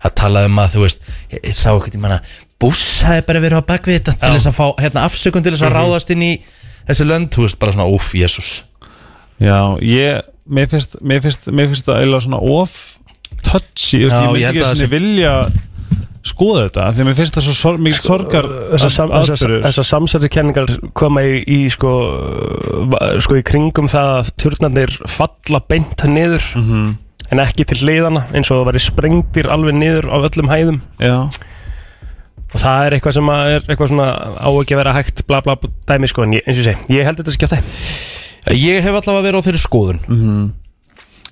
A: það talaði um að þú veist ég, ég sá ekkert, ég manna, Bush hafi bara verið á bakvið þetta til
B: Já.
A: þess að fá hérna, afsökun til þess að ráðast inn í þessi lönd, þú veist, bara svona, úff, jésús
G: Já, ég, mér finnst, mér finnst, mér finnst það eiginlega svona of touchy Ég, veist,
A: Já,
G: ég
A: ég
G: myndi
A: held
G: ekki
A: að það
G: svona
A: sé-
G: vilja skoða þetta Því að mér finnst það svo sor, mikið sorgar
B: Þessar sam, þessa,
G: atburður.
B: þessa samsættukenningar koma í, í sko, va- sko í kringum það að turnarnir falla beint niður en ekki til hliðana eins og það væri sprengdir alveg niður á öllum hæðum
G: Já,
B: og það er eitthvað sem að er eitthvað svona á ekki að vera hægt bla bla bla dæmi sko en ég, eins og ég segi, ég held þetta sé kjaftaði
A: Ég hef allavega verið á þeirri skoðun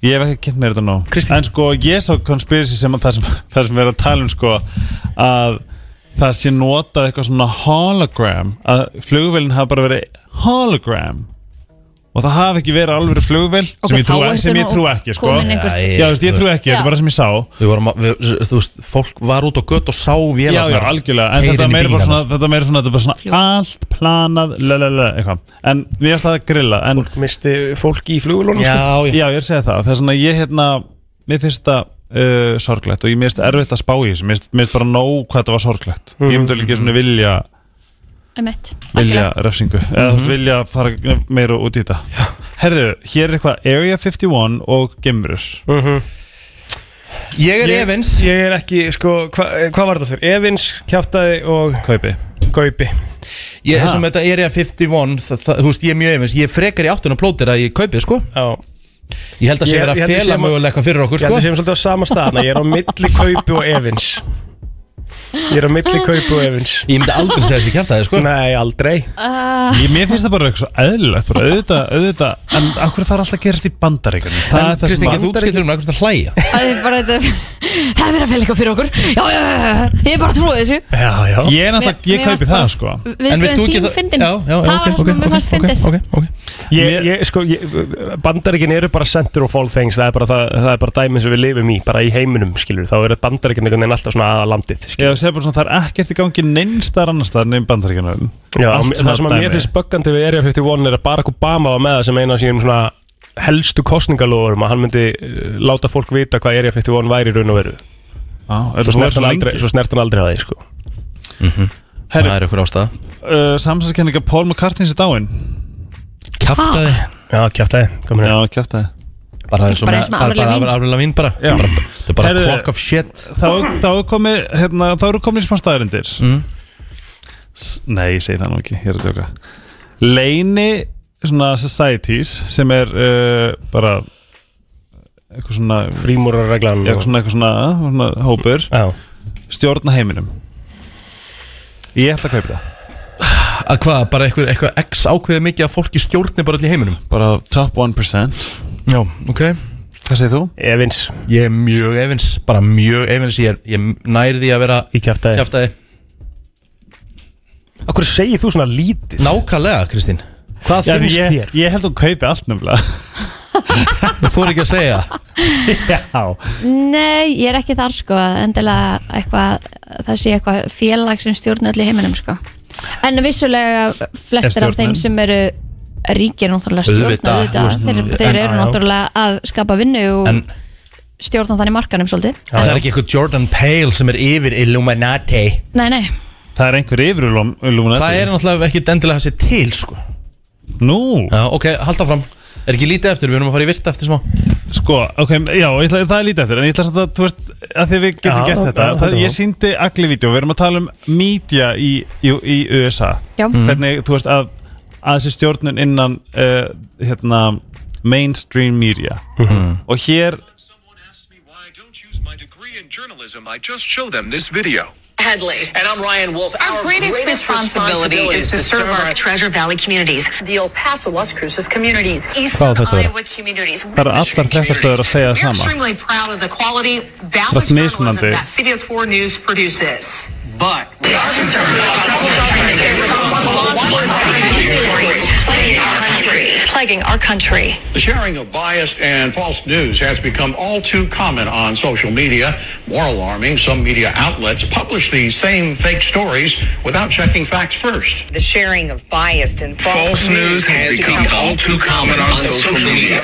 G: Ég hef ekki kynnt mér þetta nóg
A: Kristín?
G: En sko, ég sá conspiracy sem að það sem, það sem við erum að tala um sko að það sé notað eitthvað svona hologram að flugvélinn hafa bara verið hologram og það hafi ekki verið alveg flugvél
A: Ok,
G: sem ég
A: þá
G: trú,
A: ertu
G: sem ég
A: nú
G: trú ekki sko.
A: komin einhvert-
G: Já, þú veist, ég trú ekki, þetta er bara sem ég sá
A: Við vorum að, við, þú veist, fólk var út á gött og sá
G: Já, já,
A: vélarnar
G: algjörlega, en
A: keyra
G: þetta
A: inn í
G: meira bara
A: bílana,
G: svona,
A: sko.
G: þetta meira svona, þetta er bara svona allt planað, lalala, eitthvað En við erum það að grilla en, Fólk
B: misti fólk í sko. flugulunum
G: já, já. já, ég er að segja það, það er svona, ég hérna, mér finnst þetta uh, sorglegt og ég mér finnst erfitt að spá í þessu, mér finnst- mér finnst bara nóg hvað þetta var sorglegt
B: Mhm.
G: Ég myndi alveg ekki svona vilja,
C: Einmitt.
G: vilja refsingu, eða þú veist,
B: Mhm.
G: vilja fara meira út í þetta Herðu, hér er eitthvað Area 51 og Gemrur
L: Ég
G: er
L: Evins
B: Ég er ekki, sko, hva, hvað var þetta þér? Evins, kjáftaði og
G: Kaupi
B: Kaupi
A: Ég er
B: Aha.
A: svona með þetta Area 51 það, það, Þú veist, ég er mjög efins Ég er frekar í áttun og plótir að ég kaupið, sko
B: Já
A: Ég held að sé
B: Ég-
A: verið að
B: ég held ég
A: fela
B: sé-
A: mögulega eitthvað fyrir okkur,
B: Ég held
A: sko
B: að séum svolítið á sama stað þannig að Ég er á milli kaupi og evins Ég er á milli kaupi og evins
A: Ég myndi aldrei segja þessi kæftæði sko
B: Nei, aldrei Ah.
C: Uh,
G: Ég, mér finnst það bara eitthvað svo eðlilegt bara auðvitað, auðvitað, en akkur það er alltaf að gerast í bandaríkarnir Það er það sem
A: Kristi, þú útskiptir um eitthvað að hlæja
C: Það er bara þetta Það er verið að fæla eitthvað fyrir okkur Já, já, já, já, ég er bara að trúa þessu
G: Já, já Ég er náttúrulega,
C: Mér-
G: ég
C: mér
G: kaupi
C: fannst
G: það
C: bara-
G: sko
C: Við erum þín fyndin
A: Já, já,
C: Það var það sem mér fannst fyndið
B: Ég, ég, sko, ég, bandaríkin eru bara center of all things það er bara, það, það er bara dæmið sem við lifum í bara í heiminum, skilur, þá eru bandaríkin einhvern veginn alltaf svona aða landið
G: Ég hef að segja bara svona, það er ekkert í gangi neinstar annars staðar nefn bandaríkarnir
B: Já, það sem að mér finnst böggandi við Area 51 er að Barack Obama var með það sem eina af sínum svona helstu kostningalóðurum að hann myndi eh, láta fólk vita hvað Area 51 væri í raun og veru
G: ah,
B: svo, snert hann aldrei, svo snert hann aldrei að því sko.
A: Það er eitthvað ástæða
G: uh, Samsæðskenninga Paul McCartney sér dáin
A: Kjaftaði
B: Já, kjáftæði, komin
G: Já, kjáftæði
A: Bara eins og
G: Bara
A: með-
G: eins og með
A: bara-
G: Avril
A: bara-
G: Lavigne.
A: bara Avril Lavigne bara
G: Já.
A: Bara- Þetta er bara
G: Herðu,
A: flock of shit
G: Þá, þá, er komi, hérna, þá eru komin í smá staðarindir S- Nei, ég segi það nú ekki, ég er að tjóka Leini svona societies sem er uh, bara eitthvað svona
B: frímúrarreglan
G: eitthvað svona, eitthvað svona, uh, svona hópur
B: Já.
G: stjórna heiminum Ég ætla að kaupa það
A: Að hvað, bara eitthvað, eitthvað x ákveðið mikið að fólki stjórni bara allir í heiminum
G: Bara top 1%
A: Já, ok
G: Hvað segir þú?
B: Evins
A: Ég er mjög evins, bara mjög evins Ég, er, ég nærði að vera
B: Í kjaftaði
A: Kjaftaði
B: Akkur segir þú svona lítið?
A: Nákvæmlega, Kristín
B: Hvað
G: Já,
B: finnst
G: ég,
B: þér?
G: ég held að hún kaupi allt nefnilega
A: Þú þóri ekki að segja
G: Já
C: Nei, ég er ekki þar sko endilega eitthvað það sé eitthvað félag sem stjórna öll í heiminum sko. en vissulega flestir
A: Er
C: af þeim
A: stjórnin?
C: sem eru ríkir náttúrulega stjórna
A: Auðvitað, þú veist,
C: þeir,
A: mm,
C: þeir
A: en-
C: eru
A: já, já.
C: náttúrulega að skapa vinnu og
A: En-
C: stjórna þannig markanum svolítið
A: En Það er ekki eitthvað Jordan Pale sem er yfir Illuminati
C: Nei, nei,
G: Það er einhver yfir Illuminati
A: Það er náttúrulega ekki endilega þessi til sko
G: Nú
A: Já, ok, halda fram Er ekki lítið eftir, við erum að fara í virta eftir smá
G: Sko, ok, já, ég ætla, það er lítið eftir En ég ætla samt að, þú veist, að því við getum
A: Já,
G: gert
A: já,
G: þetta
A: já,
G: það,
A: já.
G: Ég síndi agli vídeo, við erum að tala um Mídja í, í, í USA
C: Já.
M: Mm.
C: Mhm.
G: Hvernig, þú veist, að að þessi stjórnun innan uh, hérna, mainstream media og hér
N: Journalism, I just show them this video
I: Headley.
N: And I'm Ryan Wolf.
I: Our, greatest, responsibility, is to serve our Treasure Valley communities, the El Paso, Las Cruces communities,
G: Hvað á þetta að vera?
I: eastern Iowa communities.
G: það eru allar fréttastöður að segja það
I: We're
G: sama
I: extremely proud of the quality,
G: That's
I: balanced
G: mismunante.
I: journalism that CBS4 News produces. But plaguing our country.
E: The sharing of biased and false news has become all too common on social media. More alarming, some media outlets publish these same fake stories without checking facts first.
O: The sharing of biased and false,
E: False news has become all too common on social media.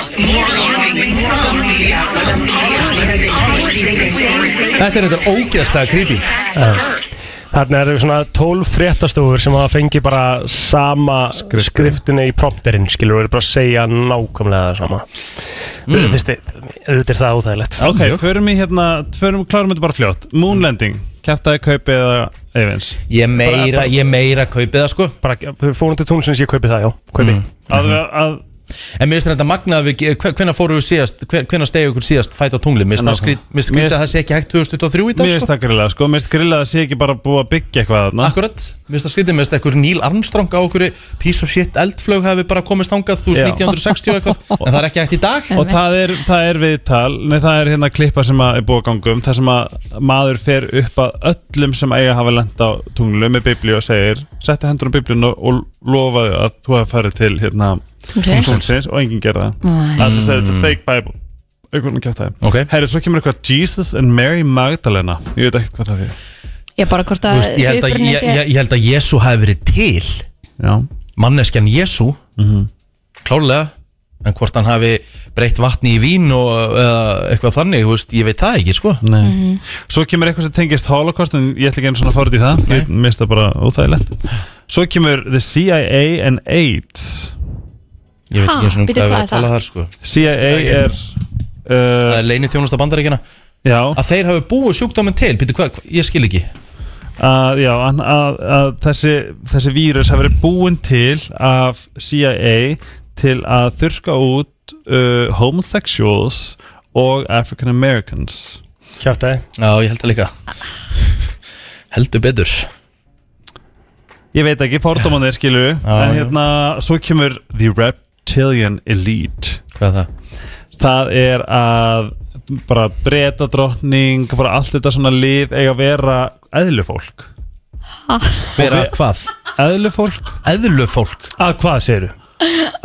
A: Þetta er þetta ógeðslega creepy
B: Þarna eru svona 12 fréttastofur sem hafa fengið bara sama skriftina í prompterinn, skilur, og eru bara að segja nákvæmlega það sama. Mm. Þú veist, auðvitað er það óþægilegt.
G: Ok, förum í hérna, förum, klárum þetta bara fljótt Moonlanding, kæftaði kaupi eða Evans
A: Ég meira, ég meira kaupið það sko
B: Bara fórum til tónlisins, ég kaupið það, já, kaupið
G: að,
B: Hmm.
G: að,
A: En mér finnst þetta magna að við, hvenna fóru við síðast Hvenna stegi okkur síðast fætt á tungli Mér finnst það
G: Nákvæmlega.
A: skrít- mér finnst skrítið að það sé ekki hægt 2023 í dag
G: Hérna, Mér finnst það grilla, sko, mér finnst grilla að það sé ekki bara búið að byggja eitthvað þarna
A: Akkurat, mér finnst það skrítið, mér finnst eitthvað Neil Armstrong á okkur piece of shit eldflög hafi bara komist hangað þú
G: Já.
A: veist, 1960 eitthvað en það er ekki hægt í dag
G: Og það er, það er viðtal, nei það er hérna klippa sem að er búið að ganga um þar sem að maður fer upp að öllum sem eiga að hafa lent á tunglu með biblíu og segir Settu hendur á biblíun og, og lofaðu að þú hefur farið til hérna
C: Kings.
G: Kings og enginn gerði
C: Nei.
G: það allir segði þetta
M: Mm.
G: er fake Bible auðvitað kjátt það
M: Ok.
G: herri svo kemur eitthvað Jesus and Mary Magdalena ég veit ekkert hvað það fyrir
C: Ég bara hvort að
M: Þú veist, ég, held að,
C: upprunni
M: ég,
C: sé-
M: ég, ég held að Jésu hafi verið til
G: Já.
M: manneskjan Jésu klárlega en hvort hann hafi breytt vatni í vín og uh, eitthvað þannig, þú veist, ég veit það ekki sko.
G: Mhm. svo kemur eitthvað sem tengist holocaust en ég ætla ekki einu svona að fara út í það ég mista bara óþægilegt svo kemur the CIA and AIDS
M: Ég veit ekki einu sinni um
C: Ha,
M: hvað
C: bíddu,
M: er
C: hvað
M: verið að
C: er
M: tala
C: það?
M: þar sko.
G: CIA er uh,
M: leini þjónusta bandaríkjana
G: já.
M: að þeir hafi búið sjúkdóminn til Pítur, hva, hva, ég skil ekki
G: að, já, að, að, að þessi, þessi vírus hafi verið búin til af CIA til að þurka út uh, homosexuals og African Americans
B: Kjáttæði
M: Já, ég held það líka Heldur betur
G: Ég veit ekki, fordómanir skilur
M: já.
G: En hérna, svo kemur The Reptilian Elite
M: Hvað er það?
G: Það er að bara breyta drottning bara allt þetta svona lið eiga að vera eðlufólk
M: Vera hvað?
G: Eðlufólk
M: Eðlufólk
B: Að hvað segirðu?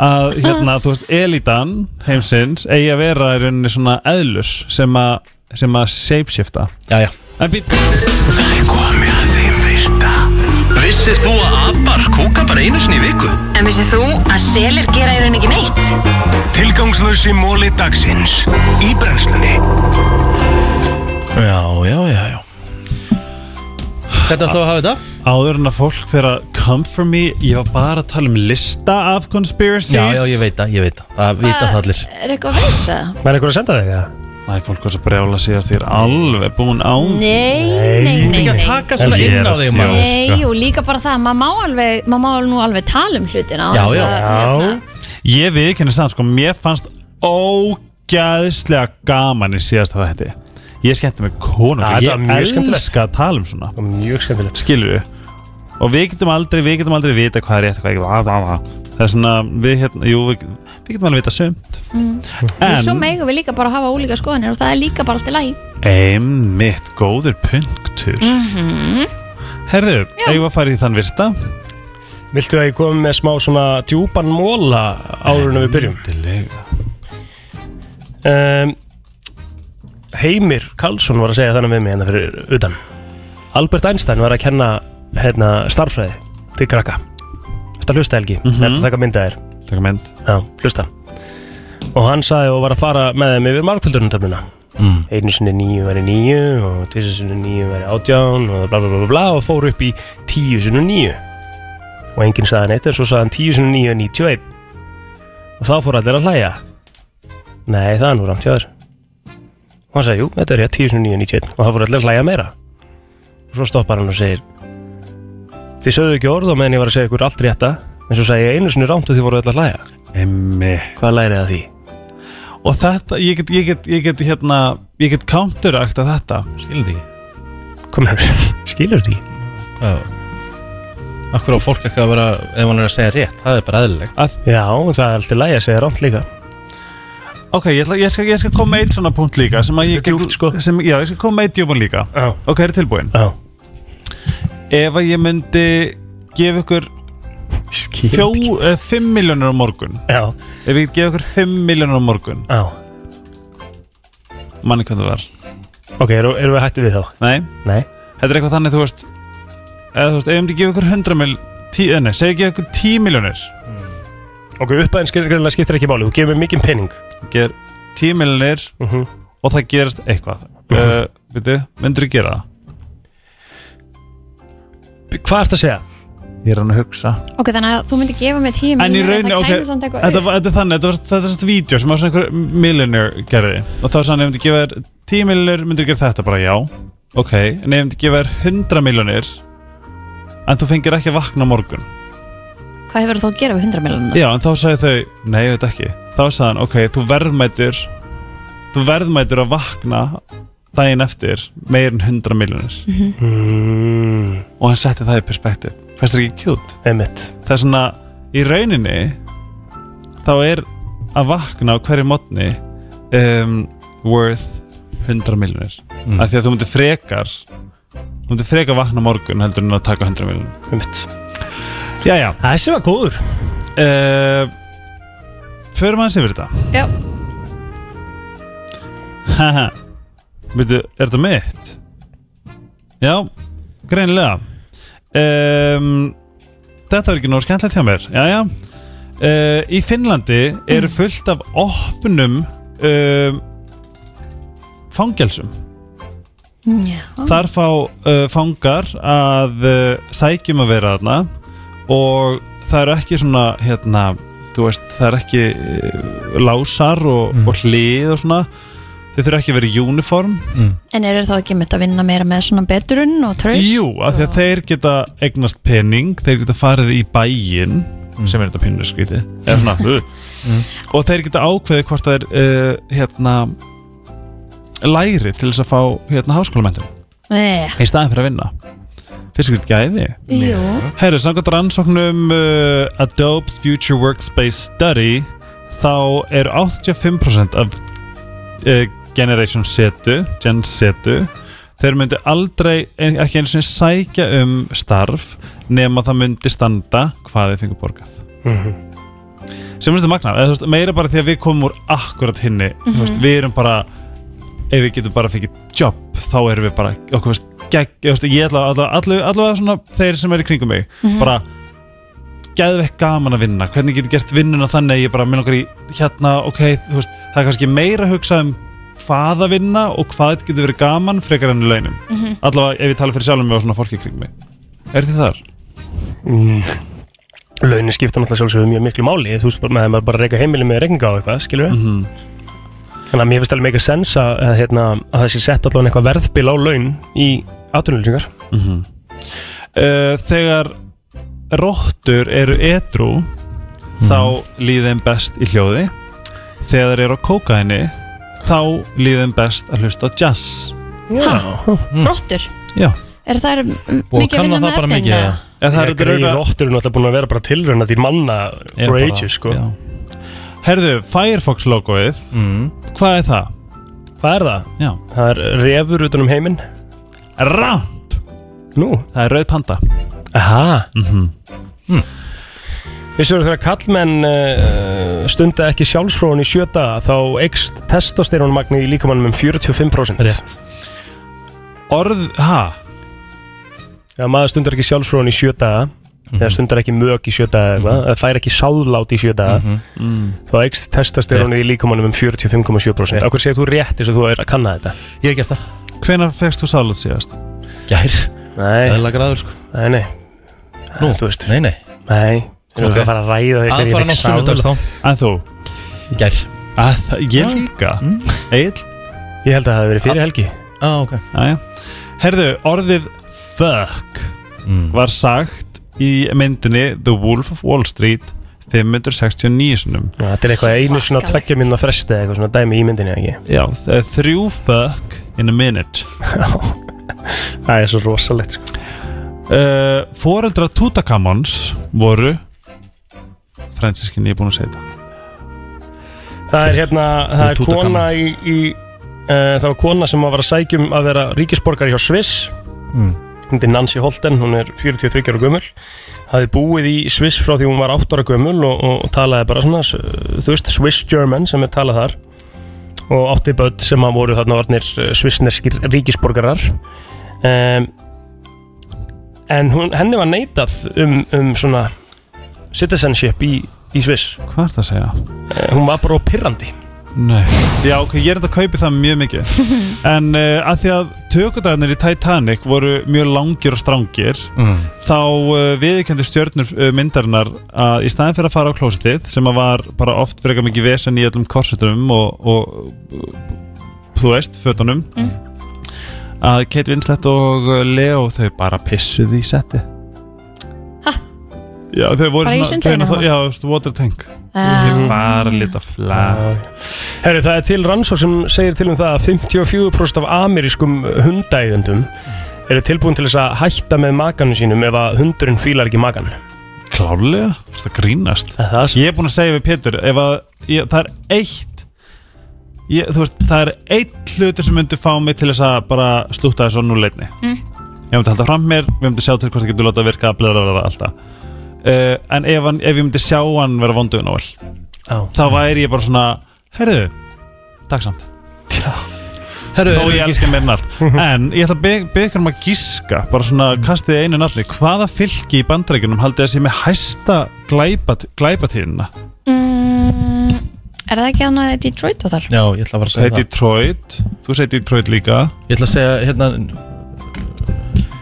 G: Að hérna, þú veist, elitan heimsins eigi að vera í rauninni svona eðlur sem að, sem að shapeshifta
M: Já, já
G: En býtt
I: Það er komið að þeim virta
P: Vissir þú að abar kúka bara einu sinni í viku?
Q: En vissið þú að selir gera í raun ekki neitt?
P: Tilgangslösi móli dagsins í brennslunni
M: Já, já, já, já Hvernig ætlum við að hafa þetta?
G: Áður en að fólk fyrir að come for me Ég var bara að tala um lista af conspiracies
M: Já, já, ég veit það, ég veit það Það vita það allir
C: Er eitthvað að veisa?
B: Var einhver að senda þig það?
G: Næ, fólk var svo brjála síðast Ég er alveg búin á
C: Nei, nei, nei, nei.
M: um sko.
C: Nei, og líka bara það, maður má alveg, maður má nú alveg tala um hlutina. á þess að- hérna,
G: Ég viðkynni samt, sko, mér fannst ógæðslega gaman í síðasta þætti Ég skemmti mig konung
B: Ja, þetta var
G: Ég
B: mjög skemmtilegt.
G: elska að tala um svona
B: Mjög skemmtilegt
G: Skilur við Og við getum aldrei, við getum aldrei vita hvað er rétt og hvað er ekki bla, bla, bla. Það er svona, við hérna, jú, við, við getum alveg vita sumt
C: Mm. En
G: En-
C: svo megum við líka bara að hafa ólíka skoðanir og það er líka bara allt í lagi.
G: Einmitt góður punktur
C: Mhm.
G: Herðu, eigum við að fara í þann virta?
B: Viltu að ég komi með smá svona djúpan móla áður en við byrjum?
G: Endilega
B: um, Heimir Karlsson var að segja þannig við mig hérna fyrir utan Albert Einstein var að kenna hérna, starffræði til krakka Þetta hlusta Helgi, mm -hmm. þetta taka mynda þér
G: Taka mynd
B: Já, hlusta Og hann sagði og var að fara með þeim yfir margföldunumtöfnuna
M: Mm.
B: Einu sinni níu væri níu og tvisar sinni níu væri átján og bla bla bla bla, bla og fór upp í tíu sinni níu og enginn sagði neitt en svo sagði hann tíu sinni níu er 91 og þá fór allir að hlæja Nei, það er nú rámt hjá þér Og hann sagði, jú, þetta er rétt 10 sinni 9 91 Og það fór allir að hlæja meira Og svo stoppar hann og segir Þið sögðu ekki orð og meðan ég var að segja ykkur allt rétta En svo sagði ég einu sinni rámt og þið voru allir að hlæja
G: Emmi
B: Hvað lærið það því?
G: Og þetta, ég get, ég get, ég get hérna Ég get counterakt að þetta
M: Skilur því
B: Kom hér, skilur því
M: Akkur á fólk ekki að vera, ef hann er að segja rétt Það er bara eðlilegt
G: að,
B: Já, það er alltaf læg að segja rámt líka
G: Ok, ég, ætla, ég, skal, ég skal koma með eitt svona punkt líka sem að ég get, sko. sem, Já, ég skal koma með eitt djúpan líka
B: Já.
G: Ok, er tilbúin
B: Já.
G: Ef að ég myndi gefa ykkur fjó, eh, 5 miljónir á morgun
B: Já.
G: Ef ég myndi gefa ykkur 5 miljónir á morgun
B: Já
G: Manni hvað það var
B: Ok, eru- erum við hættið við þá?
G: Nei
B: Nei
G: Þetta er eitthvað þannig, þú veist Eða þú veist, ef ég myndi gefa ykkur 100 mil tí, eh, Nei, segi ég gefa ykkur 10 miljónir
B: Ok, upphæðin skilur skiptir ekki máli Þú gefur mér mikinn penning
G: Ger 10 miljónir Og það gerist eitthvað uh -huh. uh, Veitu, myndirðu gera það?
B: Hvað ertu að segja?
G: Ég er hann að hugsa
C: Ok, þannig að þú myndir gefa mig tíu
G: En í
C: miljónir,
G: rauninni,
C: það
G: ok,
C: kæmi samt
G: þetta
C: eitthvað
G: var-
C: upp.
G: þetta er þannig, þetta var þetta er svona vídeo sem var svona einhver millionaire gerði og þá sann ég myndi gefa þér 10 millionaire, myndi gefa þetta bara já ok, en ég myndi gefa þér 100 millionaire en þú fengir ekki að vakna á morgun
C: Hvað hefur þú að gera við 100 miljónir?
G: já, en þá sagði þau, nei, ég veit ekki þá sagði hann, ok, þú verðmætir þú verðmætir að vakna daginn eftir meir en 100 millionaire
B: mm.
G: og hann setti það í perspektiv fannst það ekki kjút?
B: Einmitt.
G: það er svona í rauninni þá er að vakna á hverju mótni um, worth 100 miljonir
M: Mm.
G: af því að þú myndir frekar þú myndir frekar vakna á morgun heldur en að taka 100 miljonir
B: Einmitt.
G: Jæja
B: Þessi var góður
G: uh, förum aðeins yfir þetta
C: Já,
G: Haha. Veitu, er þetta mitt? Já, greinilega um, Þetta var ekki nóg skemmtilegt hjá mér Jæja uh, Í Finnlandi eru fullt af opnum um, fangelsum
C: já
G: Þar fá uh, fangar að uh, sækjum að vera þarna og það eru ekki svona hérna, þú veist, það eru ekki uh, lásar og, og hlið og svona þau þurfa ekki að vera í uniform
C: En eru þá ekki mitt að vinna meira með svona beturinn og tröst?
G: Jú, af því að þeir geta egnast pening, þeir geta farið í bæinn sem er þetta pínur skvítið eða svona mm. og þeir geta ákveðið hvort það er uh, hérna læri til þess að fá hérna háskólamendum
C: Eh,
G: í staðin fyrir að vinna fyrst og greit gæði
C: Jú.
G: Herru, samkvæmt rannsóknum uh, Adobe's Future Workspace Study þá er 85% af uh, Generation setu Gen setu þeir myndi aldrei, en- ekki einu sinni sækja um starf nema það myndi standa hvað þeir fengur borgað sem finnst þetta magnað eða, þú veist, meira bara því að við komum úr akkurat hinni mm veist,
M: Mhm.
G: við erum bara ef við getum bara fikið jobb þá erum við bara okkur veist, gegg, ég, veist, ég ætla allavega allavega, allavega svona þeir sem eru í kringum mig
M: Mhm.
G: bara geðvekk gaman að vinna hvernig getur gert vinnuna þannig að ég bara minn okkur í hérna, ok, þú veist það er kannski meira að hugsa um hvað að vinna og hvað þetta getur verið gaman frekar enn launum,
M: Mhm.
G: allavega ef ég tala fyrir sjálfum mig og svona fólki í kringum mig Er þið þar?
B: Mm. Launin skipta náttúrulega sjálfsögum mjög miklu máli Þú veist, bara- maður maður bara reyka heimili með reykinga á eitthvað, skilur við Þannig að mér finnst alveg meika sens að, að, hérna, að það sé sett allavega eitthvað verðbil á laun í atvinnulýsingar
G: Mhm. uh, þegar róttur eru edru þá líði þeim best í hljóði þegar þeir eru á kókaini þá líði þeim best að hlusta á jazz
C: Ha, Rottur?
G: Já.
C: Er það mikið að vinna með efnin, eða?
G: En það
B: Það
G: er
B: er greið
G: örugglega-
B: róttur náttúrulega búin að vera bara tilrauna því manna
G: Er
B: for
G: bara-
B: ages, sko
G: já. Herðu, Firefox logoið Hvað er það?
B: Hvað er það?
G: Mhm. Já.
B: Það er refur utan um heiminn
G: Ránt
B: Nú?
G: Það er rauð panda
B: Aha mm
G: Mhm.
B: -hmm. Við séum þegar kallmenn uh, stunda ekki sjálfsfróðan í sjö daga þá eikst testosterónmagni í líkamannum um 45% Rétt
G: Orð, ha?
B: Já, maður stundar ekki sjálfsfróðan í sjö daga
G: Mhm.
B: eða stundar ekki mög í sjö daga mm eða fær ekki sáðlát í sjö daga
G: Mhm. Mm.
B: þá eikst testosterónu í líkamannum um 45,7% Akkur segir þú rétt eins og þú er að kanna þetta
M: Ég hef gert það
G: Hvenær fegst þú sálut síðast?
M: Gær
B: Nei
M: Eðla græður sko
B: Nei, nei
M: Nú,
B: þú veist
M: Nei, nei
B: Nei Þú erum að fara að ræða þegar ég
M: Aðfara
B: fékk
M: nátt sunnudags þá
B: sáðlát.
G: En þú?
M: Gær
G: að, það- Ég líka Egil?
B: Ég held að það hefði verið fyrir helgi
M: Á, ok
G: Aja. Herðu, orðið fuck var sagt í myndinni The Wolf of Wall Street 569 sinum
B: Já, Þetta er eitthvað einu svona tveggja minna fresti eða eitthvað svona dæmi í myndinni, ekki?
G: Já, það er þrjú fuck in a minute
B: Það er svo rosalegt sko.
G: uh, Foreldra Tutakamons voru Fransiskin, ég er búin að segja þetta
B: Það er hérna, það er
G: Tutankhamun.
B: kona í, í uh, það var kona sem var að sækjum að vera ríkisborgar hjá Sviss
M: Mm.
B: hún er Nancy Holten, hún er 43 ára gömul hafði búið í Sviss frá því hún var 8 ára gömul og, og talaði bara svona, s- þú veist, Swiss German sem er talað þar og átti börn sem að voru þarna orðnir eh, svissneskir ríkisborgarar um, en hún, henni var neitað um, um svona citizenship í, í Sviss Eh,
G: Hvað er það að segja?
B: hún var bara pirrandi
G: Nei Já, ok, ég er þetta að kaupi það mjög mikið En uh, að því að tökudagarnir í Titanic voru mjög langir og strangir þá uh, viðurkendu stjörnur uh, myndarinnar að í staðin fyrir að fara á klósitið sem að var bara oft fyrir ekki mikið vesen í öllum korsetunum og, og uh, þú veist, fötunum
C: Mm.
G: að Kate Winslet og uh, Leo þau bara pissuð í setti Já, þau voru
C: Bara í
G: svona
C: sundlaugina
G: þau-
C: þá?
G: Já, þú veist, water tank
C: Já.
G: Þau bara lita flag
B: Herri, það er til rannsók sem segir til um það að 54% af amerískum hundæðendum eru tilbúin til þess að hætta með makanum sínum ef að hundurinn fílar ekki makan
G: Klárlega, það grínast
B: það
G: Ég er búinn að segja við Pétur Ef að ég, það er eitt ég, Þú veist, það er eitt hluti sem myndi fá mig til þess að bara slúta þessu á núleitni
M: Mm.
G: Ég myndi halda fram mér, við myndi sjá til hvort það Eh, getur láta að virka blablabla alltaf uh, En ef, hann, ef ég myndi sjá hann vera vonduðin á all þá væri ég bara svona herðu, takk samt
A: Herru,
G: þó
A: erum við
G: ég
A: ekki-
G: elska meirinn allt en ég ætla að be- beða ykkur um að gíska bara svona kastið einu nafni hvaða fylki í bandreikunum haldið að sé með hæsta glæpat, glæpatíðina
C: mm, Er það ekki hann að Detroit og þar?
M: Já, ég ætla bara að segja
G: það Detroit, þú segir Detroit líka
M: Ég ætla að segja hérna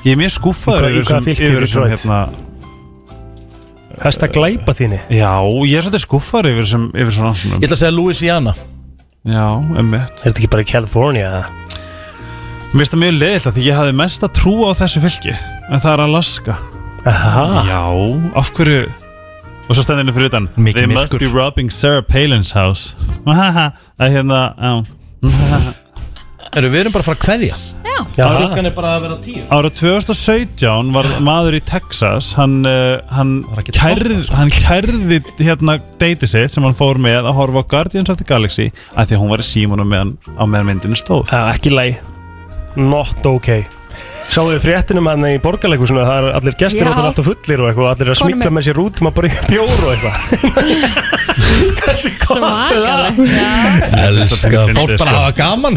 G: Ég er mjög skúffaður
B: Í hvað- í hvað fylki
G: yfir
B: er
G: þessum
B: Detroit?
G: hérna
B: Hæsta glæpa þínu
G: Já, ég er svolítið skúffar yfir sem, yfir svona rannsóknum
M: Ég ætla að segja Louisiana
G: Já, emmitt
B: Er þetta ekki bara California?
G: Mér finnst það mjög leðilt að því ég hafði mest að trúa á þessu fylki En það er Alaska
B: Aha.
G: Já, af hverju Og svo stendinu fyrir utan They must be robbing Sarah Palin's house Það er hérna já.
M: Eru við erum bara að fara að kveðja
G: Já.
B: Ah.
M: Klukkan er bara að vera tíu
G: Ára 2017 var maður í Texas hann, uh, hann, kærð,
M: sko.
G: hann kærði hérna deiti sitt sem hann fór með að horfa á Guardians of the Galaxy af því að hún var í símanum meðan, á meðan myndinu stóð
B: Já, ekki læg Not okay Sáu við fréttinum hann í borgarleikusinu Það er allir gestir
C: Já.
B: og það er alltaf fullir og eitthvað og Allir er að
C: Konum
B: smikla
C: minn.
B: með sér út um að bara bjóru og eitthvað
C: Svakalegt
M: Elska Fólk bara að
B: sko.
M: hafa gaman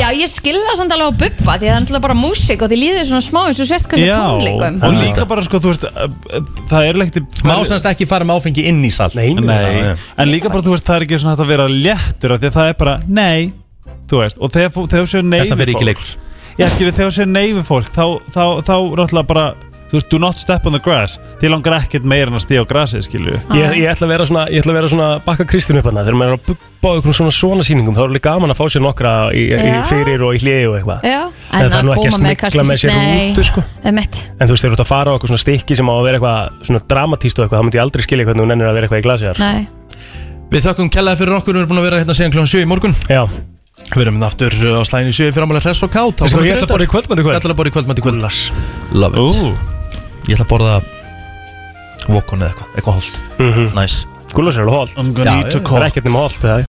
C: Já, ég skilða samt alveg á bubba því að það er náttúrulega bara músík og því líður svona smá eins og sért kannski á tónleikum
G: og líka bara sko, þú veist uh, uh, það er leikt
M: Má semst ekki fara með áfengi inn í sal
B: Nei,
G: Nei, en líka bara, þú veist, það er ekki svona hægt að vera léttur af því að það er bara, nei, þú veist og þegar fó- þegar þú séu nei
M: Þess að
G: við
M: fer ekki sko. í
G: fólk
M: leikhús.
G: Já, skilur, þegar þú séu nei við fólk þá, þá, þá, ráttlega bara, þú veist, do not step on the grass því langar ekkert meira en að stíða á grasið, skilur
B: Ég, ég ætla að vera svona, ég ætla að vera svona bakka Kristín upp hana Þegar maður er að bubba á einhverjum svona svona sýningum Þá er alveg gaman að fá sér nokkra í, í
C: Já.
B: fyrir og í hliði og eitthvað
C: Já,
B: En
C: en
B: það er
C: að
B: nú ekki að
C: koma með
B: smygla
C: kannski
B: með sér
C: Nei,
B: út, sko.
C: emitt
B: En þú veist, þegar þú ert að fara á eitthvað svona stykki sem á að vera eitthvað svona dramatíst og eitthvað, þá myndi ég aldrei skilja hvernig hún ennir að vera eitthvað í glasi þar.
C: Nei
M: Við þökkum kellaði fyrir okkur, við erum búin að vera hérna síðan kljóðan 7 í morgun
B: Já
M: Við erum hérna aftur uh, á slæðinu 7 fyrir ámæli hress og kátt
B: Sko, ég ætla að borða í kvöldmætti kvöld.
M: Ég ætla að borða í kvöldmætti kvöld
B: Gullas.
M: Love it Ég ætla að borða Vokon eða eitthvað, eitthvað holdt Næs
B: Gullas er alveg hólt.
G: I'm gonna eat a
B: Það er ekkert nema hólt, það